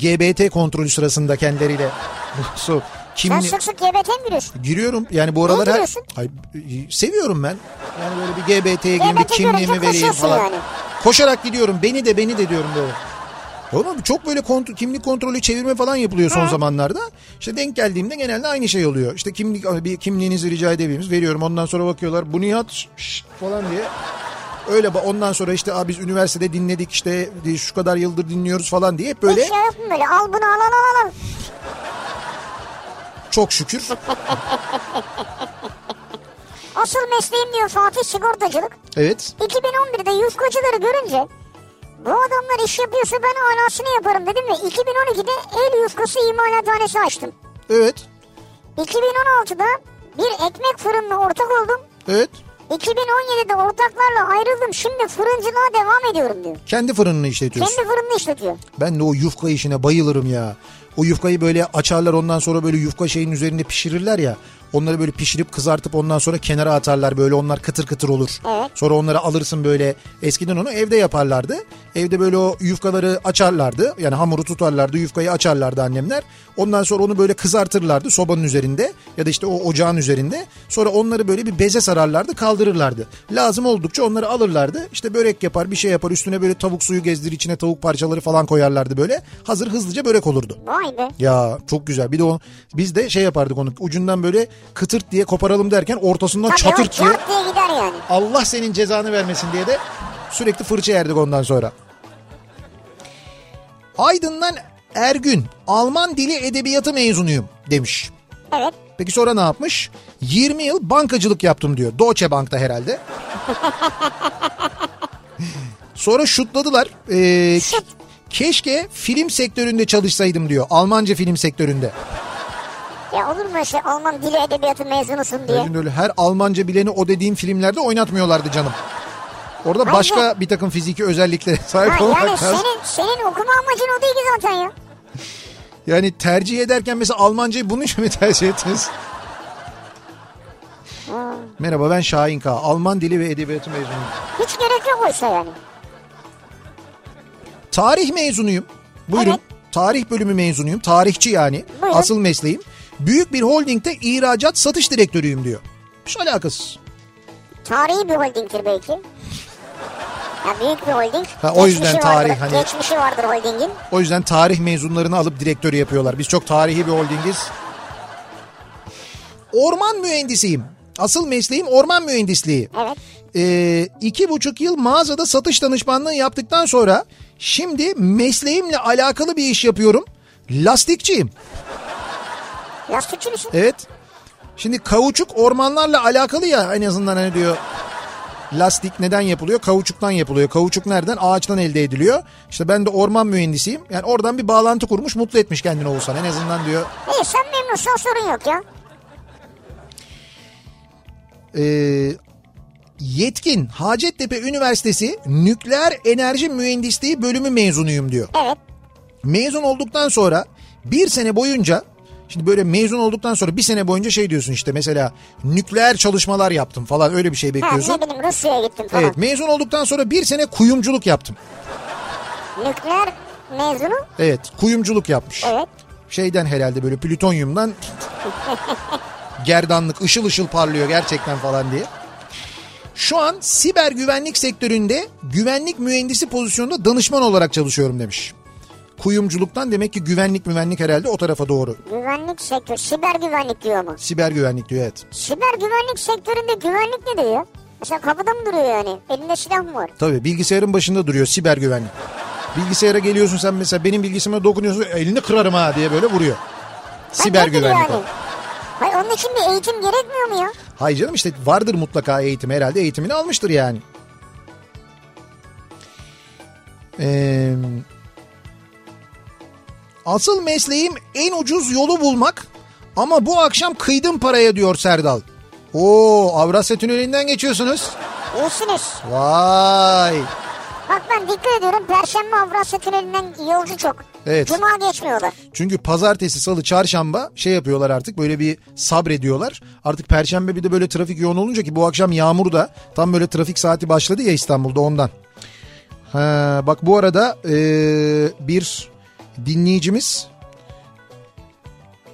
Speaker 2: GBT kontrolü sırasında kendileriyle [laughs] so,
Speaker 1: Sen
Speaker 2: kimli...
Speaker 1: sık sık GBT mi giriyorsun?
Speaker 2: Giriyorum yani bu aralar her...
Speaker 1: giriyorsun?
Speaker 2: Ay, e, seviyorum ben. Yani böyle bir GBT'ye gireyim bir
Speaker 1: GBT görünce
Speaker 2: kimliğimi vereyim
Speaker 1: koşuyorsun
Speaker 2: falan.
Speaker 1: yani.
Speaker 2: Koşarak gidiyorum beni de beni de diyorum böyle. Oğlum çok böyle kontrol, kimlik kontrolü çevirme falan yapılıyor son zamanlarda. İşte denk geldiğimde genelde aynı şey oluyor. İşte kimlik bir kimliğinizi rica edebiliriz veriyorum. Ondan sonra bakıyorlar bu Nihat şş, şş falan diye. Öyle ba- ondan sonra işte Aa, biz üniversitede dinledik işte şu kadar yıldır dinliyoruz falan diye hep böyle
Speaker 1: Hiç şey yok mu böyle al bunu al al al al.
Speaker 2: çok şükür
Speaker 1: Asıl mesleğim diyor Fatih sigortacılık.
Speaker 2: evet
Speaker 1: 2011'de yufkacıları görünce bu adamlar iş yapıyorsa ben anasını yaparım dedim ve 2012'de el yufkası imalathanesi açtım.
Speaker 2: evet
Speaker 1: 2016'da bir ekmek fırınına ortak oldum.
Speaker 2: evet
Speaker 1: 2017'de ortaklarla ayrıldım. Şimdi fırıncılığa devam ediyorum diyor.
Speaker 2: kendi fırınını işletiyorsun.
Speaker 1: Kendi fırınını işletiyor.
Speaker 2: Ben de o yufka işine bayılırım ya. O yufkayı böyle açarlar ondan sonra böyle yufka şeyin üzerinde pişirirler ya. Onları böyle pişirip kızartıp ondan sonra kenara atarlar böyle onlar kıtır kıtır olur.
Speaker 1: Evet.
Speaker 2: Sonra onları alırsın böyle eskiden onu evde yaparlardı. Evde böyle o yufkaları açarlardı yani hamuru tutarlardı yufkayı açarlardı annemler. Ondan sonra onu böyle kızartırlardı sobanın üzerinde ya da işte o ocağın üzerinde. Sonra onları böyle bir beze sararlardı kaldırırlardı. Lazım oldukça onları alırlardı işte börek yapar bir şey yapar üstüne böyle tavuk suyu gezdir içine tavuk parçaları falan koyarlardı böyle. Hazır hızlıca börek olurdu.
Speaker 1: Vay be.
Speaker 2: Ya çok güzel. Bir de o biz de şey yapardık onu. Ucundan böyle kıtırt diye koparalım derken ortasından
Speaker 1: Tabii o
Speaker 2: çatırt diye
Speaker 1: cart diye gider yani.
Speaker 2: Allah senin cezanı vermesin diye de sürekli fırça yerdik ondan sonra. Aydın'dan Ergün Alman dili edebiyatı mezunuyum demiş.
Speaker 1: Evet.
Speaker 2: Peki sonra ne yapmış? 20 yıl bankacılık yaptım diyor. Deutsche Bank'ta herhalde. sonra şutladılar. Ee,
Speaker 1: Şut.
Speaker 2: Keşke film sektöründe çalışsaydım diyor. Almanca film sektöründe.
Speaker 1: Ya olur mu işte Alman dili edebiyatı mezunusun diye.
Speaker 2: Öyle öyle her Almanca bileni o dediğim filmlerde oynatmıyorlardı canım. Orada
Speaker 1: Hayır.
Speaker 2: başka bir takım fiziki özelliklere [laughs] sahip
Speaker 1: Ha,
Speaker 2: olmak
Speaker 1: yani
Speaker 2: lazım.
Speaker 1: senin, senin okuma amacın o değil ki zaten ya.
Speaker 2: Yani tercih ederken mesela Almancayı bunun için mi tercih ettiniz? Merhaba ben Şahin K. Alman dili ve edebiyatı mezunuyum.
Speaker 1: Hiç gerek yok oysa yani.
Speaker 2: Tarih mezunuyum. Buyurun.
Speaker 1: Evet.
Speaker 2: Tarih bölümü mezunuyum. Tarihçi yani.
Speaker 1: Buyurun.
Speaker 2: Asıl mesleğim. Büyük bir holdingde ihracat satış direktörüyüm diyor. Hiç alakasız.
Speaker 1: Tarihi bir holdingdir belki. Ya büyük bir holding.
Speaker 2: Ha, o yüzden
Speaker 1: Geçmişi vardır-
Speaker 2: tarih hani-
Speaker 1: Geçmişi vardır holdingin.
Speaker 2: O yüzden tarih mezunlarını alıp direktörü yapıyorlar. Biz çok tarihi bir holdingiz. Orman mühendisiyim. Asıl mesleğim orman mühendisliği.
Speaker 1: Evet.
Speaker 2: Ee, iki buçuk yıl mağazada satış danışmanlığı yaptıktan sonra şimdi mesleğimle alakalı bir iş yapıyorum. Lastikçiyim.
Speaker 1: Lastikçi misin?
Speaker 2: Evet. Şimdi kauçuk ormanlarla alakalı ya en azından hani diyor lastik neden yapılıyor? Kauçuktan yapılıyor. Kauçuk nereden? Ağaçtan elde ediliyor. İşte ben de orman mühendisiyim. Yani oradan bir bağlantı kurmuş mutlu etmiş kendini Oğuzhan. En azından diyor
Speaker 1: İyi sen memnunsan sorun yok ya.
Speaker 2: Ee, yetkin Hacettepe Üniversitesi Nükleer Enerji Mühendisliği bölümü mezunuyum diyor.
Speaker 1: Evet.
Speaker 2: Mezun olduktan sonra bir sene boyunca şimdi böyle mezun olduktan sonra bir sene boyunca şey diyorsun işte mesela nükleer çalışmalar yaptım falan öyle bir şey
Speaker 1: Ha,
Speaker 2: bekliyorsun.
Speaker 1: ne bileyim Rusya'ya gittim falan.
Speaker 2: Evet mezun olduktan sonra bir sene kuyumculuk yaptım.
Speaker 1: Nükleer mezunu.
Speaker 2: Evet kuyumculuk yapmış.
Speaker 1: Evet.
Speaker 2: Şeyden herhalde böyle plütonyumdan gerdanlık ışıl ışıl parlıyor gerçekten falan diye. Şu an siber güvenlik sektöründe güvenlik mühendisi pozisyonunda danışman olarak çalışıyorum demiş. Kuyumculuktan demek ki güvenlik güvenlik herhalde o tarafa doğru.
Speaker 1: Güvenlik sektörü. Siber güvenlik diyor mu?
Speaker 2: Siber güvenlik diyor evet.
Speaker 1: Siber güvenlik sektöründe güvenlik nedir ya? Mesela kapıda mı duruyor yani? Elinde silah mı var?
Speaker 2: Tabii bilgisayarın başında duruyor siber güvenlik. Bilgisayara geliyorsun sen mesela benim bilgisayarıma dokunuyorsun elini kırarım ha diye böyle vuruyor. Siber
Speaker 1: Hayır, nedir
Speaker 2: güvenlik. o.
Speaker 1: yani? Hayır onun için bir eğitim gerekmiyor mu ya?
Speaker 2: Hayır canım işte vardır mutlaka eğitim herhalde eğitimini almıştır yani. Ee, asıl mesleğim en ucuz yolu bulmak ama bu akşam kıydım paraya diyor Serdal. Oo Avrasya Tüneli'nden geçiyorsunuz.
Speaker 1: İyisiniz.
Speaker 2: Vay.
Speaker 1: Bak ben dikkat ediyorum. Perşembe Avrasya Tüneli'nden yolcu çok.
Speaker 2: Evet.
Speaker 1: Cuma geçmiyorlar.
Speaker 2: Çünkü pazartesi, salı, çarşamba şey yapıyorlar artık böyle bir sabrediyorlar. Artık perşembe bir de böyle trafik yoğun olunca ki bu akşam yağmur da tam böyle trafik saati başladı ya İstanbul'da ondan. Ha, bak bu arada eee, bir dinleyicimiz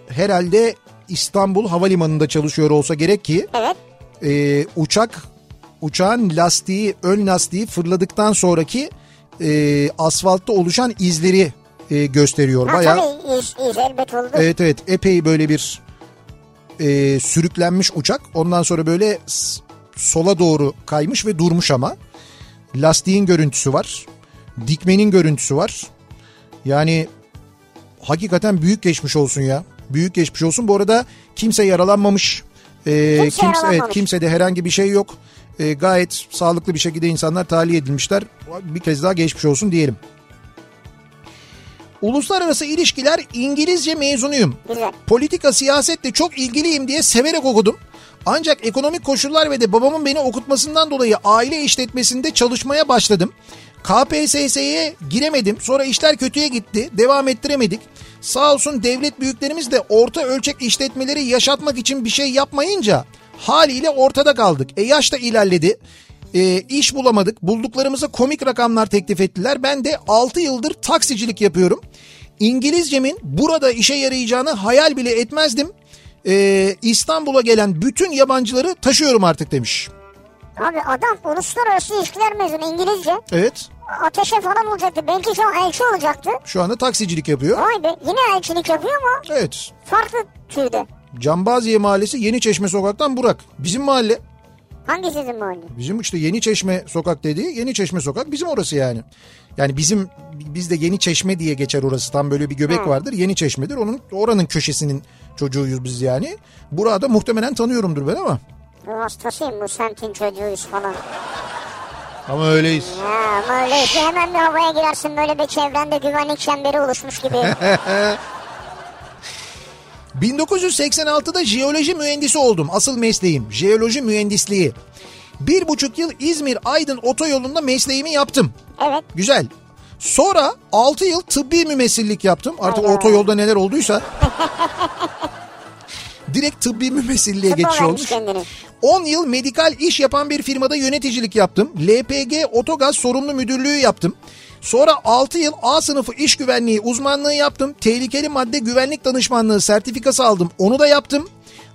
Speaker 2: herhalde İstanbul Havalimanı'nda çalışıyor olsa gerek ki
Speaker 1: Evet.
Speaker 2: eee, uçak uçağın lastiği ön lastiği fırladıktan sonraki eee, asfaltta oluşan izleri eee, gösteriyor.
Speaker 1: Ha,
Speaker 2: Bayağı
Speaker 1: tabii iyiyiz, iyiyiz elbet oldu.
Speaker 2: Evet evet epey böyle bir e, sürüklenmiş uçak. Ondan sonra böyle s- sola doğru kaymış ve durmuş ama. Lastiğin görüntüsü var. Dikmenin görüntüsü var. Yani hakikaten büyük geçmiş olsun ya. Büyük geçmiş olsun. Bu arada kimse yaralanmamış. E,
Speaker 1: Kimse yaralanmamış.
Speaker 2: evet, kimse de herhangi bir şey yok. E, gayet sağlıklı bir şekilde insanlar tahliye edilmişler. Bir kez daha geçmiş olsun diyelim. Uluslararası ilişkiler İngilizce mezunuyum.
Speaker 1: Güzel.
Speaker 2: Politika siyasetle çok ilgiliyim diye severek okudum. Ancak ekonomik koşullar ve de babamın beni okutmasından dolayı aile işletmesinde çalışmaya başladım. KPSS'ye giremedim. Sonra işler kötüye gitti. Devam ettiremedik. Sağ olsun devlet büyüklerimiz de orta ölçek işletmeleri yaşatmak için bir şey yapmayınca haliyle ortada kaldık. E yaş da ilerledi. E, iş bulamadık. Bulduklarımıza komik rakamlar teklif ettiler. Ben de 6 yıldır taksicilik yapıyorum. İngilizcemin burada işe yarayacağını hayal bile etmezdim. Ee, İstanbul'a gelen bütün yabancıları taşıyorum artık demiş.
Speaker 1: Abi adam uluslararası ilişkiler mezunu İngilizce.
Speaker 2: Evet
Speaker 1: Ateşe falan olacaktı. Belki şu an elçi olacaktı.
Speaker 2: şu anda taksicilik yapıyor.
Speaker 1: Vay be yine elçilik yapıyor ama
Speaker 2: Evet
Speaker 1: farklı türde.
Speaker 2: Cambaziye Mahallesi Yeni Çeşme Sokak'tan Burak. Bizim mahalle.
Speaker 1: Hangi sizin mahalle?
Speaker 2: Bizim işte Yeni Çeşme Sokak dediği Yeni Çeşme Sokak bizim orası yani. Yani bizim bizde Yeni Çeşme diye geçer orası. Tam böyle bir göbek vardır. Yeni Çeşme'dir. Onun oranın köşesinin çocuğuyuz biz yani. Burak'ı da muhtemelen tanıyorumdur ben ama.
Speaker 1: Bu hastasıyım bu semtin çocuğuyuz falan.
Speaker 2: Ama öyleyiz.
Speaker 1: Ya ama öyle işte hemen bir havaya girersin böyle bir çevrende güvenlik çemberi oluşmuş
Speaker 2: [laughs]
Speaker 1: gibi.
Speaker 2: 1986'da jeoloji mühendisi oldum. Asıl mesleğim jeoloji mühendisliği. Bir buçuk yıl İzmir-Aydın otoyolunda mesleğimi yaptım.
Speaker 1: Evet.
Speaker 2: Güzel. Sonra 6 yıl tıbbi mümessillik yaptım. Artık
Speaker 1: Allah.
Speaker 2: otoyolda neler olduysa. Direkt tıbbi mümessilliğe
Speaker 1: Tıbba
Speaker 2: geçiş
Speaker 1: vermiş
Speaker 2: olmuş.
Speaker 1: kendini.
Speaker 2: 10 yıl medikal iş yapan bir firmada yöneticilik yaptım. LPG Otogaz Sorumlu Müdürlüğü yaptım. Sonra 6 yıl A sınıfı iş güvenliği uzmanlığı yaptım. Tehlikeli madde güvenlik danışmanlığı sertifikası aldım. Onu da yaptım.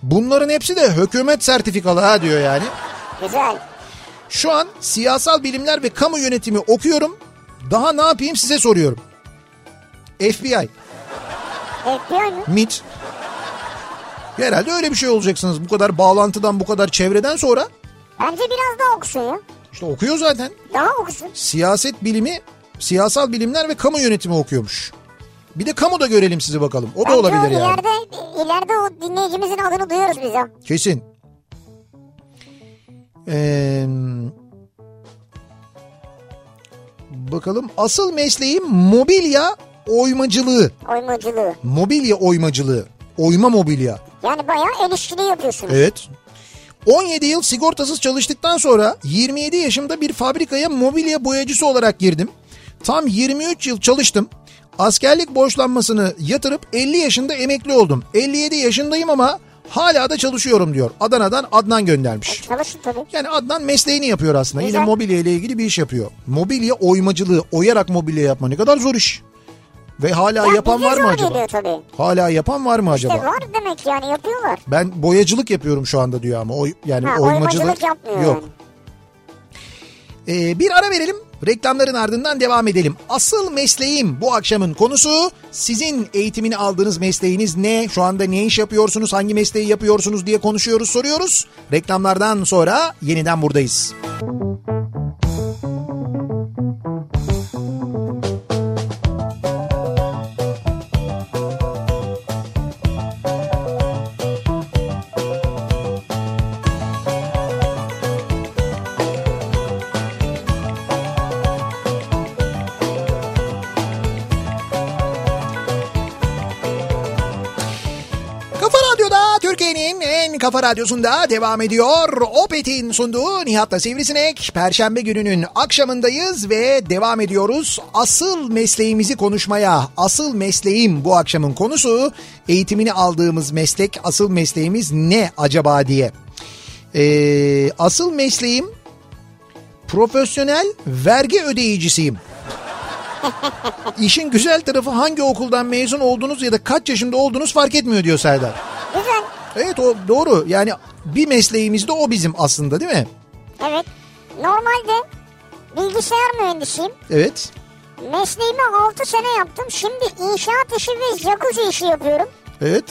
Speaker 2: Bunların hepsi de hükümet sertifikalı ha diyor yani.
Speaker 1: Güzel.
Speaker 2: Şu an siyasal bilimler ve kamu yönetimi okuyorum. Daha ne yapayım size soruyorum. FBI,
Speaker 1: FBI mi?
Speaker 2: MIT. Herhalde öyle bir şey olacaksınız. Bu kadar bağlantıdan, bu kadar çevreden sonra.
Speaker 1: Bence biraz daha okusun ya.
Speaker 2: işte okuyor zaten.
Speaker 1: Daha okusun.
Speaker 2: Siyaset bilimi, siyasal bilimler ve kamu yönetimi okuyormuş. Bir de kamu da görelim sizi bakalım. O da
Speaker 1: Bence
Speaker 2: olabilir yani.
Speaker 1: ileride, ileride o dinleyicimizin adını duyuyoruz biz ya.
Speaker 2: Kesin. Ee, bakalım asıl mesleğim mobilya oymacılığı.
Speaker 1: Oymacılığı.
Speaker 2: Mobilya oymacılığı. Oyma mobilya.
Speaker 1: Yani bayağı el işçiliği yapıyorsunuz.
Speaker 2: Evet. 17 yıl sigortasız çalıştıktan sonra 27 yaşımda bir fabrikaya mobilya boyacısı olarak girdim. Tam 23 yıl çalıştım. Askerlik borçlanmasını yatırıp 50 yaşında emekli oldum. 57 yaşındayım ama hala da çalışıyorum diyor. Adana'dan Adnan göndermiş.
Speaker 1: E, Çalışın tabii.
Speaker 2: Yani Adnan mesleğini yapıyor aslında.
Speaker 1: Güzel.
Speaker 2: Yine mobilya ile ilgili bir iş yapıyor. Mobilya oymacılığı, oyarak mobilya yapma ne kadar zor iş. Ve hala
Speaker 1: Ya
Speaker 2: yapan
Speaker 1: bize
Speaker 2: var mı
Speaker 1: zor
Speaker 2: acaba?
Speaker 1: geliyor tabii.
Speaker 2: Hala yapan var mı acaba?
Speaker 1: İşte var demek yani yapıyorlar.
Speaker 2: Ben boyacılık yapıyorum şu anda diyor ama oy, yani
Speaker 1: Ha,
Speaker 2: oymacılık,
Speaker 1: oymacılık yapmıyor
Speaker 2: yok. Ee, bir ara verelim. Reklamların ardından devam edelim. Asıl mesleğim bu akşamın konusu sizin eğitimini aldığınız mesleğiniz ne? Şu anda ne iş yapıyorsunuz? Hangi mesleği yapıyorsunuz diye konuşuyoruz, soruyoruz. Reklamlardan sonra yeniden buradayız. Kafa Radyo'da Türkiye'nin en kafa radyosunda devam ediyor. Opet'in sunduğu Nihat'la Sivrisinek. Perşembe gününün akşamındayız ve devam ediyoruz. Asıl mesleğimizi konuşmaya. Asıl mesleğim bu akşamın konusu. Eğitimini aldığımız meslek, asıl mesleğimiz ne acaba diye. Ee, asıl mesleğim profesyonel vergi ödeyicisiyim. İşin güzel tarafı hangi okuldan mezun olduğunuz ya da kaç yaşında olduğunuz fark etmiyor diyor Serdar.
Speaker 1: Güzel.
Speaker 2: Evet o doğru. Yani bir mesleğimiz de o bizim aslında değil mi?
Speaker 1: Evet. Normalde bilgisayar mühendisiyim.
Speaker 2: Evet.
Speaker 1: Mesleğimi 6 sene yaptım. Şimdi inşaat işi ve jacuzzi işi yapıyorum.
Speaker 2: Evet.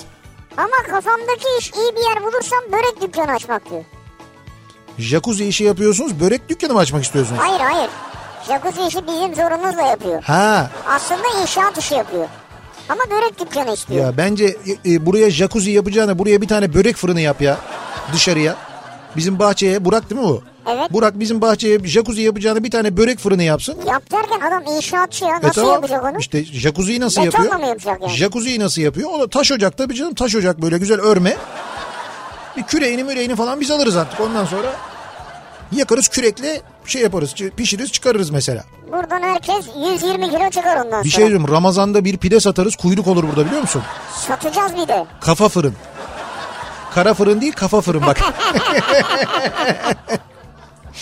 Speaker 1: Ama kafamdaki iş iyi bir yer bulursam börek dükkanı açmak diyor.
Speaker 2: Jacuzzi işi yapıyorsunuz. Börek dükkanı mı açmak istiyorsunuz?
Speaker 1: Hayır hayır. Jacuzzi işi bizim zorunuzla yapıyor.
Speaker 2: Ha.
Speaker 1: Aslında inşaat işi yapıyor. Ama börek dükkanı istiyor.
Speaker 2: Ya bence e, e, buraya jacuzzi yapacağına buraya bir tane börek fırını yap ya. Dışarıya. Bizim bahçeye. Burak değil mi o?
Speaker 1: Evet.
Speaker 2: Burak bizim bahçeye jacuzzi yapacağına bir tane börek fırını yapsın.
Speaker 1: Yap derken adam inşaatçı ya. Nasıl
Speaker 2: E tamam.
Speaker 1: yapacak onu?
Speaker 2: İşte jacuzziyi nasıl
Speaker 1: Betonla
Speaker 2: yapıyor?
Speaker 1: mı yapacak yani?
Speaker 2: Jacuzziyi nasıl yapıyor? O da taş ocak tabii canım. Taş ocak böyle güzel örme. Bir küreğini müreğini falan biz alırız artık. Ondan sonra yakarız kürekle şey yaparız. çı- Pişiririz çıkarırız mesela.
Speaker 1: Buradan herkes 120 kilo çıkar ondan sonra.
Speaker 2: Bir şey diyorum Ramazan'da bir pide satarız. Kuyruk olur burada biliyor musun?
Speaker 1: Satacağız bir de.
Speaker 2: Kafa fırın. Kara fırın değil kafa fırın bak. [laughs]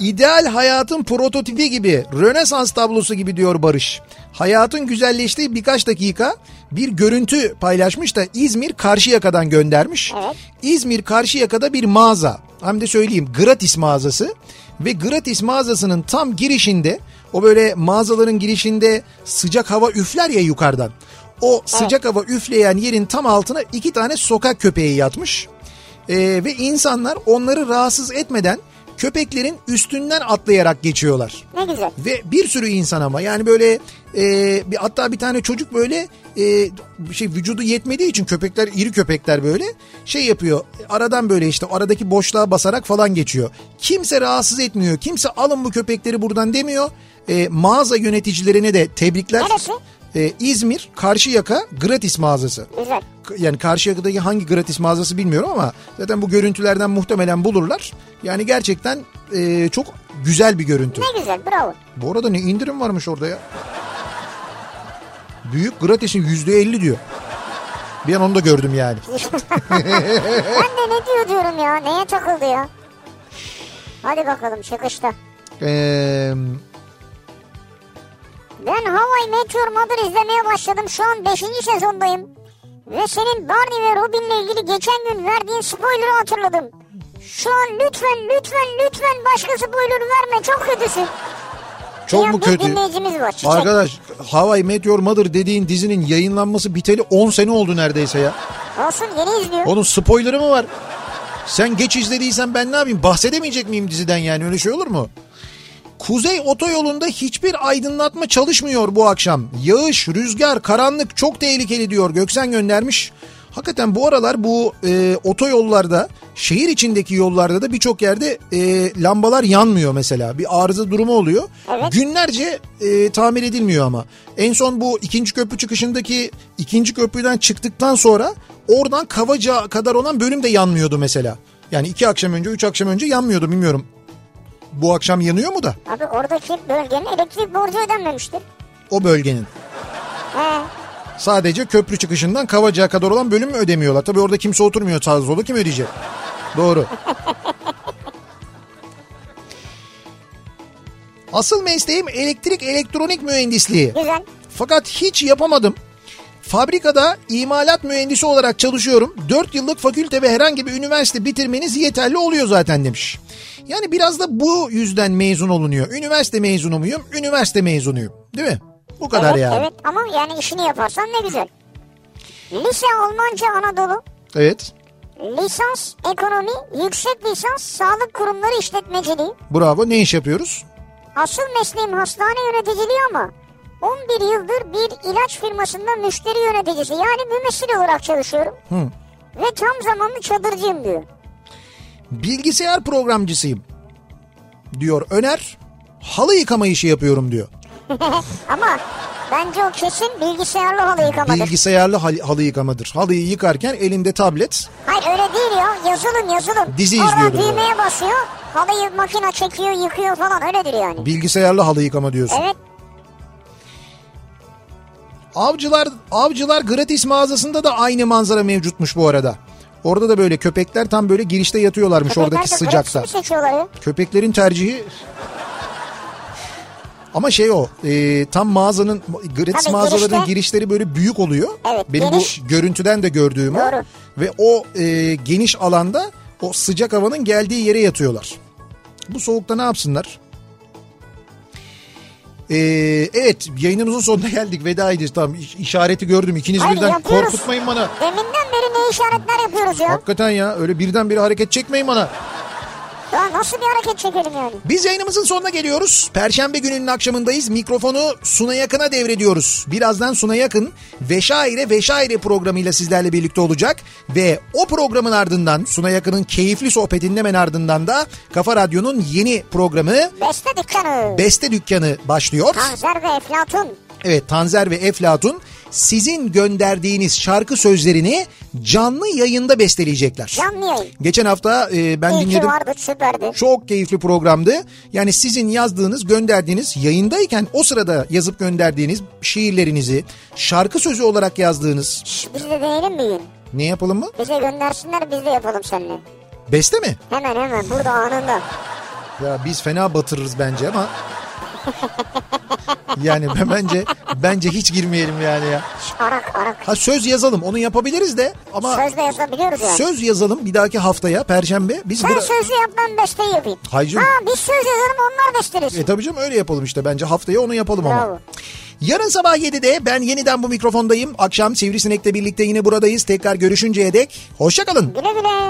Speaker 2: İdeal hayatın prototipi gibi, Rönesans tablosu gibi diyor Barış. Hayatın güzelleştiği birkaç dakika bir görüntü paylaşmış da İzmir Karşıyaka'dan göndermiş.
Speaker 1: Evet.
Speaker 2: İzmir Karşıyaka'da bir mağaza. Hem de söyleyeyim gratis mağazası ve gratis mağazasının tam girişinde o böyle mağazaların girişinde sıcak hava üfler ya yukarıdan. O sıcak hava üfleyen yerin tam altına iki tane sokak köpeği yatmış. Ee, ve insanlar onları rahatsız etmeden köpeklerin üstünden atlayarak geçiyorlar.
Speaker 1: Ne güzel.
Speaker 2: Ve bir sürü insan ama yani böyle e, bir hatta bir tane çocuk böyle e, şey vücudu yetmediği için köpekler iri köpekler böyle şey yapıyor. Aradan böyle işte aradaki boşluğa basarak falan geçiyor. Kimse rahatsız etmiyor. Kimse alın bu köpekleri buradan demiyor. E, mağaza yöneticilerine de tebrikler.
Speaker 1: Neresi?
Speaker 2: E, İzmir Karşıyaka gratis mağazası
Speaker 1: Güzel.
Speaker 2: yani Karşıyaka'daki hangi gratis mağazası bilmiyorum ama zaten bu görüntülerden muhtemelen bulurlar. Yani gerçekten e, çok güzel bir görüntü.
Speaker 1: Ne güzel bravo.
Speaker 2: Bu arada ne indirim varmış orada ya. Büyük gratisin yüzde elli diyor. Bir an onu da gördüm yani.
Speaker 1: Ben de ne diyor diyorum ya neye takıldı ya. Hadi bakalım çıkışta.
Speaker 2: Ee,
Speaker 1: Ben Hawaii Meteor Mother izlemeye başladım. Şu an 5. sezondayım. Ve senin Barney ve Robin'le ilgili geçen gün verdiğin spoiler'ı hatırladım. Şu an lütfen lütfen lütfen başka spoiler verme çok kötüsün.
Speaker 2: çok
Speaker 1: Diyen
Speaker 2: mu
Speaker 1: bir
Speaker 2: kötü?
Speaker 1: dinleyicimiz var. Çiçek.
Speaker 2: Arkadaş Hawaii Meteor Mother dediğin dizinin yayınlanması biteli 10 sene oldu neredeyse ya.
Speaker 1: Olsun yeni izliyor.
Speaker 2: Onun spoilerı mı var? Sen geç izlediysen ben ne yapayım? Bahsedemeyecek miyim diziden yani? Öyle şey olur mu? Kuzey otoyolunda hiçbir aydınlatma çalışmıyor bu akşam. Yağış, rüzgar, karanlık çok tehlikeli diyor Göksen göndermiş. Hakikaten bu aralar bu e, otoyollarda, şehir içindeki yollarda da birçok yerde e, lambalar yanmıyor mesela. Bir arıza durumu oluyor.
Speaker 1: Evet.
Speaker 2: Günlerce e, tamir edilmiyor ama. En son bu ikinci köprü çıkışındaki ikinci köprüden çıktıktan sonra oradan Kavaca kadar olan bölüm de yanmıyordu mesela. Yani iki akşam önce, üç akşam önce yanmıyordu bilmiyorum. Bu akşam yanıyor mu da?
Speaker 1: Abi oradaki bölgenin elektrik borcu ödenmemiştir.
Speaker 2: o bölgenin.
Speaker 1: He.
Speaker 2: Sadece köprü çıkışından Kavacık'a kadar olan bölümü ödemiyorlar. Tabii orada kimse oturmuyor Tazlıoğlu kim ödeyecek? Doğru. Asıl mesleğim elektrik elektronik mühendisliği.
Speaker 1: Güzel.
Speaker 2: Fakat hiç yapamadım. Fabrikada imalat mühendisi olarak çalışıyorum. 4 yıllık fakülte ve herhangi bir üniversite bitirmeniz yeterli oluyor zaten demiş. Yani biraz da bu yüzden mezun olunuyor. Üniversite mezunu muyum? Üniversite mezunuyum. Değil mi? Bu kadar
Speaker 1: evet,
Speaker 2: yani.
Speaker 1: evet ama yani işini yaparsan ne güzel. Lise Almanca Anadolu.
Speaker 2: Evet.
Speaker 1: Lisans ekonomi, yüksek lisans sağlık kurumları işletmeciliği.
Speaker 2: Bravo. Ne iş yapıyoruz?
Speaker 1: Asıl mesleğim hastane yöneticiliği ama 11 yıldır bir ilaç firmasında müşteri yöneticisi yani mümessil olarak çalışıyorum.
Speaker 2: Hı.
Speaker 1: Ve tam zamanlı çadırcıyım diyor.
Speaker 2: Bilgisayar programcısıyım. Diyor Öner. Halı yıkama işi yapıyorum diyor.
Speaker 1: ama bence o kesin bilgisayarlı halı yıkamadır.
Speaker 2: Bilgisayarlı hal- halı yıkamadır. Halıyı yıkarken elinde tablet.
Speaker 1: Hayır öyle değil ya yazılım yazılım.
Speaker 2: Dizi
Speaker 1: Oradan
Speaker 2: izliyordum
Speaker 1: düğmeye basıyor halıyı makine çekiyor yıkıyor falan öyledir yani.
Speaker 2: Bilgisayarlı halı yıkama diyorsun.
Speaker 1: Evet
Speaker 2: Avcılar Avcılar gratis mağazasında da aynı manzara mevcutmuş bu arada. Orada da böyle köpekler tam böyle girişte yatıyorlarmış
Speaker 1: köpekler
Speaker 2: oradaki
Speaker 1: de gratis
Speaker 2: sıcakta.
Speaker 1: mi seçiyorlar ya?
Speaker 2: Köpeklerin tercihi ama şey o e, tam mağazanın gratis
Speaker 1: Tabii
Speaker 2: mağazaların
Speaker 1: girişte-
Speaker 2: girişleri böyle büyük oluyor.
Speaker 1: Evet,
Speaker 2: Benim
Speaker 1: geniş.
Speaker 2: bu görüntüden de gördüğüm o.
Speaker 1: Doğru.
Speaker 2: Ve o e, geniş alanda o sıcak havanın geldiği yere yatıyorlar. Bu soğukta ne yapsınlar? E, evet yayınımızın sonuna geldik veda edeceğiz. Tamam iş- işareti gördüm ikiniz
Speaker 1: Hayır,
Speaker 2: birden
Speaker 1: yapıyoruz.
Speaker 2: korkutmayın bana.
Speaker 1: Deminden beri ne işaretler yapıyoruz ya?
Speaker 2: Hakikaten ya öyle birden bir hareket çekmeyin bana.
Speaker 1: Ya nasıl bir hareket çekelim yani?
Speaker 2: Biz yayınımızın sonuna geliyoruz. Perşembe gününün akşamındayız. Mikrofonu Suna Yakın'a devrediyoruz. Birazdan Suna Yakın Veşaire Veşaire programıyla sizlerle birlikte olacak. Ve o programın ardından Suna Yakın'ın keyifli sohbetinden hemen ardından da Kafa Radyo'nun yeni programı
Speaker 1: Beste dükkanı.
Speaker 2: Beste Dükkanı başlıyor.
Speaker 1: Kanser ve Eflatun.
Speaker 2: Evet Tanzer ve Eflatun sizin gönderdiğiniz şarkı sözlerini canlı yayında besteleyecekler.
Speaker 1: Canlı yayın.
Speaker 2: Geçen hafta e, ben
Speaker 1: İyi ki
Speaker 2: dinledim.
Speaker 1: vardı süperdi.
Speaker 2: Çok keyifli programdı. Yani sizin yazdığınız, gönderdiğiniz, yayındayken o sırada yazıp gönderdiğiniz şiirlerinizi, şarkı sözü olarak yazdığınız
Speaker 1: Şş, Biz de deneyelim mi gün?
Speaker 2: ne yapalım mı?
Speaker 1: Bize göndersinler biz de yapalım seninle.
Speaker 2: Beste mi?
Speaker 1: Hemen hemen burada anında.
Speaker 2: Ya biz fena batırırız bence ama. [laughs] yani ben bence bence hiç girmeyelim yani ya.
Speaker 1: Şş, arak arak.
Speaker 2: Ha söz yazalım onu yapabiliriz de ama
Speaker 1: Sözle yazabiliyoruz yani.
Speaker 2: söz yazalım bir dahaki haftaya perşembe biz
Speaker 1: Sen
Speaker 2: bura-
Speaker 1: sözlü yap ben besteyi yapayım.
Speaker 2: Hayır canım.
Speaker 1: Ha biz söz yazalım onlar besteriz.
Speaker 2: E tabii canım öyle yapalım işte bence haftaya onu yapalım ama.
Speaker 1: Bravo.
Speaker 2: Yarın sabah 7'de ben yeniden bu mikrofondayım. Akşam Sivrisinek'le birlikte yine buradayız. Tekrar görüşünceye dek hoşçakalın.
Speaker 1: Güle güle.